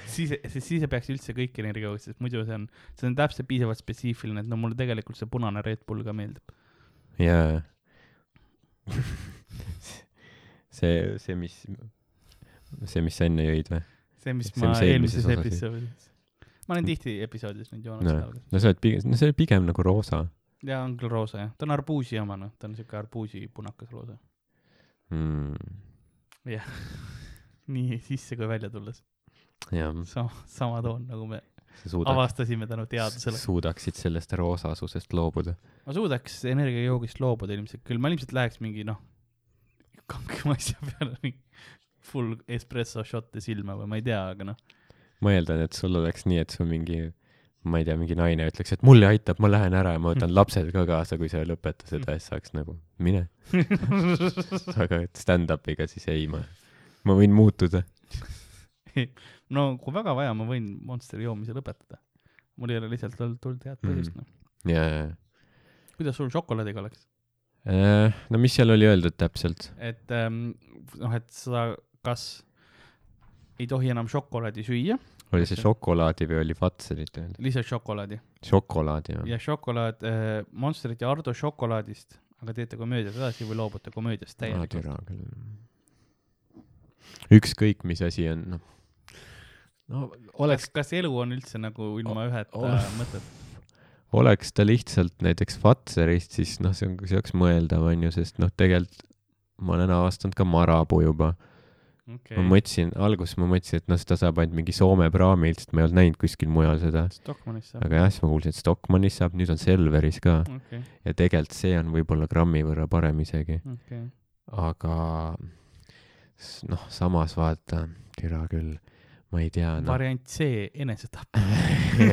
B: siis , siis , siis ei peaks üldse kõiki energia jooma , sest muidu see on , see on täpselt piisavalt spetsiifiline , et no mulle tegelikult see punane Red Bull ka meeldib .
C: jaa . [LAUGHS] see , see , mis , see , mis sa enne jõid või ?
B: see , mis
C: See,
B: ma
C: mis eelmises
B: eelmises
C: osas oli.
B: episoodis , ma olen tihti episoodis neid joonud
C: No.
B: no. alguses .
C: no sa oled pigem , no see oli pigem nagu roosa
B: ja on küll roosa jah , ta on arbuusi oma noh , ta on siuke arbuusi punakas roosa .
C: mm, .
B: nii sisse kui välja tulles ,
C: jah ,
B: sama , sama toon , nagu me
C: sa suudad ,
B: avastasime tänu teadusele .
C: suudaksid sellest roosasusest loobuda .
B: ma suudaks energiajoogist loobuda ilmselt küll , ma ilmselt läheks mingi noh , kangema [LAUGHS] asja peale , mingi full espresso shot'e silma või ma ei tea , aga noh ,
C: ma eeldan , et sul oleks nii , et sul mingi , ma ei tea , mingi naine ütleks , et mulle aitab , ma lähen ära ja ma võtan lapsed ka kaasa , kui sa ei lõpeta seda , siis saaks nagu mine . aga et stand-up'iga siis ei , ma , ma võin muutuda .
B: no kui väga vaja , ma võin Monsteri joomise lõpetada . mul ei ole lihtsalt olnud tulnud head põhjust , noh .
C: ja , ja ,
B: kuidas sul šokolaadiga läks ?
C: ja . Äh, no mis seal oli öeldud täpselt ?
B: et ähm, noh , et sa kas ei tohi enam šokolaadi süüa ,
C: oli see šokolaadi või oli vatselit öeldud ?
B: lihtsalt šokolaadi
C: šokolaadi või ?
B: ja šokolaad äh, , Monsterit ja Ardo šokolaadist , aga teete komöödiat edasi või loobute komöödiast
C: ah,
B: täielikult .
C: türa küll . ükskõik , mis asi on , noh . no oleks
B: kas , kas elu on üldse nagu ilma üheta
C: oh.
B: oh.
C: [LAUGHS]
B: mõtet ?
C: oleks ta lihtsalt näiteks Fatserist , siis noh , see on , see oleks mõeldav , onju , sest noh , tegelikult ma olen avastanud ka marapuu juba okay. . ma
B: okei ,
C: mõtlesin , alguses ma mõtlesin , et noh , seda saab ainult mingi Soome praamilt , sest ma ei olnud näinud kuskil mujal seda .
B: Stockmannis saab ,
C: aga jah , siis ma kuulsin , et Stockmannis saab , nüüd on Selveris ka
B: okei ,
C: ja tegelikult see on võib-olla grammi võrra parem isegi ,
B: okei .
C: aga s- noh , samas vaata , türa küll , ma ei tea noh. no. .
B: variant C , enesetapp .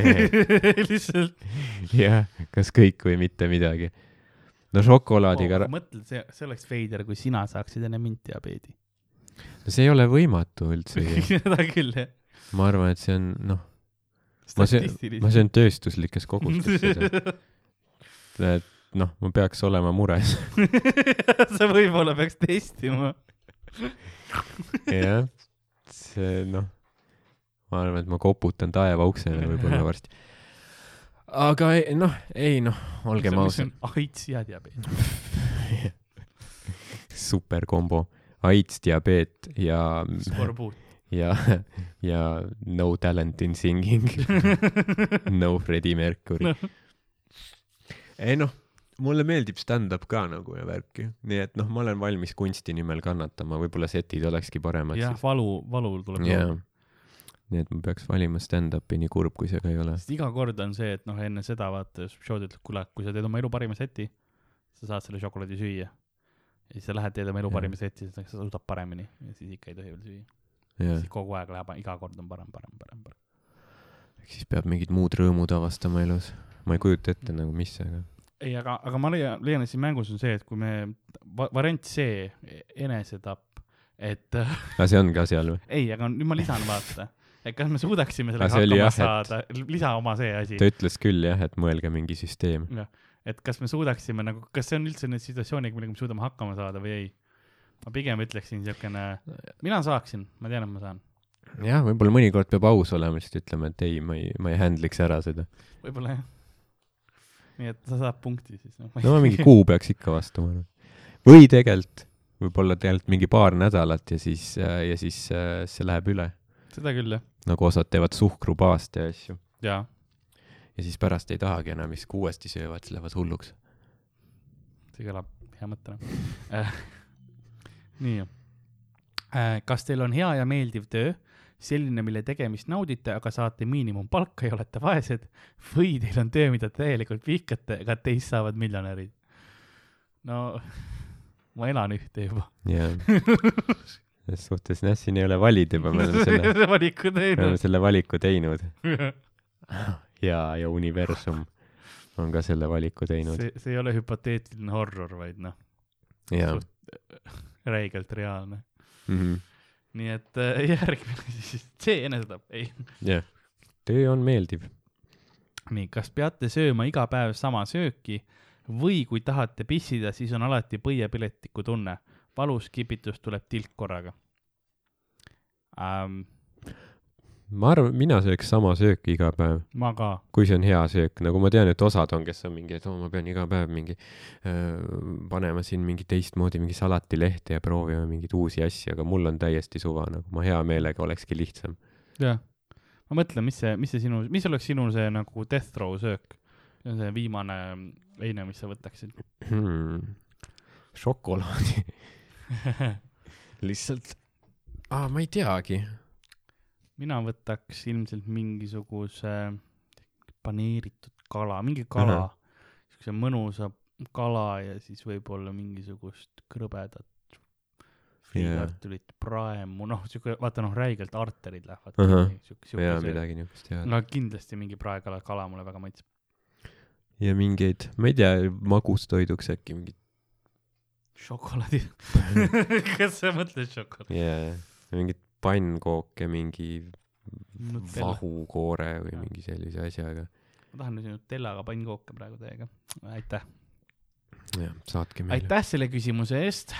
B: [LAUGHS] lihtsalt .
C: [LAUGHS] jah , kas kõik või mitte midagi . no šokolaadiga oh, ,
B: mõtle , see , see oleks veider , kui sina saaksid enne mind diabeedi .
C: see ei ole võimatu üldsegi .
B: [LAUGHS] seda küll , jah .
C: ma arvan , et see on noh , ma söön , ma
B: statistiliselt .
C: söön
B: [LAUGHS]
C: tööstuslikes kogustes seda , et noh , ma peaks olema mures .
B: sa võib-olla peaks testima .
C: jah , see noh , ma arvan , et ma koputan taeva uksele võib-olla varsti . aga ei- noh , ei noh , olgem ausad ,.
B: AIDS ja
C: [LAUGHS]
B: diabeet .
C: superkombo , AIDS , diabeet ja ,
B: skorbuut .
C: ja , ja no talent in singing . no Freddie Mercury . ei noh , mulle meeldib stand-up ka nagu ja värki , nii et noh , ma olen valmis kunsti nimel kannatama , võib-olla setid olekski paremad
B: jah , valu , valu tuleb
C: siis . jaa . nii et ma peaks valima stand-up'i , nii kurb kui see ka ei ole .
B: sest iga kord on see , et noh , enne seda vaata , show'd ütleb , kuule , kui sa teed oma elu parima seti , sa saad selle šokolaadi süüa . ja siis sa lähed , teed oma elu
C: Jah.
B: parima seti , siis sa suudad paremini ja siis ikka ei tohi veel süüa .
C: jah
B: siis , kogu aeg läheb , iga kord on parem , parem , parem , parem .
C: siis peab mingid muud rõõmud avastama elus . ma ei kujuta ette nagu , mis , aga
B: ei , aga , aga ma leian , leian , et siin mängus on see , et kui me va, , variant C , enesetapp , et äh,
C: aga see on ka seal või ?
B: ei , aga nüüd ma lisan , vaata , et kas me suudaksime
C: Aga
B: sellega
C: see oli
B: hakkama
C: jah, et-
B: saada , lisa oma see asi ,
C: ta ütles küll jah , et mõelge mingi süsteem .
B: et kas me suudaksime nagu , kas see on üldse nüüd situatsiooniga , millega me suudame hakkama saada või ei ? ma pigem ütleksin siukene , mina saaksin , ma tean , et ma saan ,
C: jah , võib-olla mõnikord peab aus olema , lihtsalt ütlema , et ei , ma ei , ma ei handle'iks ära seda .
B: võib-olla jah . nii et sa saad punkti siis noh. no, .
C: no ma mingi kuu peaks ikka vastu , ma arvan . või tegelikult , võib-olla tegelikult mingi paar nädalat ja siis , ja siis äh, see läheb üle .
B: seda küll jah ,
C: nagu osad teevad suhkrupaaste ja asju .
B: jaa .
C: ja siis pärast ei tahagi enam , siis kui uuesti söövad , siis lähevad hulluks .
B: see kõlab hea mõttena . nii . kas teil on hea ja meeldiv töö , selline , mille tegemist naudite , aga saate miinimumpalka ja olete vaesed või teil on töö , mida täielikult vihkate , aga teist saavad miljonärid ? no ma elan ühte juba .
C: jah . [LAUGHS] selles suhtes jah , siin ei ole valida juba , me oleme
B: [LAUGHS]
C: selle ,
B: valiku
C: me
B: teinud [LAUGHS]
C: oleme . selle valiku teinud
B: see ,
C: ja , ja universum on ka selle valiku teinud
B: see ei ole hüpoteetiline horror , vaid noh ,
C: ja
B: suht- räigelt reaalne .
C: mm -hmm.
B: nii et äh, järgmine siis , see enesetapp , ei .
C: jah . töö on meeldiv .
B: nii , kas peate sööma iga päev sama sööki või kui tahate pissida , siis on alati põiepiletiku tunne . valus kipitus tuleb tilk korraga ähm, .
C: ma arvan , mina sööks sama sööki iga päev ,
B: ma ka ,
C: kui see on hea söök , nagu ma tean , et osad on , kes on mingi , et oo , ma pean iga päev mingi öö, panema siin mingi teistmoodi mingi salatilehte ja proovima mingeid uusi asju , aga mul on täiesti suva , nagu ma hea meelega olekski lihtsam .
B: jah . ma mõtlen , mis see , mis see sinu , mis oleks sinu see nagu death row söök ? see on see viimane leine , mis sa võtaksid . [LAUGHS]
C: Hmm. šokolaadi lihtsalt , aa , ma ei teagi .
B: mina võtaks ilmselt mingisuguse paneeritud kala , mingi kala
C: Ahah.
B: uh , -huh. siukse mõnusa kala ja siis võib-olla mingisugust krõbedat friikartulit yeah. , praemu , noh , siuke , vaata noh , räigelt arterid lähevad
C: Ahah.
B: kinni, siuke , siuke
C: ja
B: see .
C: midagi niukest head .
B: no kindlasti mingi praekala , kala mulle väga maitseb .
C: ja mingeid , ma ei tea , magustoiduks äkki mingid [LAUGHS]
B: šokolaadid . kas sa mõtled šokolaadi ?
C: yeah. , mingid pannkooke mingi
B: Nutella.
C: vahukoore või
B: Jah.
C: mingi sellise asjaga .
B: ma tahan nüüd Nutellaga pannkooke praegu teiega . aitäh ,
C: jah , saatke meile .
B: aitäh selle küsimuse eest .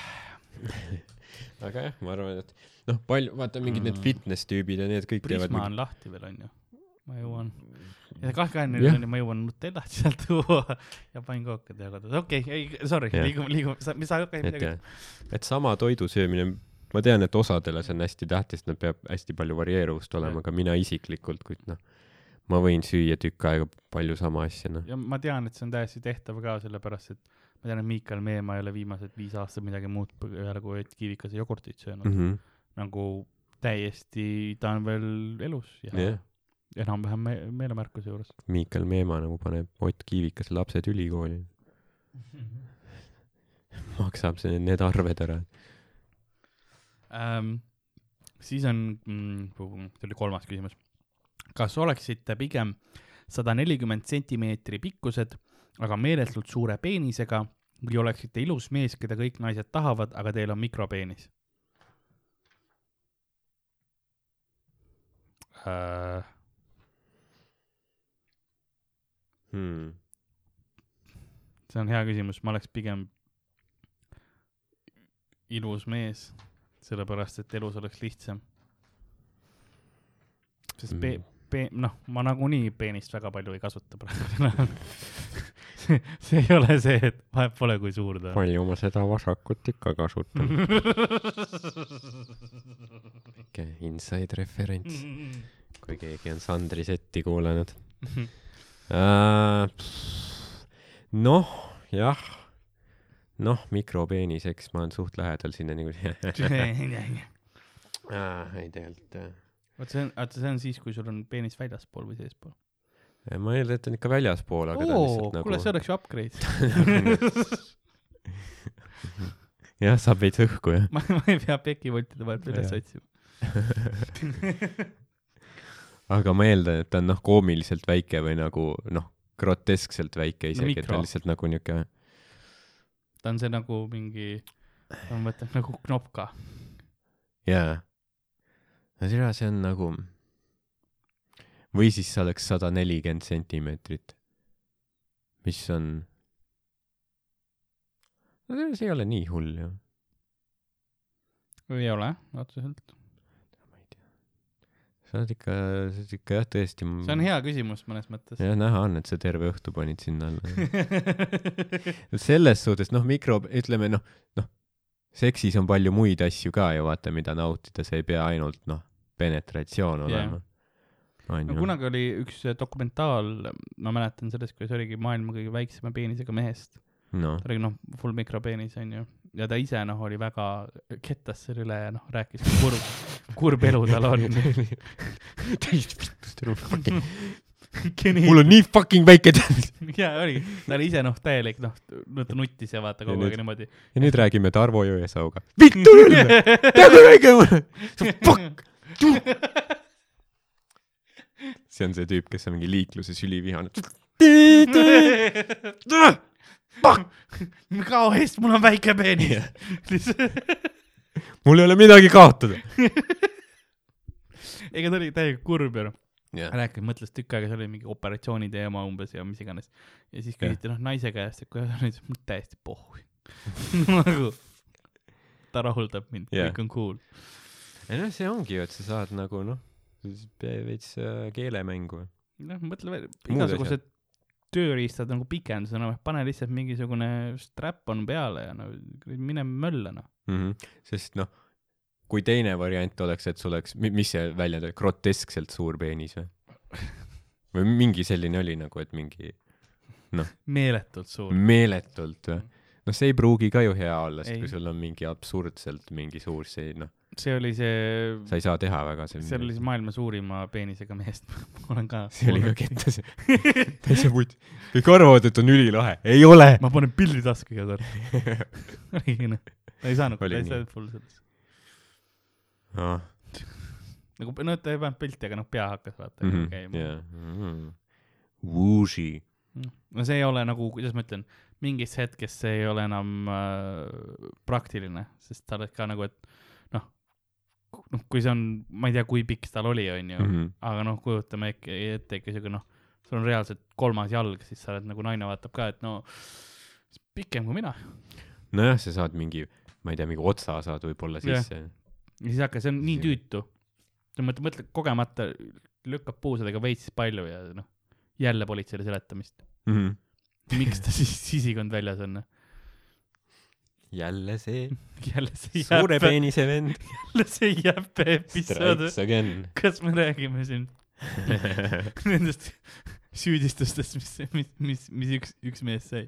C: [LAUGHS] aga jah , ma arvan , et noh , palju , vaata mingid need
B: Mm.
C: fitness tüübid ja need kõik
B: Prisma
C: teevad mingi... Mm.
B: on lahti veel onju , ma jõuan . ja kahekümne
C: Jah.
B: neljani ma jõuan Nutellat [LAUGHS] sealt tuua ja pannkooke teha kodus , okei okay, , ei sorry ,
C: Jah.
B: liigume , liigume , sa , mis sa hakkasid
C: et
B: midagi
C: jah , et sama toidu söömine , ma tean , et osadele see on hästi tähtis , et nad peab hästi palju varieeruvust olema , aga mina isiklikult , kuid noh , ma võin süüa tükk aega palju sama asja , noh .
B: ja ma tean , et see on täiesti tehtav ka sellepärast , et ma tean , et Miikal Meemaa ei ole viimased viis aastat midagi muud peale kui et kivikas ja jogurtit söönud
C: Mhm.
B: mm. . nagu täiesti , ta on veel elus ja
C: jah
B: yeah. , enam-vähem me meelemärkuse juures .
C: Miikal Meemaa nagu paneb Ott Kiivikase lapsed
B: [LAUGHS]
C: ülikooli . maksab see , need arved ära .
B: ähm, . siis on mm, , see oli kolmas küsimus . kas oleksite pigem sada nelikümmend sentimeetri pikkused , aga meeletult suure peenisega või oleksite ilus mees , keda kõik naised tahavad , aga teil on mikropeenis äh, ?
C: Hmm.
B: see on hea küsimus , ma oleks pigem ilus mees , sellepärast et elus oleks lihtsam . sest pe-
C: Mm. ,
B: pe- , noh , ma nagunii peenist väga palju ei kasuta praegu enam . see [LAUGHS] see ei ole see , et vahet pole , kui suur ta on .
C: palju ma seda vasakut ikka kasutan .
B: [LAUGHS]
C: okei , inside referents ,
B: Mm, Mhm.
C: [LAUGHS] kui keegi on Sandri setti kuulanud
B: Mhm.
C: Äh, pff, noh , jah , noh , mikropeenis , eks ma olen suht lähedal sinna niikuinii . [LAUGHS] ei tegelikult jah .
B: vot see on , vaata see on siis , kui sul on peenis väljaspool või seespool .
C: ma eeldan , et ta on ikka väljaspool , aga ta on lihtsalt nagu .
B: kuule , see oleks [LAUGHS] ju upgrade .
C: [LAUGHS] jah , saab veits õhku jah .
B: ma , ma ei pea pekivoltide vahelt üles
C: Jah.
B: otsima .
C: aga ma eeldan , et ta on noh , koomiliselt väike või nagu noh , groteskselt väike
B: No
C: isegi no, , et ta
B: mikro.
C: on lihtsalt nagu niuke ,
B: ta on see nagu mingi , ma mõtlen nagu knopka .
C: jaa . no tere , see on nagu , või siis see oleks sada nelikümmend sentimeetrit , mis on , no tere , see ei ole nii hull ju .
B: ei ole otseselt .
C: sa oled ikka , sa oled ikka jah , tõesti .
B: see on . hea küsimus mõnes mõttes .
C: Mm. jah , näha on , et sa terve õhtu panid sinna alla . selles suhtes noh , mikro , ütleme noh , noh , seksis on palju muid asju ka ju vaata , mida nautida , see ei pea ainult noh , penetratsioon
B: Jah.
C: olema . on
B: [LAUGHS] no
C: ju .
B: kunagi oli üks äh, dokumentaal , ma mäletan sellest , kuidas oligi maailma kõige väiksema peenisega mehest .
C: noh
B: ta , oli noh , full mikropeenis onju . ja ta ise noh , oli väga kettas selle üle ja noh , rääkis , [LAUGHS] kui kurb , kurb elu tal
C: [LAUGHS]
B: on . [LAUGHS]
C: mul on nii fucking väike tervis .
B: ja oli , ta oli ise noh , täielik noh , ta nuttis ja vaata
C: Ja
B: kogu
C: nüüd-
B: aeg niimoodi .
C: [LAUGHS] ja nüüd räägime Tarvo Jõesauga . vittu küll , tead kui väike ma olen . Fuck . see on see tüüp , kes on mingi liikluses
B: [LAUGHS]
C: ülivihane .
B: kao eest , mul on väike peenis . [LAUGHS]
C: mul ei ole midagi kaotada .
B: ega ta oli täiega kurb ja noh , rääkis , mõtles tükk aega , see oli mingi operatsiooni teema umbes ja mis iganes . ja siis
C: Jah.
B: küsiti noh naise käest , et kuidas on , ütles mul täiesti pohhu . [LAUGHS] nagu ta rahuldab mind ,
C: Jah.
B: kõik on cool .
C: ei noh , see ongi ju , et sa saad nagu noh , veits äh, keelemängu .
B: noh , mõtle veel ,
C: Muud
B: igasugused tööriistad nagu pikendusena , pane lihtsalt mingisugune strap-on peale ja no mine mölla noh .
C: mm . -hmm. sest noh , kui teine variant oleks , et sul oleks , mis see väljend oli , groteskselt suur
B: [LAUGHS]
C: peenis või ? või mingi selline oli nagu , et mingi
B: meeletult
C: Mm.
B: suur .
C: meeletult või ? noh , see ei pruugi ka ju hea olla , sest
B: Ei.
C: kui sul on mingi absurdselt mingi suur , see noh ,
B: see oli see ,
C: sa ei saa teha väga selline .
B: see oli siis maailma suurima peenisega mehest , [LAUGHS] ma olen ka .
C: [LAUGHS] see oli ka . kettas . [LAUGHS] täitsa putt . kõik arvavad , et on ülilahe . ei ole .
B: [LAUGHS] ma panen pildi tasku iga kord .
C: [LAUGHS]
B: [LAUGHS] oligi noh , ta ei saanud , ta
C: Oli
B: ei
C: nii.
B: saanud full sellesse .
C: noh ,
B: nagu no ta ei pannud pilti , aga noh , pea hakkas vaata käima .
C: Mhm, jaa . Mm-hmm. Wuxi .
B: no see ei ole nagu , kuidas ma ütlen , mingis hetkes see ei ole enam äh, praktiline , sest sa oled ka nagu , et noh , noh , kui see on , ma ei tea , kui pikk tal oli , onju ,
C: Mhm.
B: aga noh , kujutame ikka ette ikka siuke noh , sul on reaalselt kolmas jalg , siis sa oled nagu naine vaatab ka , et no s- pikem kui mina .
C: nojah , sa saad mingi , ma ei tea , mingi otsa saad võib-olla
B: Jah.
C: sisse yeah. .
B: ja siis hakkas , see on nii
C: Isegi-
B: tüütu . sa mõtled , mõtled kogemata , lükkab puusadega veits palju ja noh , jälle politseile seletamist .
C: Mm -hmm.
B: miks ta siis sisikond väljas on ? noh?
C: jälle see
B: [LAUGHS] jälle see
C: suure
B: jääb ,
C: peenise
B: [LAUGHS]
C: vend .
B: jälle see jääb episood .
C: Strikes again .
B: kas me räägime
C: [LAUGHS]
B: siin nendest süüdistustest , mis , mis , mis , mis üks , üks mees sai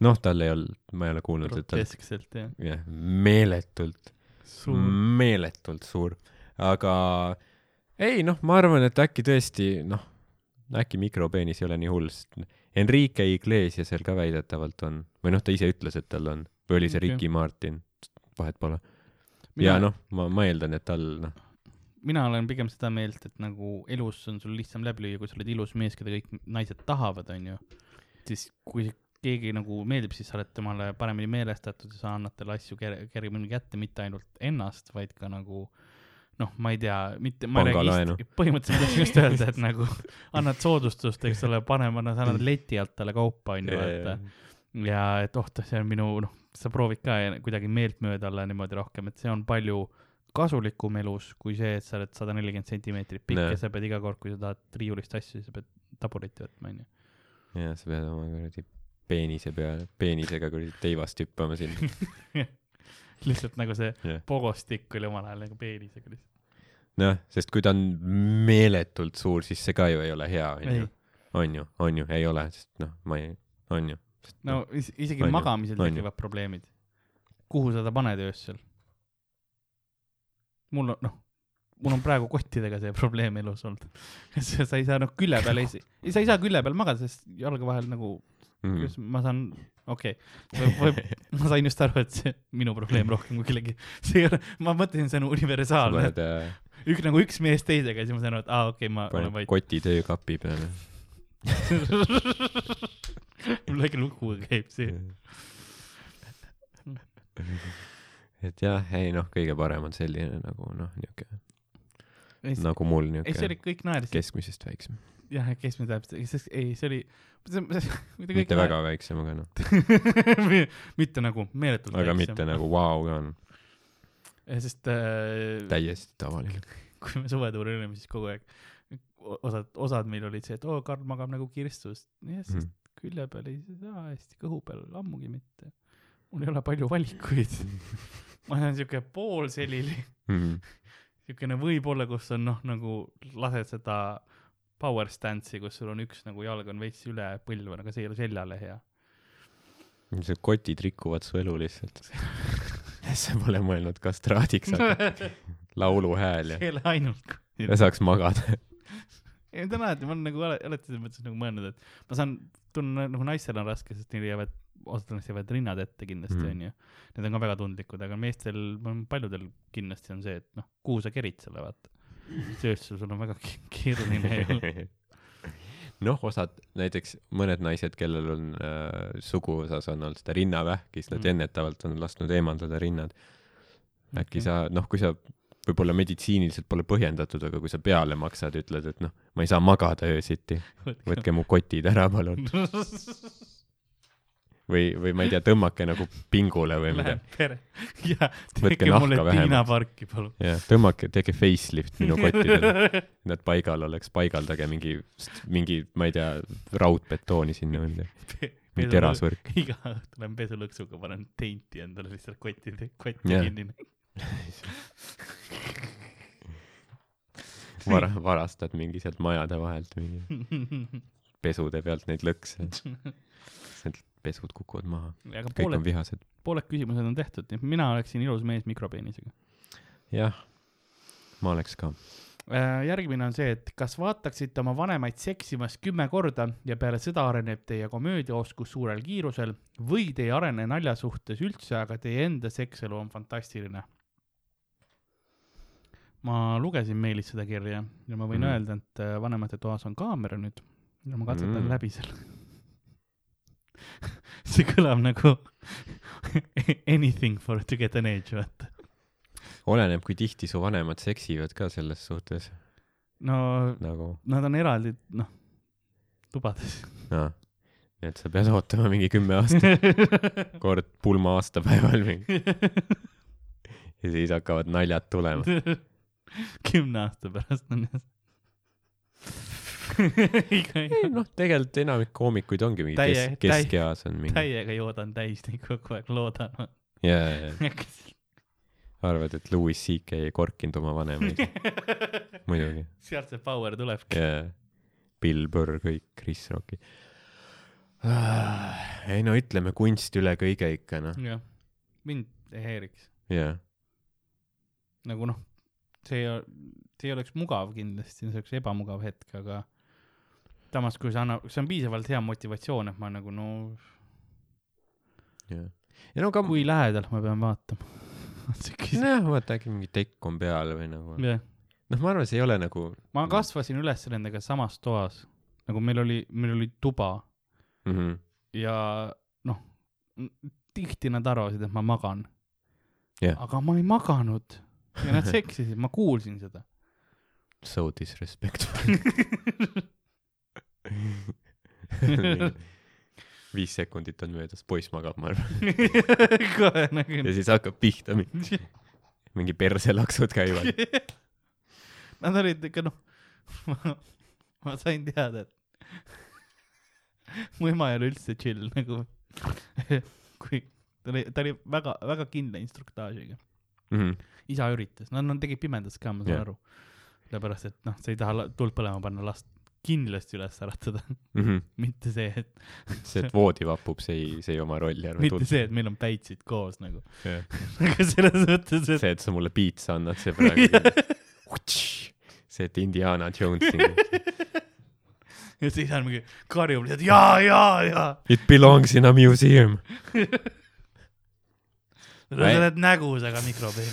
C: noh , tal ei olnud , ma ei ole kuulnud , et tal ,
B: groteskselt jah .
C: jah , meeletult , Mm,
B: suur ,
C: meeletult suur , aga ei noh , ma arvan , et äkki tõesti noh , äkki mikropeenis ei ole nii hull , sest Enrique Iglesiasel ka väidetavalt on või noh , ta ise ütles , et tal on või oli see
B: Okei.
C: Ricky Martin , vahet pole . ja
B: mina ,
C: noh , ma , ma eeldan , et tal noh ,
B: mina olen pigem seda meelt , et nagu elus on sul lihtsam läbi lüüa , kui sa oled ilus mees , keda kõik naised tahavad , onju . siis kui keegi nagu meeldib , siis sa oled temale paremini meelestatud ja sa annad talle asju ker- , kergemini kätte , mitte ainult ennast , vaid ka nagu noh , ma ei tea , mitte , ma ei
C: Pangalaenu.
B: räägi , põhimõtteliselt ma tahtsin just öelda , et nagu annad soodustust , eks ole , paneme , sa annad leti alt talle kaupa , onju , et ja et oh , see on minu , noh , sa proovid ka ja kuidagi meeltmööda olla niimoodi rohkem , et see on palju kasulikum elus kui see , et sa oled sada nelikümmend sentimeetrit pikk
C: Nojah.
B: ja sa pead iga kord , kui sa tahad riiulist asju , sa pead tabureti võtma , onju .
C: ja sa pead oma kuradi peenise peale , peenisega kuradi teivast hüppama sinna .
B: [LAUGHS] lihtsalt nagu see
C: Jah.
B: yeah. pogostikk oli omal ajal nagu peenisega lihtsalt .
C: noh , sest kui ta on meeletult suur , siis see ka ju ei ole hea ,
B: Ei.
C: onju . onju , onju , ei ole , sest noh , ma ei , onju .
B: no is isegi
C: Noh, On ju,
B: on magamisel
C: on ju.
B: tekivad probleemid . kuhu sa ta paned öösel ? mul on , noh , mul on praegu kottidega see probleem elus olnud . [LAUGHS] sa ei saa noh , külje peal ei , ei sa ei saa külje peal magada , sest jalge vahel nagu
C: mm.
B: kuidas . ma saan , okei okay. , ma sain just aru , et see minu probleem rohkem kui kellegi , [LAUGHS] see ei ole , ma mõtlesin , see on universaalne ,
C: paned äh, ,
B: üks nagu üks mees teisega ja siis ma sain aru , et aa ah, okei okay, , ma olen
C: paned
B: vait .
C: koti töökapi peale .
B: [LAUGHS] mul väike lugu käib siin .
C: et jah , ei noh , kõige parem on selline nagu noh , niuke
B: ei , see
C: nagu mul
B: ei, see
C: niuke
B: oli , kõik naersid ,
C: keskmisest väiksem ,
B: jah , kes me täpselt , ei , see oli , [LAUGHS]
C: mitte väga väiksem , aga noh ,
B: väga . mitte nagu meeletult
C: aga mitte . nagu vau ka on ,
B: sest äh,
C: täiesti tavaline .
B: [LAUGHS] kui me suvetuuril olime , siis kogu aeg o- osad , osad meil olid see , et oo , Karl magab nagu kirstus . jah , sest
C: Mm.
B: külje peal ei saa hästi , kõhu peal ammugi mitte . mul ei ole palju valikuid .
C: [LAUGHS]
B: ma olen siuke poolselili ,
C: Mm.
B: siukene võib-olla , kus on noh , nagu lased seda power stance'i , kus sul on üks nagu jalg on veits üle põlve , aga see ei ole seljale hea .
C: see kotid rikuvad su elu lihtsalt . [LAUGHS] sa pole mõelnud kastraadiks , aga
B: [LAUGHS] see [LAUGHS]
C: lauluhääl ja
B: ei ole ainult .
C: ja saaks magada .
B: ei ta on alati , ma olen nagu ale- alati selles mõttes nagu mõelnud , et ma saan , tunnen nagu naistel on raske , sest neil jäävad , osad naistel jäävad rinnad ette kindlasti
C: Mm.
B: onju mm. . Need on ka väga tundlikud , aga meestel , paljudel kindlasti on see , et noh , kuhu sa kerid selle vaata . tööstusel sul on väga ke- keeruline ju .
C: [LAUGHS] noh , osad näiteks mõned naised , kellel on äh, suguosas on olnud seda rinnavähki , siis nad
B: Mm.
C: mm. ennetavalt on lasknud eemaldada rinnad .
B: Okei.
C: äkki okay. sa , noh , kui sa võib-olla meditsiiniliselt pole põhjendatud , aga kui sa peale maksad , ütled , et noh , ma ei saa magada öösiti , võtke mu kotid ära , palun .
B: [LAUGHS]
C: või , või ma ei tea , tõmmake nagu pingule või midagi
B: Lähen . pere ja
C: Võtke
B: tehke mulle
C: nahka vähemaks.
B: Tiina Parki palun .
C: jah , tõmmake , tehke facelift minu kottidele . Nad paigal oleks , paigaldage mingi , mingi , ma ei tea , raudbetooni sinna või midagi , või
B: [LAUGHS]
C: terasvõrk .
B: iga õhtu lähen pesulõksuga , panen teinti endale lihtsalt kotti , kotti
C: Jah.
B: kinni . [LAUGHS]
C: vara- , varastad mingi sealt majade vahelt mingi pesude pealt neid lõkse . Need pesud kukuvad maha ,
B: aga
C: kõik
B: pooled
C: on vihased .
B: pooled küsimused on tehtud , nii et mina oleksin ilus mees mikropeenisega .
C: jah , ma oleks ka .
B: Äh, järgmine on see , et kas vaataksite oma vanemaid seksimas kümme korda ja peale seda areneb teie komöödiaoskus suurel kiirusel või te ei arene nalja suhtes üldse , aga teie enda sekselu on fantastiline ? ma lugesin Meelis seda kirja ja ma võin
C: Mhm.
B: mm. öelda , et äh, vanemate toas on kaamera nüüd ja ma katsetan
C: Mhm.
B: mm. läbi selle . [LAUGHS] see kõlab nagu anything for to get an edge , vaata .
C: oleneb , kui tihti su vanemad seksivad ka selles suhtes
B: no
C: nagu ,
B: nad on eraldi , noh , tubades .
C: noh . nii et sa pead ootama mingi kümme aastat , [LAUGHS] kord pulma aastapäeval mingi [LAUGHS] ja siis hakkavad naljad tulema .
B: [LAUGHS] kümne aasta pärast on jah . [LAUGHS]
C: ei noh , tegelikult enamik koomikuid ongi mingi
B: Täie-
C: kes- ,
B: täie-
C: keskeas on mingi ,
B: täiega joodan täis neid kogu aeg , loodan .
C: jaa , arvad , et Louis CK ei korkinud oma vanemaid , [LAUGHS] muidugi ,
B: [LAUGHS] sealt see power tulebki .
C: jaa . Bill Burr , kõik , Chris Rocki . ei no ütleme kunst üle kõige ikka noh ,
B: jah , mind ei häiriks ,
C: jaa ,
B: nagu noh , see , see ei oleks mugav kindlasti , see oleks ebamugav hetk , aga samas , kui see annab , see on piisavalt hea motivatsioon , et ma nagu no ,
C: jaa . ja no ka
B: kui lähedalt ma pean vaatama . [LAUGHS] on see küsimus .
C: nojah , vaata äkki mingi tekk on peal või nagu ,
B: jah ,
C: noh , ma arvan , see ei ole nagu
B: ma kasvasin üles nendega samas toas , nagu meil oli , meil oli tuba
C: mm . -hmm.
B: ja noh , tihti nad arvasid , et ma magan
C: Jah.
B: aga ma ei maganud ja nad seksisid , ma kuulsin seda .
C: So disrespectful . [LAUGHS] viis sekundit on möödas , poiss magab , ma [LAUGHS] arvan ,
B: kohe nagu
C: [LAUGHS]
B: [LAUGHS]
C: ja siis hakkab pihta mingi , [LAUGHS] mingi perselaksud käivad .
B: Nagu- nad olid ikka noh , [LAUGHS] ma , ma sain teada , et [LAUGHS] mu ema ei ole üldse chill nagu [LAUGHS] kui ta oli , ta oli väga-väga kindla instruktaažiga .
C: mm . -hmm.
B: isa üritas , no nad tegid pimedas ka , ma saan
C: Jah.
B: yeah. aru . sellepärast , et noh , sa ei taha la- tuld põlema panna last kindlasti üles äratada , [LAUGHS]
C: Mm -hmm.
B: mitte see , et ,
C: see , et voodi vapub , see ei , see ei oma rolli ära
B: mitte . see , et meil on päitsid koos nagu .
C: Jah.
B: [LAUGHS] aga selles mõttes , et
C: see , et sa mulle piitsa annad , see [LAUGHS] praegu . see , et Indiana Jones siin .
B: ja siis on mingi karjub lihtsalt jaa , jaa , jaa .
C: It belongs in a museum .
B: sa
C: Ei.
B: oled nägus , aga mikropeen .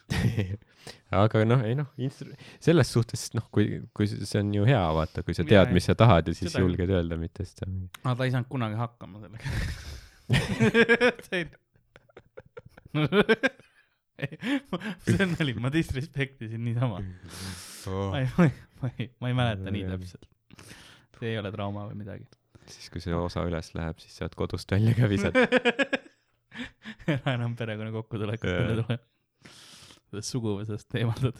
C: [LAUGHS] aga noh , ei noh , instru- , selles suhtes , noh , kui , kui see see on ju hea , vaata , kui sa
B: Jaa,
C: tead
B: ei. ,
C: mis sa tahad ja siis
B: Seda küll.
C: julged öelda , mitte siis ta mingi .
B: aga ta ei saanud kunagi hakkama [LAUGHS] sellega . [LAUGHS] see nali , ma disrespect isin niisama .
C: [LAUGHS]
B: ma ei , ma ei , ma ei , ma ei mäleta nii täpselt . see ei ole trauma või
C: [LAUGHS]
B: midagi .
C: siis , kui see osa üles läheb , siis saad kodust välja ka
B: [LAUGHS]
C: visata .
B: ära enam perekonna kokkutulekut
C: Jaa.
B: ei tule . sellest suguvõsast eemaldad .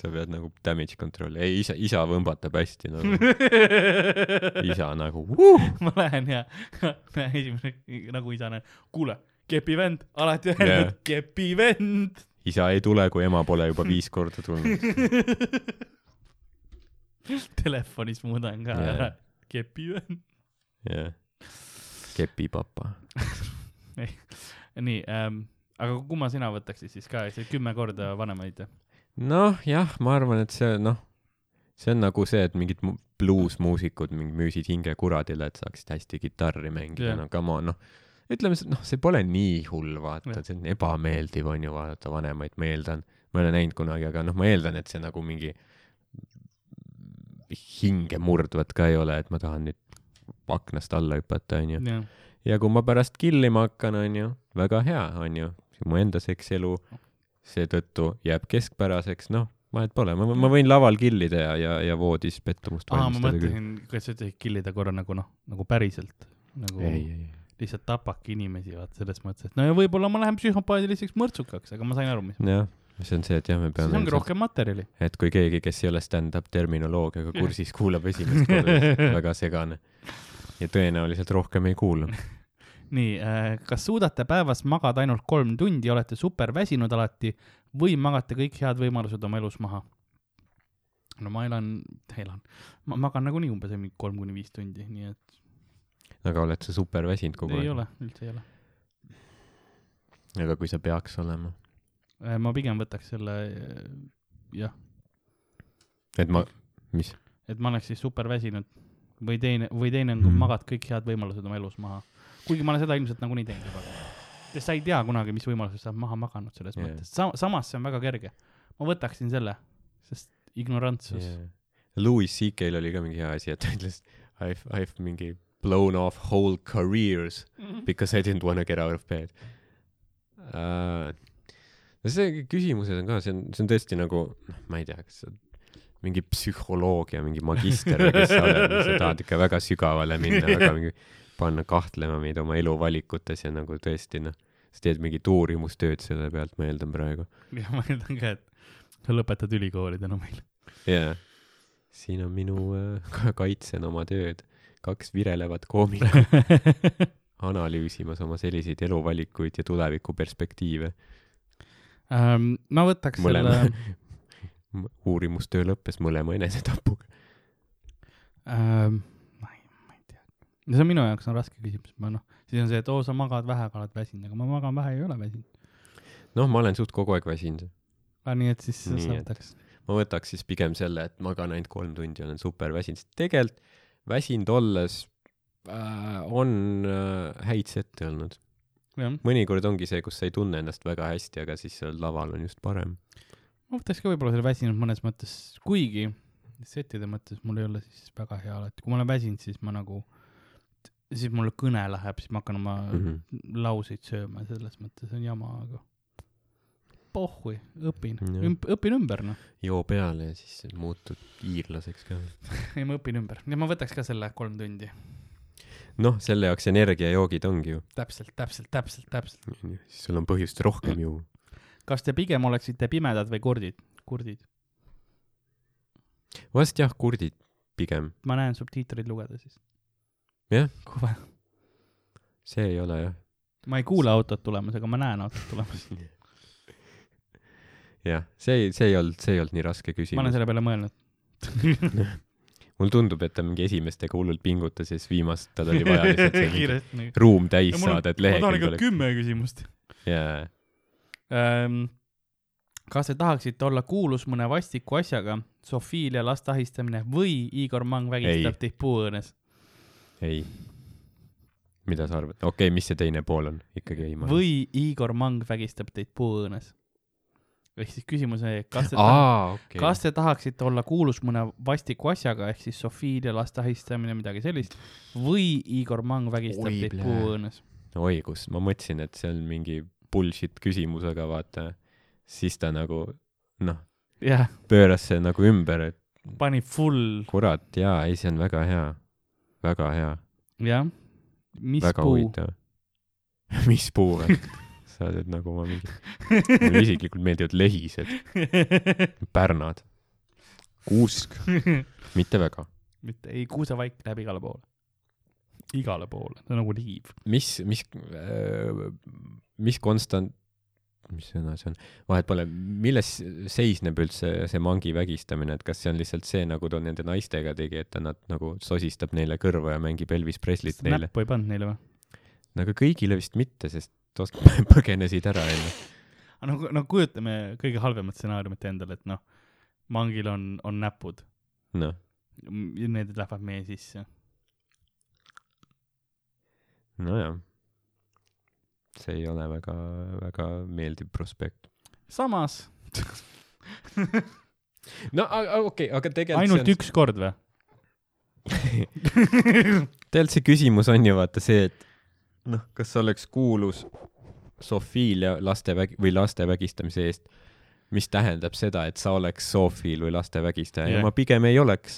C: sa pead nagu damage control'i , ei isa , isa võmbatab hästi nagu ,
B: [LAUGHS]
C: isa nagu uh! .
B: ma lähen ja [LAUGHS] näen esimene nagu isa näen , kuule , kepi vend , alati
C: Jaa.
B: öelnud , kepi vend . [LAUGHS]
C: isa ei tule , kui ema pole juba viis korda tulnud .
B: telefonis muudan ka
C: Jaa.
B: ära , kepi vend .
C: jah . kepipapa .
B: nii ähm, , aga kumma sina võtaksid siis ka , see kümme korda vanemaid ?
C: noh , jah , ma arvan , et see noh , see on nagu see , et mingid mu- bluusmuusikud mingi müüsid hinge kuradile , et saaksid hästi kitarri mängida
B: Jah.
C: yeah. , no come on , noh . ütleme , noh , see pole nii hull , vaata
B: Jah.
C: yeah. , see on ebameeldiv , on ju , vaadata vanemaid , ma eeldan . ma ei ole näinud kunagi , aga noh , ma eeldan , et see nagu mingi hinge murdvat ka ei ole , et ma tahan nüüd aknast alla hüpata , on ju .
B: jah ,
C: ja kui ma pärast killima hakkan , onju , väga hea , onju , mu enda sekselu seetõttu jääb keskpäraseks , noh , vahet pole , ma , ma võin laval killida ja , ja , ja voodis pettumust
B: aa , ma
C: valmistada küll .
B: mõtlesin , kas sa ütlesid killida korra nagu noh , nagu päriselt . nagu
C: ei , ei ,
B: lihtsalt tapabki inimesi , vaat selles mõttes , et no ja võib-olla ma lähen psühhopaadiliseks mõrtsukaks , aga ma sain aru , mis .
C: ei , jah , see on see , et jah , me
B: siis
C: peame
B: ongi , rohkem materjali .
C: et kui keegi , kes ei ole stand-up terminoloogiaga kursis , kuulab esimest korda , siis
B: [LAUGHS]
C: on väga segane . ja tõenäoliselt rohkem ei kuula .
B: nii äh, , kas suudate päevas magada ainult kolm tundi , olete super väsinud alati või magate kõik head võimalused oma elus maha ? no ma elan , elan , ma magan nagunii umbes mingi kolm kuni viis tundi , nii et
C: aga oled sa super väsinud kogu
B: ei
C: aeg ?
B: ole , üldse ei ole .
C: aga kui sa peaks olema ?
B: Äh, ma pigem võtaks selle , jah ,
C: et ma ,
B: et ma oleks siis super väsinud või teine , või teine on , kui
C: Mhm.
B: magad kõik head võimalused oma elus maha . kuigi ma olen seda ilmselt nagunii teinud juba . sest sa ei tea kunagi , mis võimalused sa oled maha maganud selles
C: Jaa.
B: yeah. mõttes . Sa- , samas see on väga kerge . ma võtaksin selle , sest ignorantsus yeah. .
C: Yeah. Louis CK-l oli ka mingi hea asi , et ta ütles I have , I have mingi blown off whole careers because I didn't wanna get out of bed uh, . no see küsimused on ka , see on , see on tõesti nagu , noh , ma ei tea , kas see on mingi psühholoogia mingi magister või kes sa oled , sa tahad ikka väga sügavale minna , väga mingi panna kahtlema meid oma eluvalikutes ja nagu tõesti noh , sa teed mingit uurimustööd selle pealt , ma eeldan praegu .
B: ja ma eeldan ka , et sa lõpetad ülikooli tänu meile .
C: jaa . siin on minu äh, , [LAUGHS] kaitsen oma tööd , kaks virelevat koomikut analüüsimas oma selliseid eluvalikuid ja tulevikuperspektiive .
B: ähm, . ma võtaks
C: mõlema
B: selle ,
C: [LAUGHS] uurimustöö lõppes mõlema enesetapuga .
B: ähm, , ma ei , ma ei tea . see on minu jaoks on raske küsimus , ma noh , siis on see , et oo , sa magad vähe , aga oled väsinud , aga ma magan vähe , ei ole väsinud .
C: noh , ma olen suht kogu aeg väsinud .
B: aga nii , et siis
C: Nii,
B: sa
C: et-
B: võtaks .
C: ma võtaks siis pigem selle , et magan ainult kolm tundi , olen super väsinud , sest tegelikult väsinud olles äh, on äh, häid sette olnud .
B: jah ,
C: mõnikord ongi see , kus sa ei tunne ennast väga hästi , aga siis seal laval on just parem .
B: ma võtaks ka võib-olla selle väsinud mõnes mõttes , kuigi setide mõttes mul ei ole siis väga hea alati , kui ma olen väsinud , siis ma nagu , siis mul kõne läheb , siis ma hakkan oma mm
C: Mm -hmm.
B: -hmm. lauseid sööma , selles mõttes on jama , aga pohhui , õpin
C: Jah. ,
B: õpin ümber noh .
C: joo peale ja siis muutud iirlaseks ka .
B: ei , ma õpin ümber ja ma võtaks ka selle kolm tundi .
C: noh , selle jaoks energiajoogid ongi ju .
B: täpselt , täpselt , täpselt , täpselt .
C: siis sul on põhjust rohkem
B: Mm.
C: juua .
B: kas te pigem oleksite pimedad või kurdid ? kurdid .
C: vast jah , kurdid pigem .
B: ma näen subtiitreid lugeda siis .
C: Jah. .
B: kuva .
C: see ei ole jah .
B: ma ei kuule autot tulemas , aga ma näen autot tulemas .
C: jah , see ei , see ei olnud , see ei olnud nii raske
B: ma olen
C: küsimus .
B: selle peale mõelnud .
C: mulle tundub , et ta mingi esimestega hullult pingutas ja siis viimast tal
B: [LAUGHS]
C: oli vaja lihtsalt see mingi
B: kiiresti nii .
C: ruum täis
B: Ja mul on-
C: saada , et
B: ma tahan
C: lehekülg
B: ikka
C: oleks .
B: kümme küsimust
C: jaa ,
B: ähm, . kas te tahaksite olla kuulus mõne vastiku asjaga , Sofiilia laste ahistamine või Igor Mang vägistab teid puuõõnes ?
C: ei . mida sa arvad ? okei okay, , mis see teine pool on ? ikkagi ei ma .
B: või Igor Mang vägistab teid puuõõnes ? ehk siis küsimus on see , kas te tahate
C: aa , okei .
B: kas te tahaksite olla kuulus mõne vastiku asjaga ehk siis Sofiilia laste ahistamine , midagi sellist või Igor Mang vägistab
C: Oi,
B: teid
C: blää.
B: puuõõnes ?
C: õigus , ma mõtlesin , et see on mingi bullshit küsimus , aga vaata , siis ta nagu noh ,
B: jah ,
C: pööras see nagu ümber , et
B: pani full ,
C: kurat , jaa , ei , see on väga hea , väga hea ,
B: jah . mis
C: väga
B: puu ?
C: huvitav . [LAUGHS] mis puu või ? sa oled nagu ma mingi , mulle isiklikult meeldivad lehised ,
B: [LAUGHS]
C: pärnad , kuusk , mitte väga .
B: mitte , ei kuusevaik läheb igale poole . igale poole , ta on nagu liiv .
C: mis , mis , mis konstant , mis sõna see on , vahet pole , milles seisneb üldse see mangi vägistamine , et kas see on lihtsalt see , nagu ta nende naistega tegi , et ta nad nagu sosistab neile kõrva ja mängib Elvis Preslit
B: kas ta
C: neile ?
B: näppu ei pannud neile või ?
C: no aga kõigile vist mitte , sest tost [LAUGHS] põgenesid ära enne .
B: no , no kujutame kõige halvemat stsenaariumit endale , et noh , mangil on , on näpud ,
C: noh ,
B: need lähevad meie sisse .
C: nojah . see ei ole väga , väga meeldiv prospekt .
B: samas
C: no aga okei okay, , aga tegelikult
B: ainult üks kord või ?
C: tegelikult see küsimus on ju vaata see , et noh , kas sa oleks kuulus sofiilia laste vägi- või laste vägistamise eest , mis tähendab seda , et sa oleks sofiil või laste vägistaja yeah.
B: Jah.
C: ja ma pigem ei oleks ,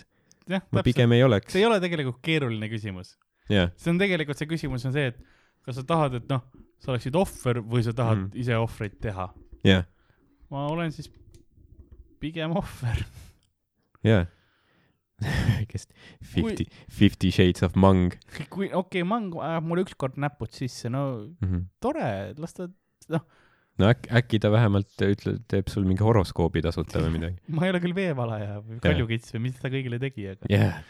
B: jah ,
C: ma
B: täpselt .
C: pigem ei oleks
B: see . ei ole tegelikult keeruline küsimus .
C: jah ,
B: see on tegelikult , see küsimus on see , et kas sa tahad , et noh , sa oleksid ohver või sa tahad
C: Mm.
B: mm. ise ohvreid teha .
C: jah ,
B: ma olen siis pigem ohver . [LAUGHS]
C: jah . [LAUGHS] väikest fifty , fifty shades of mung
B: kui , okei okay, , mang ajab mulle ükskord näpud sisse , no
C: mm . -hmm.
B: tore , las ta ,
C: no äkki , äkki ta vähemalt ütleb , teeb sul mingi horoskoobi tasuta või midagi .
B: ma ei ole küll veevalaja või kaljukits või mis ta kõigile tegi , aga
C: jah .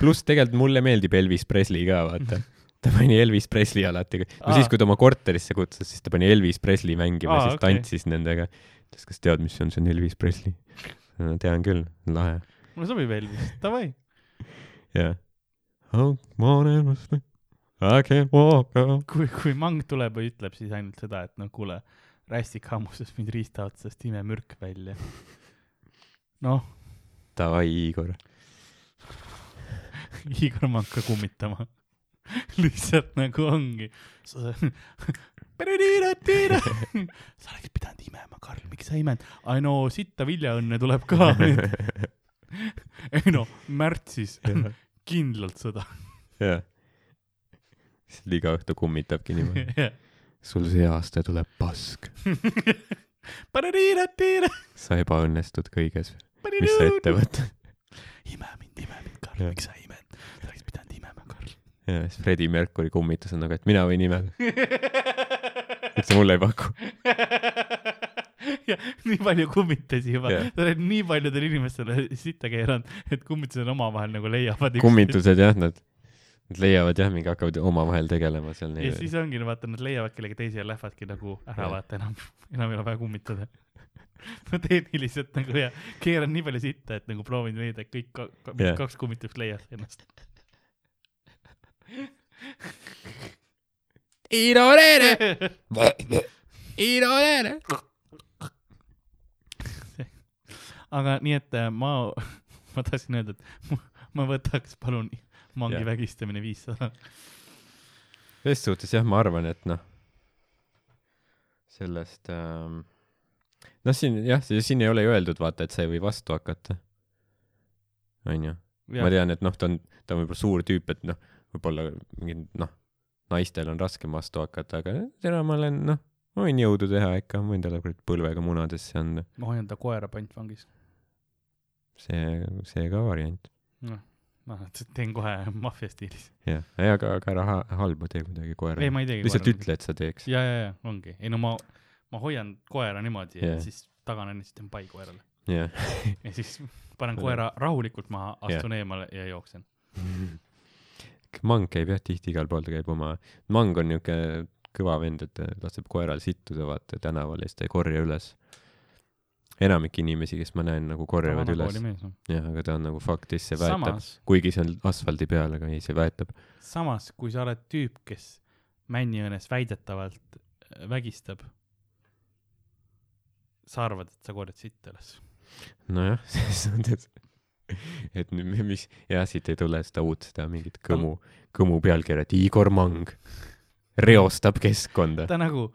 C: pluss tegelikult mulle meeldib Elvis Presley ka , vaata . ta pani Elvis Presley alati , no
B: Aa.
C: siis , kui ta oma korterisse kutsus , siis ta pani Elvis Presley mängima ,
B: Aa,
C: siis
B: okei.
C: tantsis nendega . ütles , kas tead , mis see on , see on Elvis Presley . no tean küll , lahe .
B: mulle sobib Elvis , davai .
C: jah . Oh morning , I can't walk out .
B: kui , kui mang tuleb ja ütleb siis ainult seda , et no kuule , rästik hammustas mind riista otsast imemürk välja . noh ,
C: Davai , Igor .
B: Igor ma hakka kummitama . lihtsalt nagu ongi . sa oleks pidanud imema , Karl , miks sa ei imenud ? ai no sitta viljaõnne tuleb ka . ei no märtsis kindlalt sõda .
C: jah . siis liiga õhtu kummitabki
B: [LAUGHS]
C: niimoodi . sul see aasta tuleb pask . sa ebaõnnestud kõiges , mis sa ette võtad .
B: ime mind , ime mind , Karl , miks sa ei imenud ? sa oleks pidanud imema ,
C: [LAUGHS]
B: Karl .
C: ja siis Freddie Mercury kummitus on nagu , et mina võin imeda . üldse mulle ei
B: [LAUGHS]
C: paku .
B: ja nii palju kummitusi juba
C: Jah.
B: yeah. , sa oled nii paljudele inimestele sitta keeranud , et kummitused omavahel nagu leiavad .
C: kummitused jah , nad , nad leiavad jah , mingi hakkavad omavahel tegelema seal
B: ja
C: nii-öelda .
B: siis ongi , vaata , nad leiavad kellegi teise ja lähevadki nagu ära
C: Jah.
B: vaata enam , enam ei ole vaja kummitada . [LAUGHS] ma teen lihtsalt nagu ja keeran nii palju sitta , et nagu proovin leida , et kõik ka, ka,
C: Jah.
B: kaks kummitust leiavad ennast . [LAUGHS] aga nii , et äh, ma , [LAUGHS] ma tahtsin öelda , et mu- ma võtaks palun mangi
C: Jah.
B: yeah. vägistamine viissada .
C: selles suhtes jah , ma arvan , et noh , sellest ähm, , noh , siin jah , siin ei ole ju öeldud , vaata , et sa ei või vastu hakata . onju , ma tean , et noh , ta on , ta on võib-olla suur tüüp , et noh , võib-olla mingi noh , naistel on raskem vastu hakata , aga täna ma olen noh , ma võin jõudu teha ikka , ma võin talle kuradi põlvega munadesse anda ,
B: ma hoian ta koera pantvangis .
C: see , see ka variant .
B: ma teen kohe maffia stiilis .
C: jah , ei aga , aga ära ha- halba tee kuidagi
B: ei ,
C: koerale .
B: ma ei teegi .
C: lihtsalt . ütle , et sa teeks .
B: ja , ja , ja ongi , ei no ma , ma hoian koera niimoodi yeah.
C: Jah.
B: ja siis taganen ja siis teen pai koerale
C: [LAUGHS] jah .
B: ja siis panen
C: Ma
B: koera rahulikult maha , astun yeah. eemale ja jooksen .
C: mang käib jah tihti igal pool , ta käib oma , mang on niuke kõva vend , et ta laseb koeral sittuda vaata tänaval ja siis ta ei korja üles . enamik inimesi , kes ma näen nagu korjavad üles ,
B: noh.
C: jah , aga ta on nagu fuck this , see väetab ,
B: samas ,
C: kuigi see on asfaldi peal , aga ei , see väetab .
B: samas kui sa oled tüüp , kes Männiõnes väidetavalt äh, vägistab , sa arvad , et sa korjad sitt üles .
C: nojah , [LAUGHS] selles mõttes , et nüüd me- mis , jah , siit ei tule seda uut , seda mingit kõmu , kõmu pealkirja , et Igor Mang reostab keskkonda .
B: ta nagu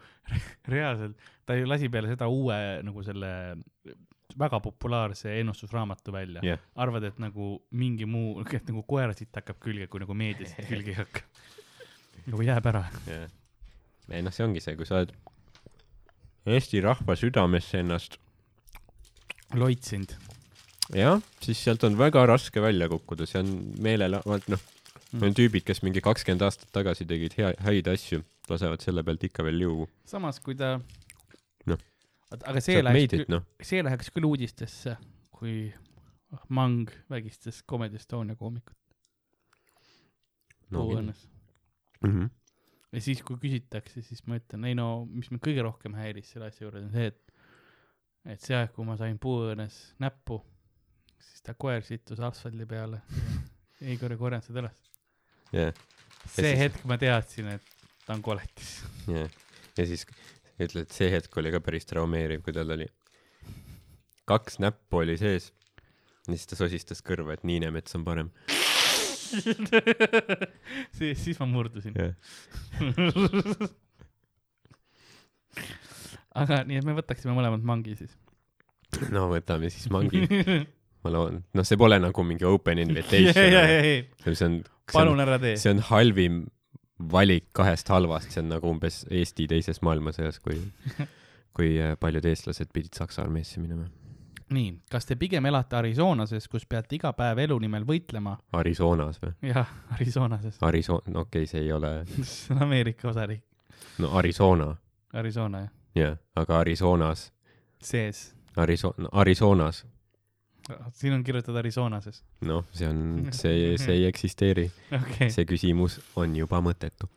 B: reaalselt , ta ju lasi peale seda uue nagu selle väga populaarse ennustusraamatu välja
C: Jah.
B: arvad , et nagu mingi muu , et nagu koera siit hakkab külge , kui nagu meedias siit külge ei hakka . nagu jääb ära .
C: jah . ei noh , see ongi see , kui sa oled Eesti rahva südamesse ennast ,
B: loitsinud .
C: jah , siis sealt on väga raske välja kukkuda , see on meelel- , vaat noh , on tüübid , kes mingi kakskümmend aastat tagasi tegid hea , häid asju , lasevad selle pealt ikka veel liugu .
B: samas , kui ta
C: Noh. .
B: aga see
C: sealt
B: läheks
C: meidit ,, noh ,
B: see läheks küll uudistesse , kui Mang vägistas Comedy Estonia koomikut
C: no Mhm. kindlasti .
B: Puuõnnes . ja siis , kui küsitakse , siis ma ütlen , ei no mis mind kõige rohkem häiris selle asja juures on see , et , et see aeg , kui ma sain puuõõnes näppu , siis ta koer sittus asfaldi peale . [LAUGHS] Igor ei korjanud seda üles .
C: jah ,
B: see
C: siis-
B: hetk ma teadsin , et ta on koletis . [LAUGHS]
C: jah . ja siis ütled , et see hetk oli ka päris traumeeriv , kui tal oli kaks näppu oli sees ja siis ta sosistas kõrva , et Niinemets on parem .
B: siis , siis ma murdusin .
C: jah ,
B: aga nii , et me võtaksime mõlemad mangi siis .
C: [LAUGHS] no võtame siis mangi . ma loodan , noh , see pole nagu mingi open invitation , see on , see on ,
B: palun ära tee .
C: see on halvim valik kahest halvast , see on nagu umbes Eesti teises maailmasõjas , kui , kui äh, paljud eestlased pidid Saksa armeesse minema .
B: nii , kas te pigem elate Arizonases , kus peate iga päev elu nimel võitlema ?
C: Arizonas või ?
B: jah , Arizonases . [LAUGHS]
C: Arizo- , no okei okay, , see ei ole ,
B: see on Ameerika osariik ,
C: no Arizona ,
B: Arizona jah ,
C: jah , aga Arizonas ,
B: sees .
C: Arizona , Arizonas ,
B: Ah, siin on kirjutatud Arizonases .
C: noh , see on , see , see ei eksisteeri ,
B: [LAUGHS] okei okay. ,
C: see küsimus on juba mõttetu .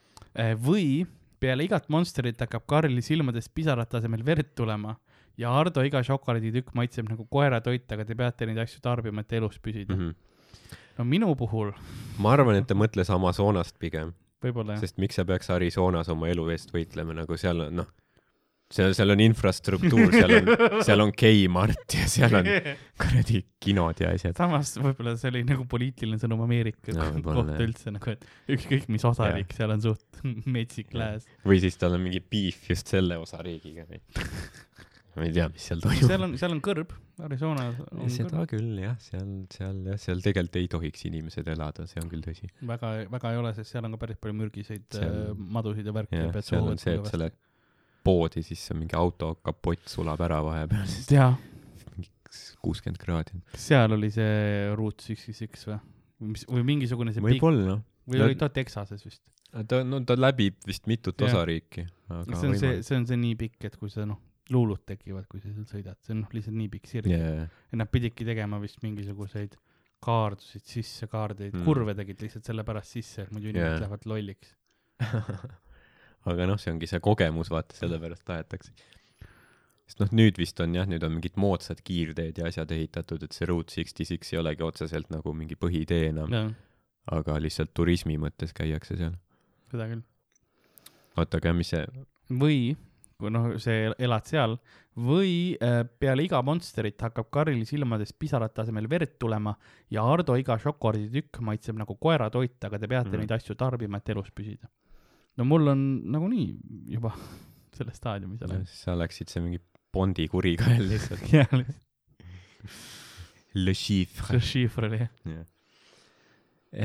B: või peale igat monstrit hakkab Karli silmadest pisarate asemel verd tulema ja Ardo iga šokolaaditükk maitseb nagu koeratoit , aga te peate neid asju tarbima , et elus püsida
C: Mm . -hmm.
B: no minu puhul
C: ma arvan , et ta mõtles Amazonast pigem .
B: võib-olla jah ,
C: sest miks sa peaks Arizonas oma elu eest võitlema , nagu seal on noh , seal , seal on infrastruktuur , seal on , seal on Kmart ja seal
B: [LAUGHS]
C: on kuradi kinod ja asjad .
B: samas võib-olla see oli nagu poliitiline sõnum Ameerika no,
C: Jaa, võib-olla,
B: kohta
C: jah.
B: üldse nagu , et ükskõik mis osariik , seal on suht [LAUGHS] metsik lääs .
C: või siis tal on mingi beef just selle osariigiga . ma ei tea , mis seal toimub .
B: seal on , seal on kõrb , Arizonas on
C: seda
B: kõrb .
C: küll jah , seal , seal jah , seal tegelikult ei tohiks inimesed elada , see on küll tõsi .
B: väga , väga ei ole , sest seal on ka päris palju mürgiseid
C: Seal-
B: seal... madusid ja värki .
C: jah , seal on see , et sa lähed poodi , siis on mingi auto kapott sulab ära vahepeal , [LAUGHS] sest
B: jaa ,
C: kuuskümmend kraadi on .
B: kas seal oli see ruut üks , üks , üks või ? mis , või mingisugune see pikk
C: võib-olla noh .
B: või oli ta Texases vist ?
C: ta , no ta läbib vist mitut
B: Jah.
C: osariiki . aga
B: see on see , see on see nii pikk , et kui sa noh , luulud tekivad , kui sa seal sõidad , see on noh , lihtsalt nii pikk sirg .
C: võimalik .
B: ja nad pididki tegema vist mingisuguseid kaardusid sisse , kaardeid
C: Mm.
B: mm. , kurve tegid lihtsalt sellepärast sisse , et muidu inimesed
C: Jaa.
B: yeah. lähevad lolliks .
C: aga noh , see ongi see kogemus , vaata , sellepärast tahetakse . sest noh , nüüd vist on jah , nüüd on mingid moodsad kiirteed ja asjad ehitatud , et see Route sixty six ei olegi otseselt nagu mingi põhitee enam ,
B: jah ,
C: aga lihtsalt turismi mõttes käiakse seal .
B: seda küll .
C: oota , aga mis see ,
B: või kui noh , see elad seal või äh, peale iga monsterit hakkab Karli silmadest pisarate asemel verd tulema ja Ardo iga šokolaaditükk maitseb nagu koeratoit , aga te peate
C: Mm.
B: mm. neid asju tarbima , et elus püsida . no mul on nagunii juba [LAUGHS] selles staadiumis olen .
C: sa läksid see mingi Bondi kurikael [LAUGHS] lihtsalt .
B: [LAUGHS] jah ,
C: Le chiffre .
B: see šiifr
C: [LAUGHS]
B: oli jah .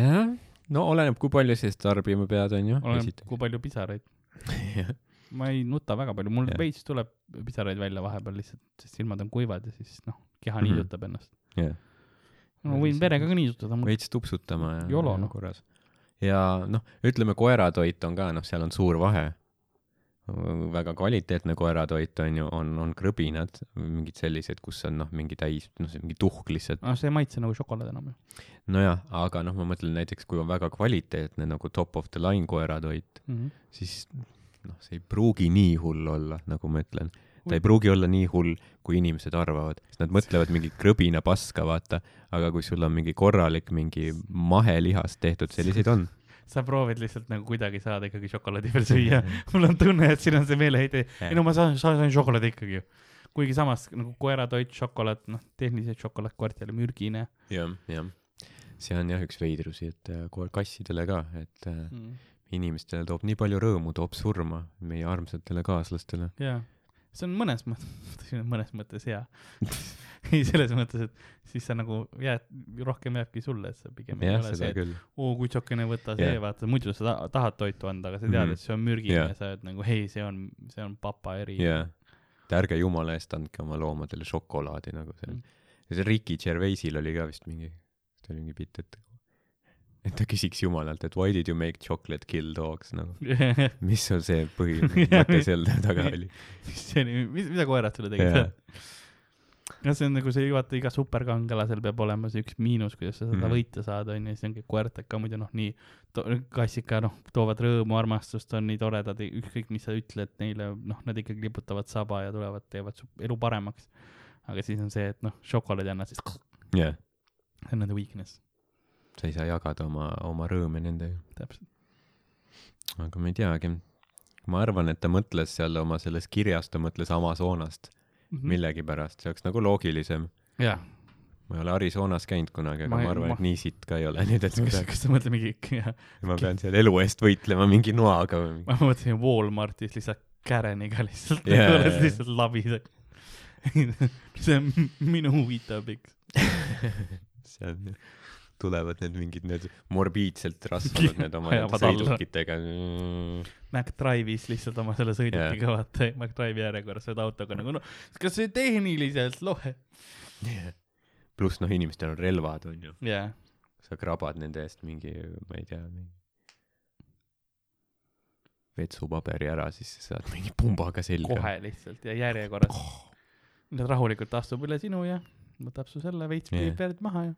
C: jah , no oleneb , kui palju sa seda tarbima pead , onju .
B: oleneb , kui palju pisaraid . ma ei nuta väga palju , mul
C: Jah.
B: veits tuleb pisaraid välja vahepeal lihtsalt , sest silmad on kuivad ja siis noh , keha
C: Mhm.
B: niisutab ennast .
C: jah ,
B: ma võin verega ka niisutada , mul
C: [LAUGHS] veits tupsutama ja
B: Jolo,
C: ja
B: noh.
C: korras . ja noh , ütleme koeratoit on ka , noh , seal on suur vahe . väga kvaliteetne koeratoit on ju , on , on krõbinad , mingid sellised , kus on noh , mingi täis , noh , see mingi tuhk lihtsalt .
B: ah, , see ei maitse nagu šokolaad enam ju .
C: nojah , aga noh , ma mõtlen näiteks , kui on väga kvaliteetne nagu top of the line koeratoit , siis noh , see ei pruugi nii hull olla , nagu ma ütlen . ta ei pruugi olla nii hull , kui inimesed arvavad , sest nad mõtlevad mingi krõbina paska , vaata , aga kui sul on mingi korralik mingi mahelihast tehtud , selliseid on .
B: sa proovid lihtsalt nagu kuidagi saada ikkagi šokolaadi
C: Mhm.
B: veel süüa . [LAUGHS] mul on tunne , et siin on see meeleheide , ei no ma saan , saan , saan šokolaadi ikkagi ju . kuigi samas nagu koeratoit , šokolaad , noh , tehniliselt šokolaadkvart ei ole mürgine
C: jah , jah . see on jah üks veidrusi , et äh, ko- kassidele ka , et äh,
B: mm. .
C: inimestele toob nii palju rõõmu , toob surma meie armsatele kaaslastele .
B: jaa , see on mõnes [LAUGHS] mõttes , mõnes mõttes hea . [LAUGHS] ei , selles mõttes , et siis sa nagu jääd , rohkem jääbki sulle , et sa pigem ei
C: jah ,
B: ole
C: seda
B: see , et
C: küll .
B: oo kutsukene , võta see
C: Jah.
B: yeah. , vaata , muidu sa ta tahad toitu anda , aga sa tead mm ,
C: Mhm.
B: -hmm. et see on mürgine
C: Jah.
B: yeah. , sa oled nagu ei , see on , see on papa eri
C: jaa . et ärge jumala eest andke oma loomadele šokolaadi nagu see on . see Ricky Gervaisil oli ka vist mingi , ta oli mingi bitt , et et ta küsiks jumalalt , et why did you make chocolate kill dogs nagu ,
B: [LAUGHS]
C: [LAUGHS]
B: yeah. .
C: mis sul see põhimõte seal [LAUGHS] taga oli ?
B: see oli , mis , mida koerad sulle tegid
C: jaa
B: yeah. ?, no see on nagu see , vaata iga superkangelasel peab olema see üks miinus , kuidas sa seda
C: Mhm.
B: mm. võita saad , onju , siis ongi koertega ka muidu noh , nii to, kassid ka noh , toovad rõõmu , armastust , on nii toredad , ükskõik mis sa ütled neile , noh , nad ikkagi liputavad saba ja tulevad , teevad su elu paremaks . aga siis on see , et noh , šokolaadi annad , siis see
C: jaa ,
B: on nende weakness ,
C: sa ei saa jagada oma , oma rõõme nendega ,
B: täpselt .
C: aga ma ei teagi . ma arvan , et ta mõtles seal oma selles kirjas , ta mõtles Amazonast millegipärast , see oleks nagu loogilisem .
B: jaa ,
C: ma ei ole Arizonas käinud kunagi , aga
B: Ma
C: ma,
B: ei-
C: ma arvan ma... , et
B: ma-
C: nii sitt ka ei ole , nii et ma
B: kas ,
C: pean ,
B: kas sa mõtled mingi ,
C: ma pean seal elu eest võitlema mingi noaga või mingi .
B: [LAUGHS] ma mõtlesin Walmartis lihtsalt Kareniga lihtsalt
C: Jaa,
B: yeah, ,
C: jaa,
B: oled
C: jaa.
B: lihtsalt labis . [LAUGHS] see on minu huvitav pikk .
C: seal tulevad need mingid need morbiidselt rasvunud need oma need
B: Ajavad alla.
C: sõidukitega .
B: MacDrive'is lihtsalt oma selle sõidukiga yeah. vaata , MacDrive'i järjekorras sõida autoga nagu noh , kas see tehniliselt lohe ?
C: pluss noh , inimestel on relvad onju ,
B: jaa ,
C: sa krabad nende eest mingi , ma ei tea , mingi vetsupaberi ära , siis sa saad mingi pumbaga selga .
B: kohe lihtsalt ja järjekorras oh. . nüüd rahulikult astub üle sinu ja võtab su selle veits
C: Jah.
B: yeah. verd maha ja .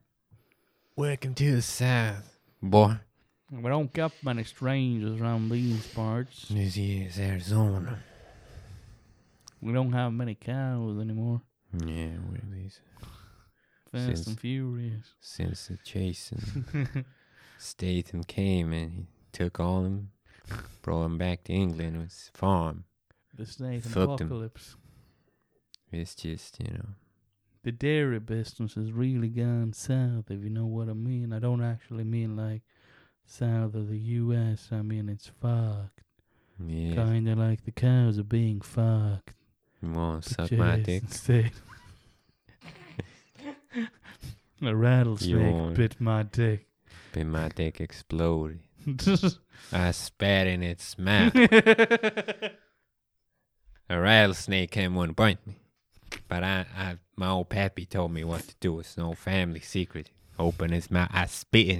C: Welcome to the south . Boy,
B: We don't get many strangers around these parts .
C: this is Arizona .
B: We don't have many cows anymore .
C: Yeah, we're these
B: Fast
C: Since-
B: and furious .
C: since the Jason Statham came and he took all them, brought them back to England with his farm.
B: the snake and
C: Fucked him.
B: apocalypse.
C: It's just, you know.
B: The dairy business has really gone south, if you know what I mean. I don't actually mean like south of the US. I mean it's fucked.
C: Yeah.
B: Kinda like the cows are being fucked.
C: Well,
B: But
C: suck my
B: yes,
C: dick.
B: instead. [LAUGHS] A rattlesnake
C: Yawn.
B: bit my dick. [LAUGHS]
C: But my dick exploded. I spat in its mouth. A rattlesnake came and bite me. But I, I, my old pappy told me what to do. It's no family secret. Open his mouth. I spit in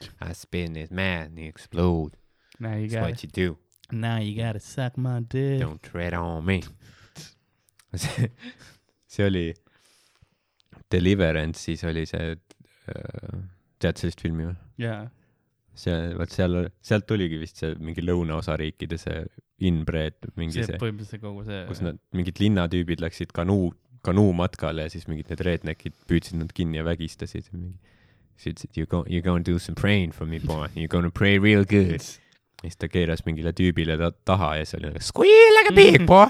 C: it. I spit in his mouth and he explode.
B: now you
C: That's
B: got
C: what you do.
B: now you gotta suck my dick.
C: Don't tread on me. [LAUGHS] see oli Deliverance , siis oli see , tead sellist filmi või ?
B: jaa .
C: see , vot seal , sealt tuligi vist see mingi lõunaosariikide see inbred , mingi
B: see
C: see ,
B: põhimõtteliselt kogu see
C: kus nad , mingid linnatüübid läksid kanuu , kanuumatkale ja siis mingid need rednekid püüdsid nad kinni ja vägistasid . siis ütlesid you go , you gonna do some praying for me boy , you gonna pray real good . ja siis ta keeras mingile tüübile ta taha ja siis oli nagu squeal like a pig boy ,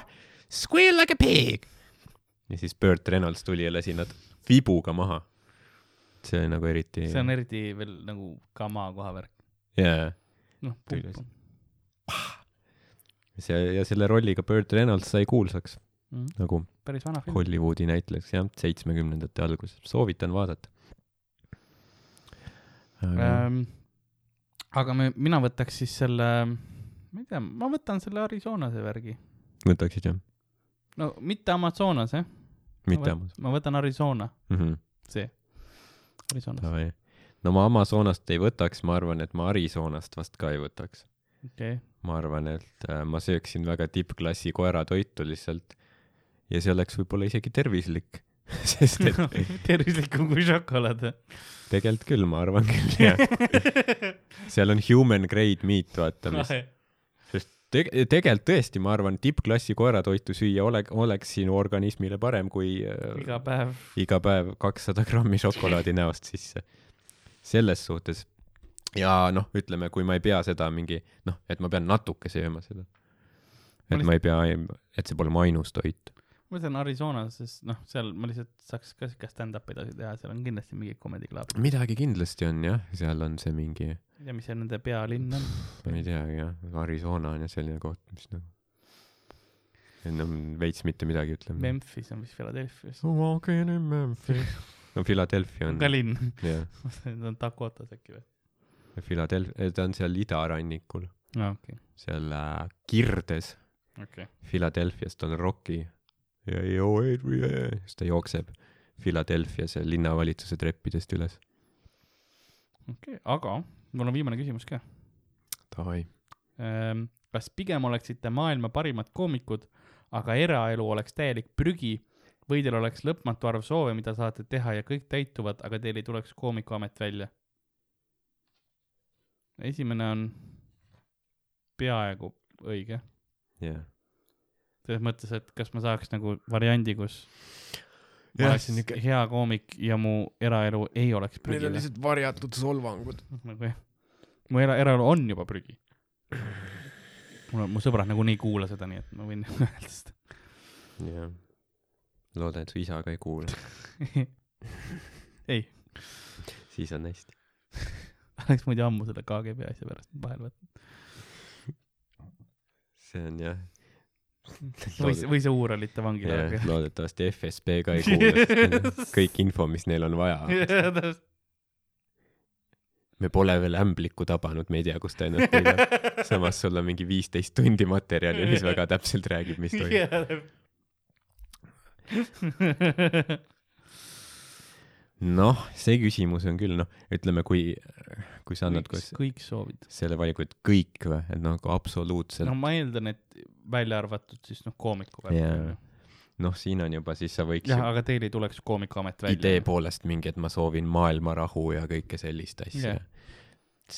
C: squeal like a pig . ja siis Bert Reynolds tuli ja lasi nad vibuga maha . see oli nagu eriti ,
B: see on eriti veel nagu kama koha värk .
C: jaa
B: noh ,
C: Tuli lihtsalt. see ja selle rolliga Burt Reynolds sai kuulsaks
B: Mhm.
C: nagu
B: päris vana film .
C: Hollywoodi näitlejaks jah , seitsmekümnendate alguses , soovitan vaadata .
B: Ähm, aga me , mina võtaks siis selle , ma ei tea , ma võtan selle Arizonase värgi .
C: võtaksid jah ,
B: no mitte Amazonas , jah .
C: mitte Amazon
B: ma võtan Arizona ,
C: mm . -hmm.
B: see . Arizonas ,
C: Davai. no ma Amazonast ei võtaks , ma arvan , et ma Arizonast vast ka ei võtaks .
B: okei . [LAUGHS]
C: ma arvan , et äh, ma sööksin väga tippklassi koeratoitu lihtsalt ja see oleks võib-olla isegi tervislik , [LAUGHS] sest et
B: tervislikum kui šokolaad .
C: tegelikult küll , ma arvan küll jah , seal on human grade meat , vaata ,
B: Noh, [LAUGHS]
C: mis Teg- , tegelikult tõesti , ma arvan , tippklassi koeratoitu süüa ole- , oleks sinu organismile parem kui äh,
B: iga päev .
C: iga päev kakssada grammi šokolaadi näost sisse . selles suhtes . ja noh , ütleme , kui ma ei pea seda mingi , noh , et ma pean natuke sööma seda .
B: Ma
C: et ma ei pea , et see pole mu ainus toit .
B: ma ütlen Arizonas , sest noh , seal ma lihtsalt saaks ka siukest stand-up'i edasi teha , seal on kindlasti mingi comedy club .
C: midagi kindlasti on jah , seal on see mingi ,
B: ma ei tea , mis see nende pealinn on .
C: ma ei teagi jah , Arizona on jah selline koht , mis nagu , enam veits mitte midagi ütleme .
B: Memphis on vist Philadelphia's .
C: Walking in Memphis . no Philadelphia
B: on
C: on
B: ka , linn . [LAUGHS]
C: jah
B: see on Dakotas äkki või ?
C: Philadelphia , ta on seal idarannikul ,
B: aa , okei .
C: seal äh, Kirdes .
B: Okei.
C: Philadelphiast on Rocki ja Yo Adrian , siis ta jookseb Philadelphias linnavalitsuse treppidest üles .
B: okei , aga mul on viimane küsimus ka .
C: Davai .
B: Ehm, kas pigem oleksite maailma parimad koomikud , aga eraelu oleks täielik prügi või teil oleks lõpmatu arv soove , mida saate teha ja kõik täituvad , aga teil ei tuleks koomikuamet välja ? esimene on peaaegu õige ,
C: jah .
B: selles mõttes , et kas ma saaks nagu variandi , kus ma
C: Jah,
B: oleks
C: see on niuke-
B: hea koomik ja mu eraelu ei oleks prügil .
C: lihtsalt varjatud solvangud .
B: nagu jah , mu era , eraelu on juba prügi . mul on , mu sõbrad nagunii ei kuula seda , nii et ma võin nagu öelda seda .
C: jah . loodan , et su isa ka ei kuule ,
B: ei ,
C: siis on hästi .
B: [LAUGHS] oleks muidu ammu selle KGB asja pärast vahele võtnud .
C: see on jah .
B: või see , või see Uuralite vangila
C: jah , loodetavasti FSB ka ei kuule , kõik info , mis neil on vaja . [LAUGHS]
B: aga .
C: me pole veel ämblikku tabanud , me ei tea , kust ta ennast peidab . samas sul on mingi viisteist tundi materjali , mis väga täpselt räägib , mis toimub . noh , see küsimus on küll noh , ütleme , kui , kui sa [LAUGHS] annad kas
B: kõik soovid .
C: selle valiku , et kõik või , et noh , nagu absoluutselt
B: no ma eeldan , et välja arvatud siis noh , koomiku
C: Jaa.
B: värk .
C: noh , siin on juba siis sa võiks
B: jah ,
C: ju
B: aga teil ei tuleks koomikuamet välja
C: idee . poolest mingi , et ma soovin maailma rahu ja kõike sellist asja
B: Jah. .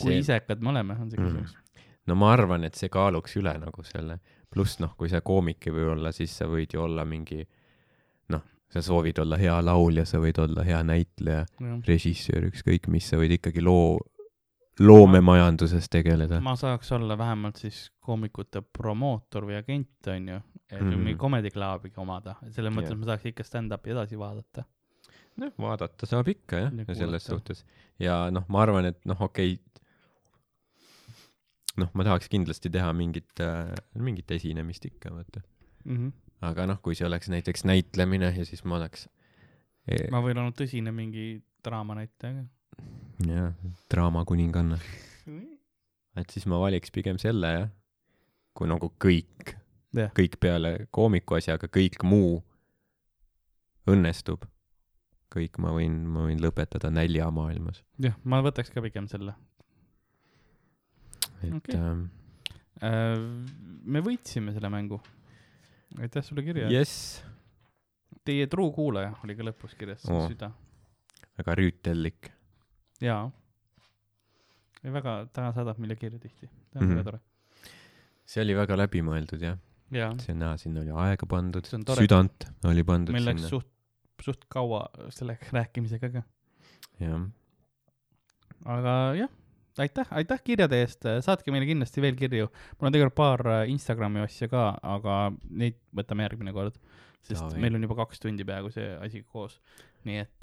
B: kui isekad me oleme , on see
C: Mhm.
B: küsimus .
C: no ma arvan , et see kaaluks üle nagu selle , pluss noh , kui sa koomik ei või olla , siis sa võid ju olla mingi noh , sa soovid olla hea laulja , sa võid olla hea näitleja ,
B: jah ,
C: režissöör , ükskõik mis , sa võid ikkagi loo loomemajanduses tegeleda .
B: ma saaks olla vähemalt siis koomikute promootor või agent , onju , et mm
C: Mhm.
B: -hmm. mingi Comedy Clubiga omada , selles mõttes
C: Jah.
B: yeah. ma tahaks ikka stand-up'i edasi vaadata .
C: noh , vaadata saab ikka jah
B: Ja ,
C: ja selles
B: kuulata.
C: suhtes . ja noh , ma arvan , et noh , okei okay, , noh , ma tahaks kindlasti teha mingit äh, , mingit esinemist ikka , vaata .
B: Mm -hmm.
C: aga noh , kui see oleks näiteks näitlemine ja siis ma oleks eh,
B: ma võin olla tõsine mingi draama näitleja
C: jah , draamakuninganna ,
B: ka .
C: et siis ma valiks pigem selle jah , kui nagu kõik
B: Jah.
C: kõik peale koomiku asjaga , kõik muu õnnestub . kõik ma võin , ma võin lõpetada näljamaailmas ,
B: jah , ma võtaks ka pigem selle .
C: et
B: Okei.
C: okay. ähm,
B: Äh, me võitsime selle mängu . aitäh sulle kirja yeah. .
C: jess
B: Teie truu kuulaja oli ka lõpus kirjas
C: Oo.
B: oh. , süda .
C: väga rüütellik .
B: jaa . väga , ta saadab meile kirju tihti . ta on
C: Mhm.
B: väga tore .
C: see oli väga läbimõeldud jah ,
B: jaa ,
C: see on näha , sinna oli aega pandud
B: See on , tore.
C: südant oli pandud
B: meil läks
C: sinna ,
B: suht , suht kaua selle rääkimisega ka .
C: jah .
B: aga jah , aitäh , aitäh kirjade eest , saatke meile kindlasti veel kirju . mul on tegelikult paar äh, Instagrami asja ka , aga neid võtame järgmine kord , sest
C: Davai.
B: meil on juba kaks tundi peaaegu see asi koos . nii et ,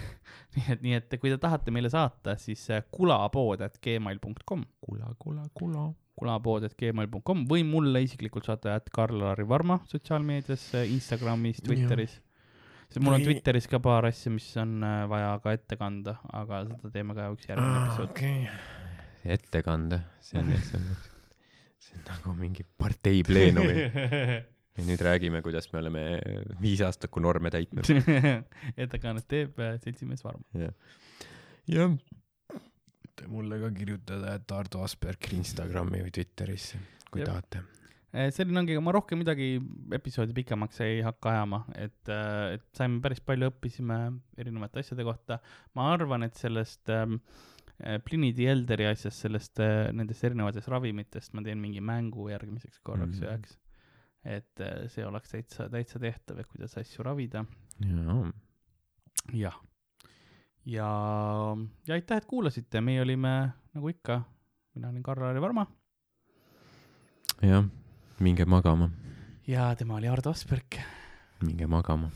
B: [LAUGHS] nii et , nii et kui te tahate meile saata , siis äh, kulapood.gmail.com ,
C: kula , kula , kula .
B: kulapood.gmail.com või mulle isiklikult saate at Karl-Lari Varma sotsiaalmeedias , Instagramis , Twitteris sest mul on
C: Või-
B: Twitteris ka paar asja , mis on äh, vaja ka ette kanda , aga seda teeme ka üks järgmine episood .
C: Ah, okei . ettekande , see on , see on , see on nagu mingi partei pleenum ja nüüd räägime , kuidas me oleme viisaastaku norme täitnud .
B: [LAUGHS] ettekannet teeb äh, seltsimees Varmo .
C: jah . Te mulle ka kirjutada , et Ardo Asperger Instagrami või Twitterisse , kui
B: Jah.
C: tahate .
B: selline Äh, ongi , ma rohkem midagi episoodi pikemaks ei hakka ajama , et , et saime päris palju , õppisime erinevate asjade kohta . ma arvan , et sellest ähm, äh, Pliny the Elderi asjast , sellest , nendest erinevatest ravimitest ma teen mingi mängu järgmiseks korraks
C: Mhm.
B: üheks mm. et äh, see oleks täitsa , täitsa tehtav , et kuidas asju ravida .
C: jaa ,
B: jah . ja , ja aitäh , et kuulasite , meie olime nagu ikka , mina olin Karl-Lari Varma
C: jah , minge magama ,
B: ja tema oli Ardo Asperg
C: minge magama .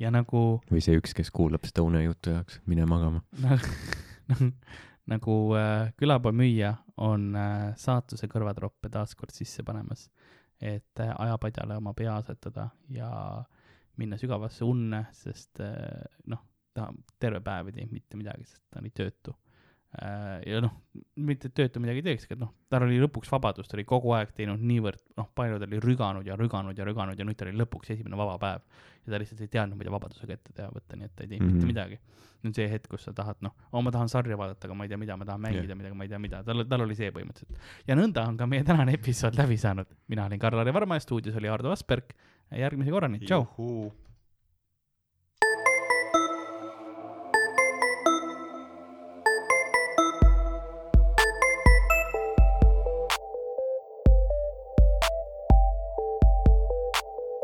B: ja nagu ,
C: või see üks , kes kuulab Stone jutu jaoks , mine magama .
B: [LAUGHS] nagu, nagu äh, külapoemüüja on äh, saatuse kõrvatroppe taaskord sisse panemas , et äh, ajapadjale oma pea asetada ja minna sügavasse unne , sest äh, noh , ta terve päev ei teinud mitte midagi , sest ta oli töötu . ja noh , mitte et töötu midagi ei teeks , aga noh , tal oli lõpuks vabadus , ta oli kogu aeg teinud niivõrd , noh , palju ta oli rüganud ja rüganud ja rüganud ja nüüd tal oli lõpuks esimene vaba päev ja ta lihtsalt ei teadnud , mida vabadusega ette teha võtta , nii et ta ei teinud mm -hmm.
C: Mhm.
B: mitte midagi . nüüd see hetk , kus sa tahad , noh , oo , ma tahan sarja vaadata , aga ma ei tea , mida ma tahan mängida yeah. , midagi , ma ei tea , mida , tal , tal oli see põhimõtteliselt . ja nõnda on ka meie tänane episood läbi saanud . mina olin Karl-Lari Varma ja stuudios oli Ardo Asperg . järgmise korrani , tšau .